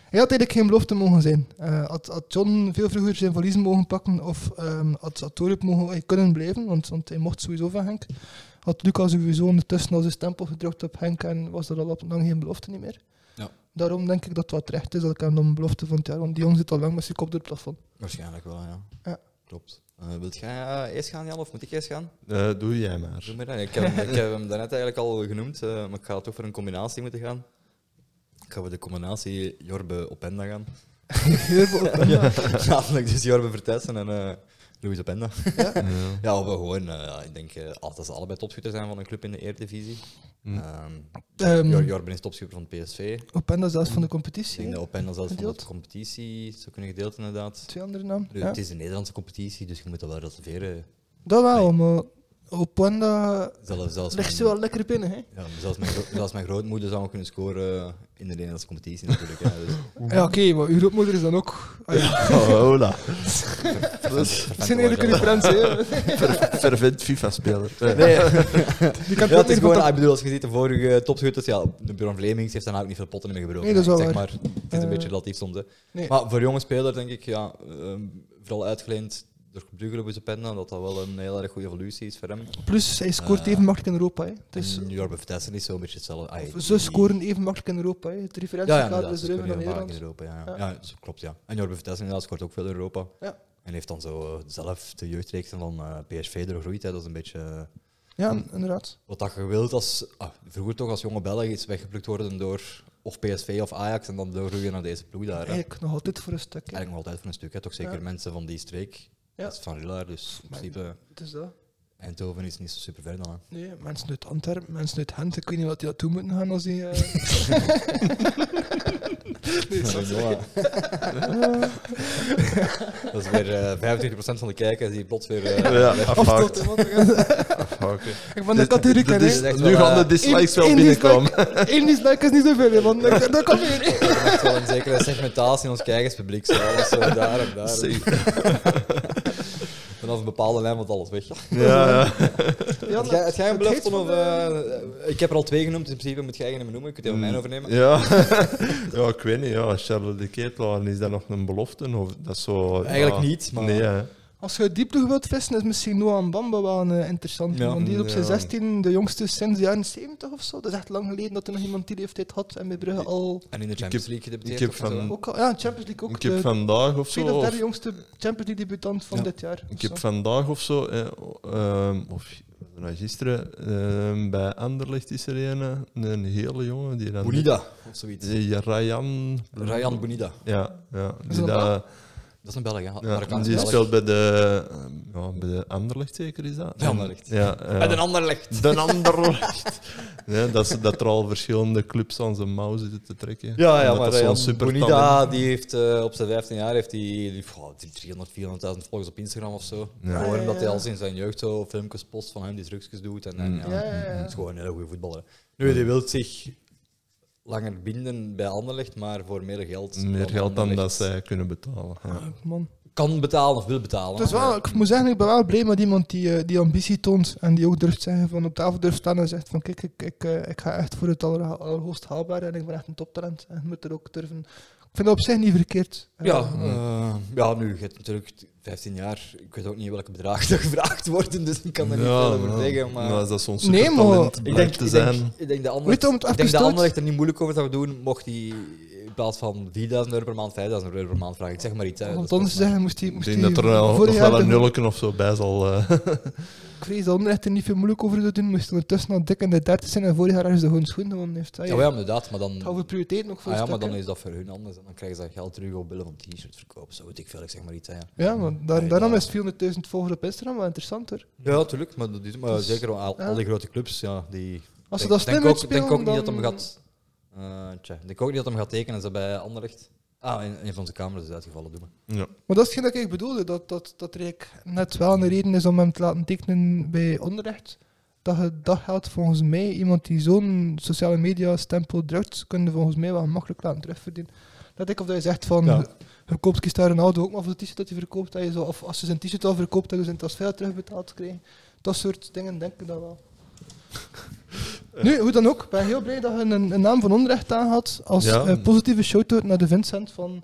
B: Hij had eigenlijk geen belofte mogen zijn. Eh, had, had John veel vroeger zijn valiezen mogen pakken, of ehm had, had Torup mogen hij kunnen blijven, want, want hij mocht sowieso van Henk. Had Luca sowieso ondertussen al zijn stempel gedrukt op Henk en was er al op lang geen belofte niet meer.
A: Ja.
B: Daarom denk ik dat het wat terecht is dat ik hem dan een belofte van het jaar, want die jongen zit al lang met zijn kop door het plafond.
A: Waarschijnlijk wel, ja.
B: Ja.
A: Klopt. Eh wilt jij eh, eerst gaan, Jan, of moet ik eerst gaan?
C: Eh, doe jij maar.
A: Doe maar dan. Ik heb, hem- ik heb hem daarnet eigenlijk al genoemd, eh, maar ik ga toch voor een combinatie moeten gaan. Ik ga voor de combinatie Jorbe Openda gaan.
B: Heel veel op-
A: Ja. [LAUGHS] Namelijk dus Jorbe Vertessen en eh Louis Openda. [LAUGHS]
C: Ja.
A: Ja, of gewoon, eh, ja, ik denk eh, als dat ze allebei topschutter zijn van een club in de Eredivisie.
C: Hm.
A: Ehm,
B: Ehm,
A: Jor- Jorben is topschutter van PSV.
B: Openda zelfs van de
A: Ik
B: competitie.
A: denk dat Openda zelfs van de
B: Gedeeld?
A: competitie zou kunnen gedeeld, inderdaad.
B: Twee andere namen.
A: Nu,
B: ja.
A: Het is de Nederlandse competitie, dus je moet dat wel reserveren.
B: Dat wel, maar Openda
A: Zelfs, zelfs
B: ligt ze
A: mijn-
B: wel lekker binnen, hè?
A: Ja, maar zelfs, mijn gro- zelfs mijn grootmoeder zou kunnen scoren eh, in de Nederlandse competitie natuurlijk. Ja,
B: [LAUGHS]
A: dus.
B: Ja, oké, maar uw grootmoeder is dan ook... Ah, ja.
C: Hola.
B: Het zijn eerlijke referenties,
A: [LAUGHS]
B: hè?
C: Fervent FIFA-speler.
A: Nee,
B: Die kan
A: ja, het is
B: niet
A: gewoon,
B: goed-
A: ah, ik bedoel, als je ziet de vorige topschutters, ja, de Bjorn Vlemings heeft daarna ook niet veel potten meer gebroken.
B: Nee, dat is wel
A: zeg
B: waar.
A: maar, het is een
B: Eh,
A: beetje relatief soms. hè.
B: nee.
A: Maar voor jonge spelers denk ik, ja, ehm, vooral uitgeleend door Brugge op zijn penna, dat dat wel een heel erg goede evolutie is voor hem.
B: Plus, hij scoort
A: Eh,
B: even makkelijk in Europa, hè? Dus,
A: Dus, en Jorbe Vertessen is zo'n beetje hetzelfde. Ah, die-
B: ze scoren even makkelijk in Europa, hè? Het
A: Ja, ja,
B: referentiekader
A: inderdaad,
B: is
A: ze spelen
B: ruimer dan
A: heel vaak in
B: Nederland.
A: Europa. Ja, ja.
B: Ja.
A: Ja, dat klopt, ja. En Jorbe Vertessen inderdaad scoort ook veel in Europa.
B: Ja.
A: En heeft dan zo eh, zelf de jeugdreeksen van eh, PSV doorgroeid. Hè. Dat is een beetje eh,
B: Ja, inderdaad.
A: wat dat je wilt als... ah, vroeger toch als jonge Belg is weggeplukt worden door of PSV of Ajax en dan doorgroeien naar deze ploeg daar. hè.
B: Eigenlijk nog altijd voor een stuk, hè?
A: Eigenlijk nog altijd voor een stuk. Hè. Toch zeker
B: Ja.
A: mensen van die streek.
B: Ja.
A: Dat is van Rillaar, dus in
B: Maar-
A: principe...
B: Het is dat.
A: Eindhoven is niet zo super ver dan. hè.
B: Nee, mensen uit Antwerpen, mensen uit Gent, ik weet niet wat die naartoe moeten gaan als die...
A: [LAUGHS]
B: eh,
A: Dat
B: nee,
A: is
B: sorry.
A: wel- [LAUGHS] dat is weer eh, 25% van de kijkers die plots weer...
C: [LAUGHS]
A: eh,
C: Ja,
B: Afstoten,
C: afhaken.
B: want ik ga-
C: afhaken.
B: ik ben de categorie,
C: Dit is-
A: hè? Echt
C: Nu
A: wel,
C: gaan de
A: eh,
C: dislikes
B: Eén-
C: wel
B: één
C: binnenkomen.
B: dislike- Eén dislike is niet zoveel, hè,
A: [LAUGHS]
B: want dat, dat kan weer.
A: Er is wel een zekere segmentatie in ons kijkerspubliek. Zo. Dat is zo daar en daar.
C: [LAUGHS]
A: En als een bepaalde lijn wordt alles weg.
C: Ja, ja.
B: Ja,
A: Heb jij- heb jij een
B: het heet
A: belofte?
B: van
A: Of, eh, ik heb er al twee genoemd, in principe moet jij geen meer noemen. Ik kunt even mijn overnemen.
C: Mm. Ja. ja, ik weet niet. Ja. Charles de Ketelaar, is dat nog een belofte? Of, dat is zo,
A: Eigenlijk
C: ja.
A: niet, maar
C: Nee, hè.
B: Als je diep nog wilt vissen, is misschien Noah Bamba wel een eh, interessant.
A: Ja,
B: want die is op zijn
C: ja.
B: 16 de jongste sinds de jaren 70 of zo. Dat is echt lang geleden dat er nog iemand die leeftijd had. En bij Brugge al.
A: en in de Champions League gedebuteerd.
C: ik heb
A: of zo,
C: van-
A: hè?
B: Ook al ja, Champions League ook.
C: ik heb
B: de
C: vandaag of zo.
B: tweede of
C: of-
B: derde jongste Champions League debutant van
A: Ja.
B: dit jaar.
C: Ik
B: of
C: heb
B: zo.
C: vandaag of zo, eh, ehm, of nou, gisteren, ehm, bij Anderlecht is er een, eh, een hele jongen die dan.
A: Bonida of zoiets.
C: Eh, ja, Ryan.
A: Ryan Bonida.
C: Ja, ja. Die,
B: Is dat
C: dat-
A: Dat is een Belg, hè?
C: ja,
A: Marokkaans
C: die
A: Belg.
C: speelt bij de, ehm, ja, bij de Anderlecht, zeker is dat?
A: Bij Anderlecht.
C: Ja, ja.
A: Bij een ander legt. [LAUGHS]
C: De Anderlecht. nee, dat, is, dat er al verschillende clubs aan zijn mouw zitten te trekken.
A: Ja, ja
C: Omdat
A: maar
C: dat zo'n
A: Ryan
C: supertalent-
A: Bonida die heeft, eh, op zijn 15 jaar heeft die, die, goh, die 300, 400.000 volgers op Instagram of zo.
C: Ja.
A: Gewoon
B: Ah, Ja,
A: omdat
B: ja,
A: hij
B: ja.
A: al sinds zijn jeugd zo filmpjes post van hem die drugsjes doet. En, en
C: Mm.
A: ja,
B: Ja, ja, ja.
A: Het is gewoon een hele goede voetballer. Nu, die wil zich langer binden bij Anderlecht, maar voor meer geld.
C: Meer geld dan dat
A: Anderlecht
C: zij kunnen betalen. Ja.
B: Ah, Man.
A: Kan betalen of wil betalen.
B: Het is
A: hè.
B: wel, ik moet zeggen, ik ben wel blij met iemand die, eh, die ambitie toont. En die ook durft zeggen van op tafel durft staan en zegt van kijk, ik, ik, eh, ik ga echt voor het aller- allerhoogst haalbare en ik ben echt een toptalent. En je moet er ook durven. Ik vind dat op zich niet verkeerd. Eh,
A: Ja,
C: Mm.
A: eh, ja, nu, je hebt natuurlijk 15 jaar. Ik weet ook niet welke bedragen [LAUGHS] er gevraagd worden, dus ik kan er niet
C: Ja,
A: veel over
C: ja.
A: zeggen. Maar
C: Nou, als dat zo'n
B: Nee, maar-
C: supertalent
A: ik,
C: blijkt
A: denk,
C: te
A: ik,
C: zijn.
A: denk, ik denk de
B: Weet je, om het
A: ander, ik
B: even
A: denk de
B: te-
A: ander echt er niet moeilijk over zou doen, mocht hij in plaats van 4000 euro per maand 5000 euro per maand vragen. Ik zeg maar iets. hè.
B: Want
A: Dat is
B: anders zeggen, moest hij.
C: Ik
B: Moest
C: denk
B: hij
C: dat er wel- nog
B: vorig jaar
C: wel een
B: de-
C: nulken of zo bij zal. eh, [LAUGHS]
B: Ik vrees dat Anderlecht er niet veel moeilijk over te doen. Moest ondertussen al dik in de 30 zijn en vorig jaar is de gewoon schoen gewonnen. Heeft hij.
A: Ja, ja, inderdaad, maar
B: Het gaat
A: dan,
B: over prioriteit nog voor
A: ah, ja,
B: een
A: maar
B: stuk,
A: dan
B: hè.
A: is dat voor hun anders. En dan krijgen ze dat geld terug op billen van t-shirts verkopen. Zo weet ik veel, ik zeg maar iets. Hè, ja.
B: Ja, maar daar,
A: Nee,
B: daarom
A: ja.
B: is 400.000 volgers op Instagram wel interessant hoor.
A: Ja, tuurlijk. Maar, dat is, maar
B: Dus,
A: zeker al,
B: ja.
A: al die grote clubs, ja, die...
B: Als ze
A: denk-
B: dat slim
A: denk ook,
B: uitspelen,
A: denk ook
B: dan-
A: niet dat hem gaat... eh tja, denk ook niet dat hem gaat tekenen ze bij Anderlecht. Ah, een, een van zijn camera's is uitgevallen, doe maar.
C: ja.
B: Maar dat is hetgeen dat ik bedoelde, dat, dat, dat er eigenlijk net wel een reden is om hem te laten tekenen bij onderrecht. dat, je- dat geldt volgens mij. Iemand die zo'n sociale media stempel drukt, kun je volgens mij wel makkelijk laten terugverdienen. Dat ik of dat je zegt van,
C: Ja.
B: je, je koopt Cristiano Ronaldo ook maar voor het t-shirt dat hij verkoopt, dat je zo, of als je zijn t-shirt al verkoopt, dat je zijn transfer terugbetaald krijgt. Dat soort dingen denk ik dat
C: [LAUGHS]
B: wel. Nu, hoe dan ook, ik ben heel blij dat je een, een naam van onrecht aan had als
C: Ja.
B: eh, positieve shout-out naar de Vincent van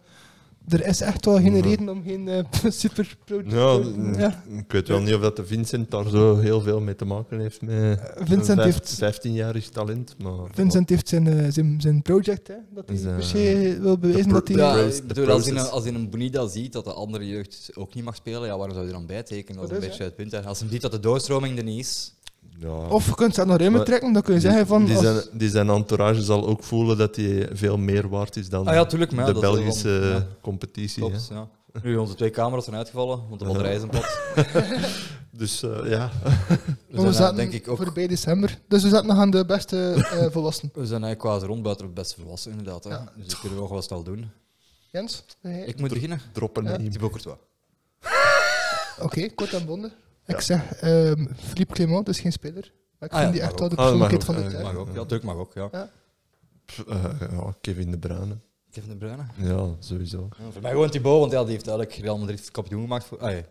B: er is echt wel geen
C: Ja.
B: reden om geen eh [LAUGHS] super
C: Ja, mm, eh,
B: ja.
C: ik weet wel niet of dat de Vincent daar zo heel veel mee te maken heeft. Met
B: Eh, Vincent
C: een
B: heeft-
C: 15-jarig talent. Maar
B: Vincent heeft zijn, eh, zijn, zijn project, hè, dat hij
C: Is, eh,
B: per se wil bewijzen
C: pro-
B: dat hij...
C: de
A: Ja,
C: proce-
A: ik
C: de
A: bedoel, als je, een,
C: process.
A: als je een Bonita ziet dat de andere jeugd ook niet mag spelen, ja, waarom zou je dan bijtekenen? Dat is
B: Dat
A: een
B: is,
A: beetje het punt. En als je ziet dat de doorstroming er niet is,
C: ja.
B: Of je kunt ze nog ruimer
C: Maar
B: trekken, dan kun je
C: Die-
B: zeggen van...
C: Die,
B: als-
C: zijn, die zijn entourage zal ook voelen dat hij veel meer waard is dan
A: Ah ja, tuurlijk, maar ja,
C: de
A: dat is
C: Belgische
A: wel- ja.
C: competitie.
A: klopt.
C: hè.
A: Ja. Nu, onze twee camera's zijn uitgevallen, want de batterij is een
B: [LAUGHS]
A: plat.
C: Dus eh,
A: We
C: ja, [LAUGHS]
B: maar we
A: zijn
B: zaten
A: daar, denk ik ook...
B: voorbij december, dus we zaten nog aan de beste
C: [LAUGHS]
B: eh, volwassenen.
A: We zijn eigenlijk qua rondbuiten het best volwassen, inderdaad. Hè.
B: Ja.
A: Dus dat kunnen we nog wel snel doen.
B: Jens? eh,
A: Ik moet beginnen.
C: droppen
B: Ja.
C: nemen.
A: Thibaut Courtois.
B: Oké, kort en bondig. Ik zeg, ehm Philippe Clement is geen speler. Maar ik
A: Ah ja,
B: vind die echt
A: mag
B: wel de
C: ook. Ah, dat mag
B: persoonlijkheid van het
C: ook, eh,
B: jaar.
A: Mag ook, ja, natuurlijk mag ook, ja.
C: Pff, eh, ja, Kevin de Bruyne.
A: Kevin De Bruyne.
C: Ja, sowieso.
A: Ja, voor mij gewoon Thibaut, want ja, die heeft eigenlijk Real Madrid kampioen gemaakt. Voor, ah, ja, niet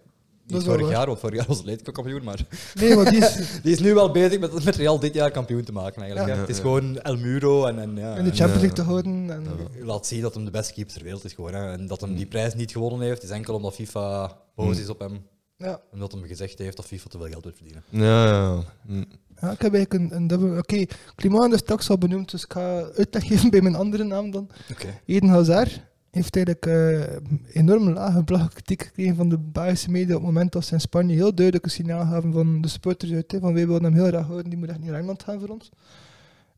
B: Dat is wel
A: vorig
B: waar.
A: jaar, want vorig jaar was Atletico kampioen, maar
B: Nee, maar die is
A: die is nu wel bezig met, met Real dit jaar kampioen te maken eigenlijk.
B: Ja.
A: hè. Het is
C: Ja, ja.
A: gewoon El Muro en... en ja,
B: in de
A: en-
B: Champions League
C: Ja.
B: te houden. En,
A: Je laat zien dat hem de beste keeper ter wereld is gewoon. Hè. En dat
C: Mm.
A: hem die prijs niet gewonnen heeft, is enkel omdat FIFA boos
C: Hmm.
A: is op hem.
B: ja.
A: Omdat hem gezegd heeft dat FIFA te veel geld wil verdienen.
C: Ja, ja. Hm.
B: Ja, Ah, ik heb eigenlijk een, een dubbel... Oké, Klimaan is straks al benoemd, dus ik ga uitleg geven [LAUGHS] bij mijn andere naam dan.
A: Oké.
B: Eden Hazard heeft eigenlijk eh, enorm lage blogkritiek gekregen van de Belgische media op het moment dat ze in Spanje heel duidelijk een signaal gaven van de supporters uit, hè, van wij willen hem heel graag houden, die moet echt niet naar Engeland gaan voor ons.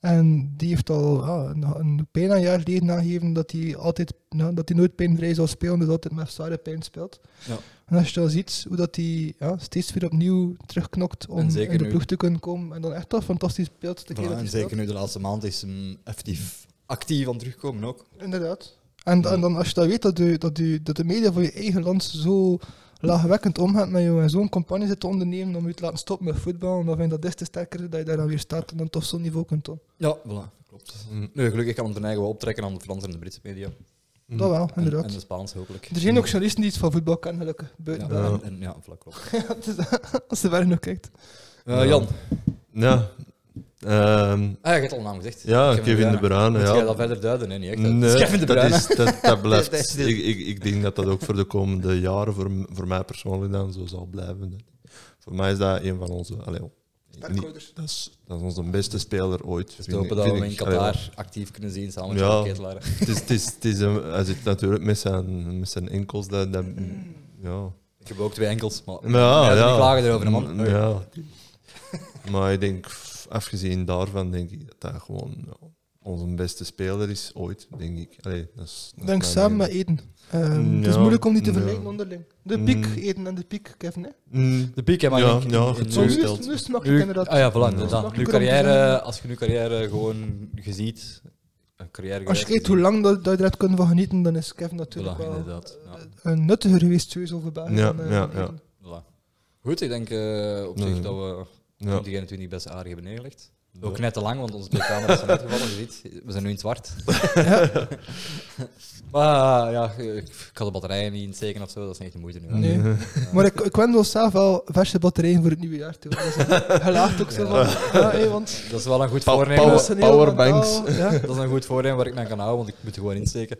B: En die heeft al ja, een, een bijna een jaar geleden nagegeven dat hij altijd, nou, dat hij nooit pijnvrij zou spelen, dus altijd met zware pijn speelt.
A: Ja.
B: En als je dan ziet hoe dat hij ja, steeds weer opnieuw terugknokt om
A: En zeker
B: in de
A: nu.
B: ploeg te kunnen komen en dan echt al fantastisch speelt. De keer dat
A: Voilà,
B: hij
A: en
B: speelt.
A: zeker nu de laatste maand is hem effectief actief aan het terugkomen ook.
B: Inderdaad. En, en dan als je dat weet, dat, u, dat, u, dat de media van je eigen land zo laagwekkend omgaat met jou en zo'n campagne zit te ondernemen om je te laten stoppen met voetbal, dan vind ik dat des te sterker dat je daar dan weer staat en dan toch zo'n niveau kunt doen.
A: Ja, voilà. Klopt.
C: Hm.
A: Nee, gelukkig kan hem zijn eigen wel optrekken aan de Franse en de Britse media. En-
C: Mm.
B: Dat wel,
A: En,
B: inderdaad.
A: de Spaanse hopelijk.
B: er zijn ook journalisten die iets van voetbal kennen, gelukkig.
A: Ja,
B: Buiten
C: Ja.
A: en, en- ja, voilà, klopt.
B: dat. Dus, als de verder ook kijkt.
A: Eh,
C: Ja.
A: Jan,
C: Ja. Ehm,
A: ah, je hebt al een naam gezegd.
C: ja, Kevin de Bruyne.
A: eh, Moet
C: Ja.
A: jij dat verder duiden? Nee, niet echt. hè. Het is
C: Nee,
A: Kevin de
C: dat,
A: Bruyne.
C: is, dat,
A: [LAUGHS]
C: dat blijft.
A: Dat is dit.
C: ik, ik, ik denk dat dat ook voor de komende jaren, voor, m- voor mij persoonlijk dan, zo zal blijven. Voor mij is dat een van onze. Allee, niet-
B: Sterkhouders.
C: dat, is, dat is onze beste speler ooit.
A: Dus we
C: vind
A: hopen
C: ik-
A: dat we
C: vind
A: hem in
C: ik. Allee,
A: Qatar actief kunnen zien samen met
C: Ja.
A: Charles Ketelaren.
C: het is, het is, het is een- hij zit natuurlijk met zijn, met zijn enkels. Dat, dat, ja.
A: Ik heb ook twee enkels, maar
C: Maar ja,
A: Ja, die
C: ja.
A: klagen erover, hè, man.
C: Mm, Ja. maar ik denk, f- afgezien daarvan, denk ik dat dat gewoon ja, onze beste speler is ooit, denk ik. Allee, dat is, dat
B: Ik
C: is
B: denk
C: mijn
B: samen met
C: mening.
B: Eden. Ehm, het is
C: Ja,
B: moeilijk om die te
C: ja.
B: vergelijken onderling. De piek
C: Mm.
B: Eden en de piek Kevin. Hè?
C: Mm,
A: De piek, hè, maar
C: Ja,
A: ik-
C: ja,
A: in- in-
C: het
B: Nu,
C: Zo
B: is- nu
C: stelt.
B: is het makkelijk
A: Nu,
B: inderdaad.
A: ah ja, voilà,
C: Ja.
A: inderdaad. Nu
B: Makkelijker om te
A: carrière,
B: zeggen.
A: als je nu carrière gewoon je ziet, een carrière
B: Als je
A: gezien,
B: kijkt hoe lang dat, dat je eruit kunt van genieten, dan is Kevin natuurlijk
A: Voilà,
B: wel
A: inderdaad. Ja,
B: een nuttiger geweest sowieso voor België.
C: Ja,
B: dan, eh,
C: ja,
B: dan
C: ja.
B: Eden.
A: voilà. Goed, ik denk eh, op zich
C: Nee.
A: dat we
C: ja.
A: diegene natuurlijk best aardig hebben neergelegd.
C: Ja.
A: Ook net te lang, want onze twee camera's zijn uitgevallen. Je ziet, we zijn nu in het
C: [LAUGHS]
A: zwart. [LAUGHS] maar ja, ik ik had de batterijen niet in het steken of zo, dat is echt de moeite nu. hè.
B: Nee. Maar ik, ik wend ons zelf wel verse batterijen voor het nieuwe jaar toe.
C: [LAUGHS]
B: Gelaagd ook zo van. Ja, hé,
A: [LAUGHS]
B: want
A: Dat is wel een goed
C: Pa-
A: voornemen.
C: power-
B: dat is een heel
C: powerbanks.
B: mentaal-
A: [LAUGHS]
B: Ja,
A: Dat is een goed voornemen waar ik me aan kan houden, want ik moet er gewoon insteken.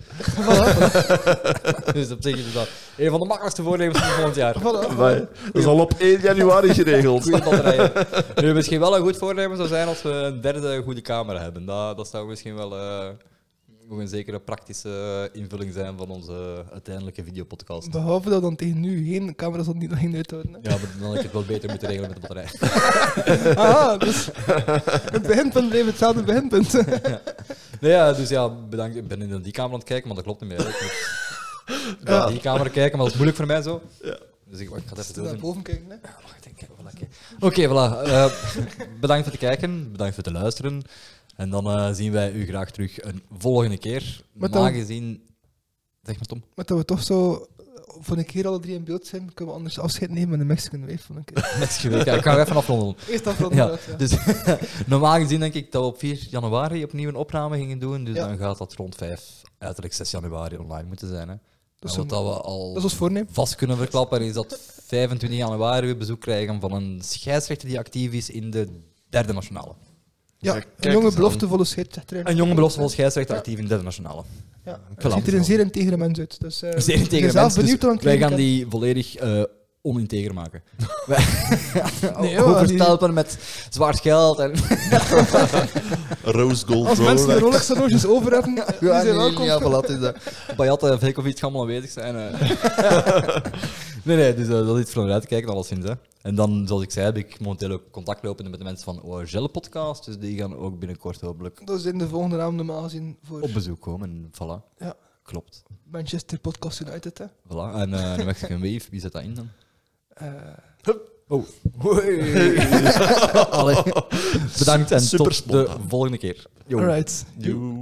A: [LAUGHS] dus op zich is dat een van de makkelijkste voornemens van volgend jaar.
B: [LAUGHS] voilà.
C: Amai, Dat is al op 1 januari geregeld.
A: Goede batterijen. Nu, misschien wel een goed voornemen zou zijn als we een derde goede camera hebben. Dat, dat zou misschien wel eh, nog een zekere praktische eh, invulling zijn van onze eh, uiteindelijke videopodcast.
B: Behalve dat dan tegen nu geen camera's dat niet nog ging uithouden. hè.
A: Ja, maar dan had ik het wel beter moeten regelen met de batterij.
B: Aha, dus het beginpunt bleef hetzelfde beginpunt. [LAUGHS]
A: Nee, ja, dus ja, bedankt. Ik ben in die kamer aan het kijken, maar dat klopt niet meer. hè. Ik moet naar die kamer kijken, maar dat is moeilijk voor mij zo. Dus ik, wacht, ik ga het even
B: Naar
A: doen.
B: boven kijken, hè.
A: Wacht, ik denk, voilà, oké. Oké, voilà. eh, bedankt voor het kijken, bedankt voor het luisteren. En dan eh, zien wij u graag terug een volgende keer. Maar
B: Maar dan-
A: aangezien... Zeg maar, Tom.
B: Maar dat we toch zo eh, voor een keer alle drie in beeld zijn, kunnen we anders afscheid nemen met de Mexican Wave. Van een
C: [LAUGHS]
B: keer.
A: Dat is geweldig. Ja, ik ga er even afronden.
B: Eerst afronden.
A: Ja,
B: inderdaad, ja.
A: dus [LAUGHS] normaal gezien denk ik dat we op 4 januari opnieuw een opname gingen doen. Dus
B: Ja.
A: dan gaat dat rond 5, uiterlijk 6 januari online moeten zijn. Hè.
B: Dat is
A: En wat
B: een-
A: dat we al
B: Dat is ons voornemen.
A: vast kunnen verklappen is dat 25 januari we bezoek krijgen van een scheidsrechter die actief is in de derde nationale.
B: Ja,
C: Kijk Ah,
B: een
C: eens
B: jonge
C: aan.
B: beloftevolle scheidsrechter.
A: Een jonge beloftevolle scheidsrechter
B: Ja.
A: actief in de derde nationale.
B: Ja. Het
A: Voilà.
B: ziet er een zeer integere mens uit. Dus, eh,
A: Zeer
B: ik ben
A: integere
B: zelf
A: mens, dus
B: benieuwd hoe lang
A: wij
B: het
A: gaan
B: leven
A: die volledig eh oninteger
B: [LAUGHS]
A: maken.
B: Nee,
A: [LAUGHS] nee,
B: joh,
A: Overstelpen met zwaard geld. En
C: Rose
B: kan.
C: gold
B: Als mensen de Rolex
C: Rolex.
B: horloges over hebben, eh, die zijn welkom.
A: Ja, voilà, dus, uh, Bayat en Velkovic gaan allemaal aanwezig zijn. eh. [LAUGHS] nee, nee, dus eh, dat is iets voor uit te kijken, alleszins. Hè. En dan, zoals ik zei, heb ik momenteel ook contact lopende met de mensen van ORGL Podcast. Dus die gaan ook binnenkort hopelijk
B: Dat is in de volgende naam normaal gezien voor
A: op bezoek komen. En voilà,
B: Ja.
A: klopt.
B: Manchester Podcast United. Hè.
A: Voilà. En eh de Mexican Wave, wie zet dat in dan?
B: Eh,
A: Oh. [LAUGHS] Allee. Bedankt en
C: Super
A: tot de
C: spontaan.
A: volgende keer.
B: alright.
C: Joe.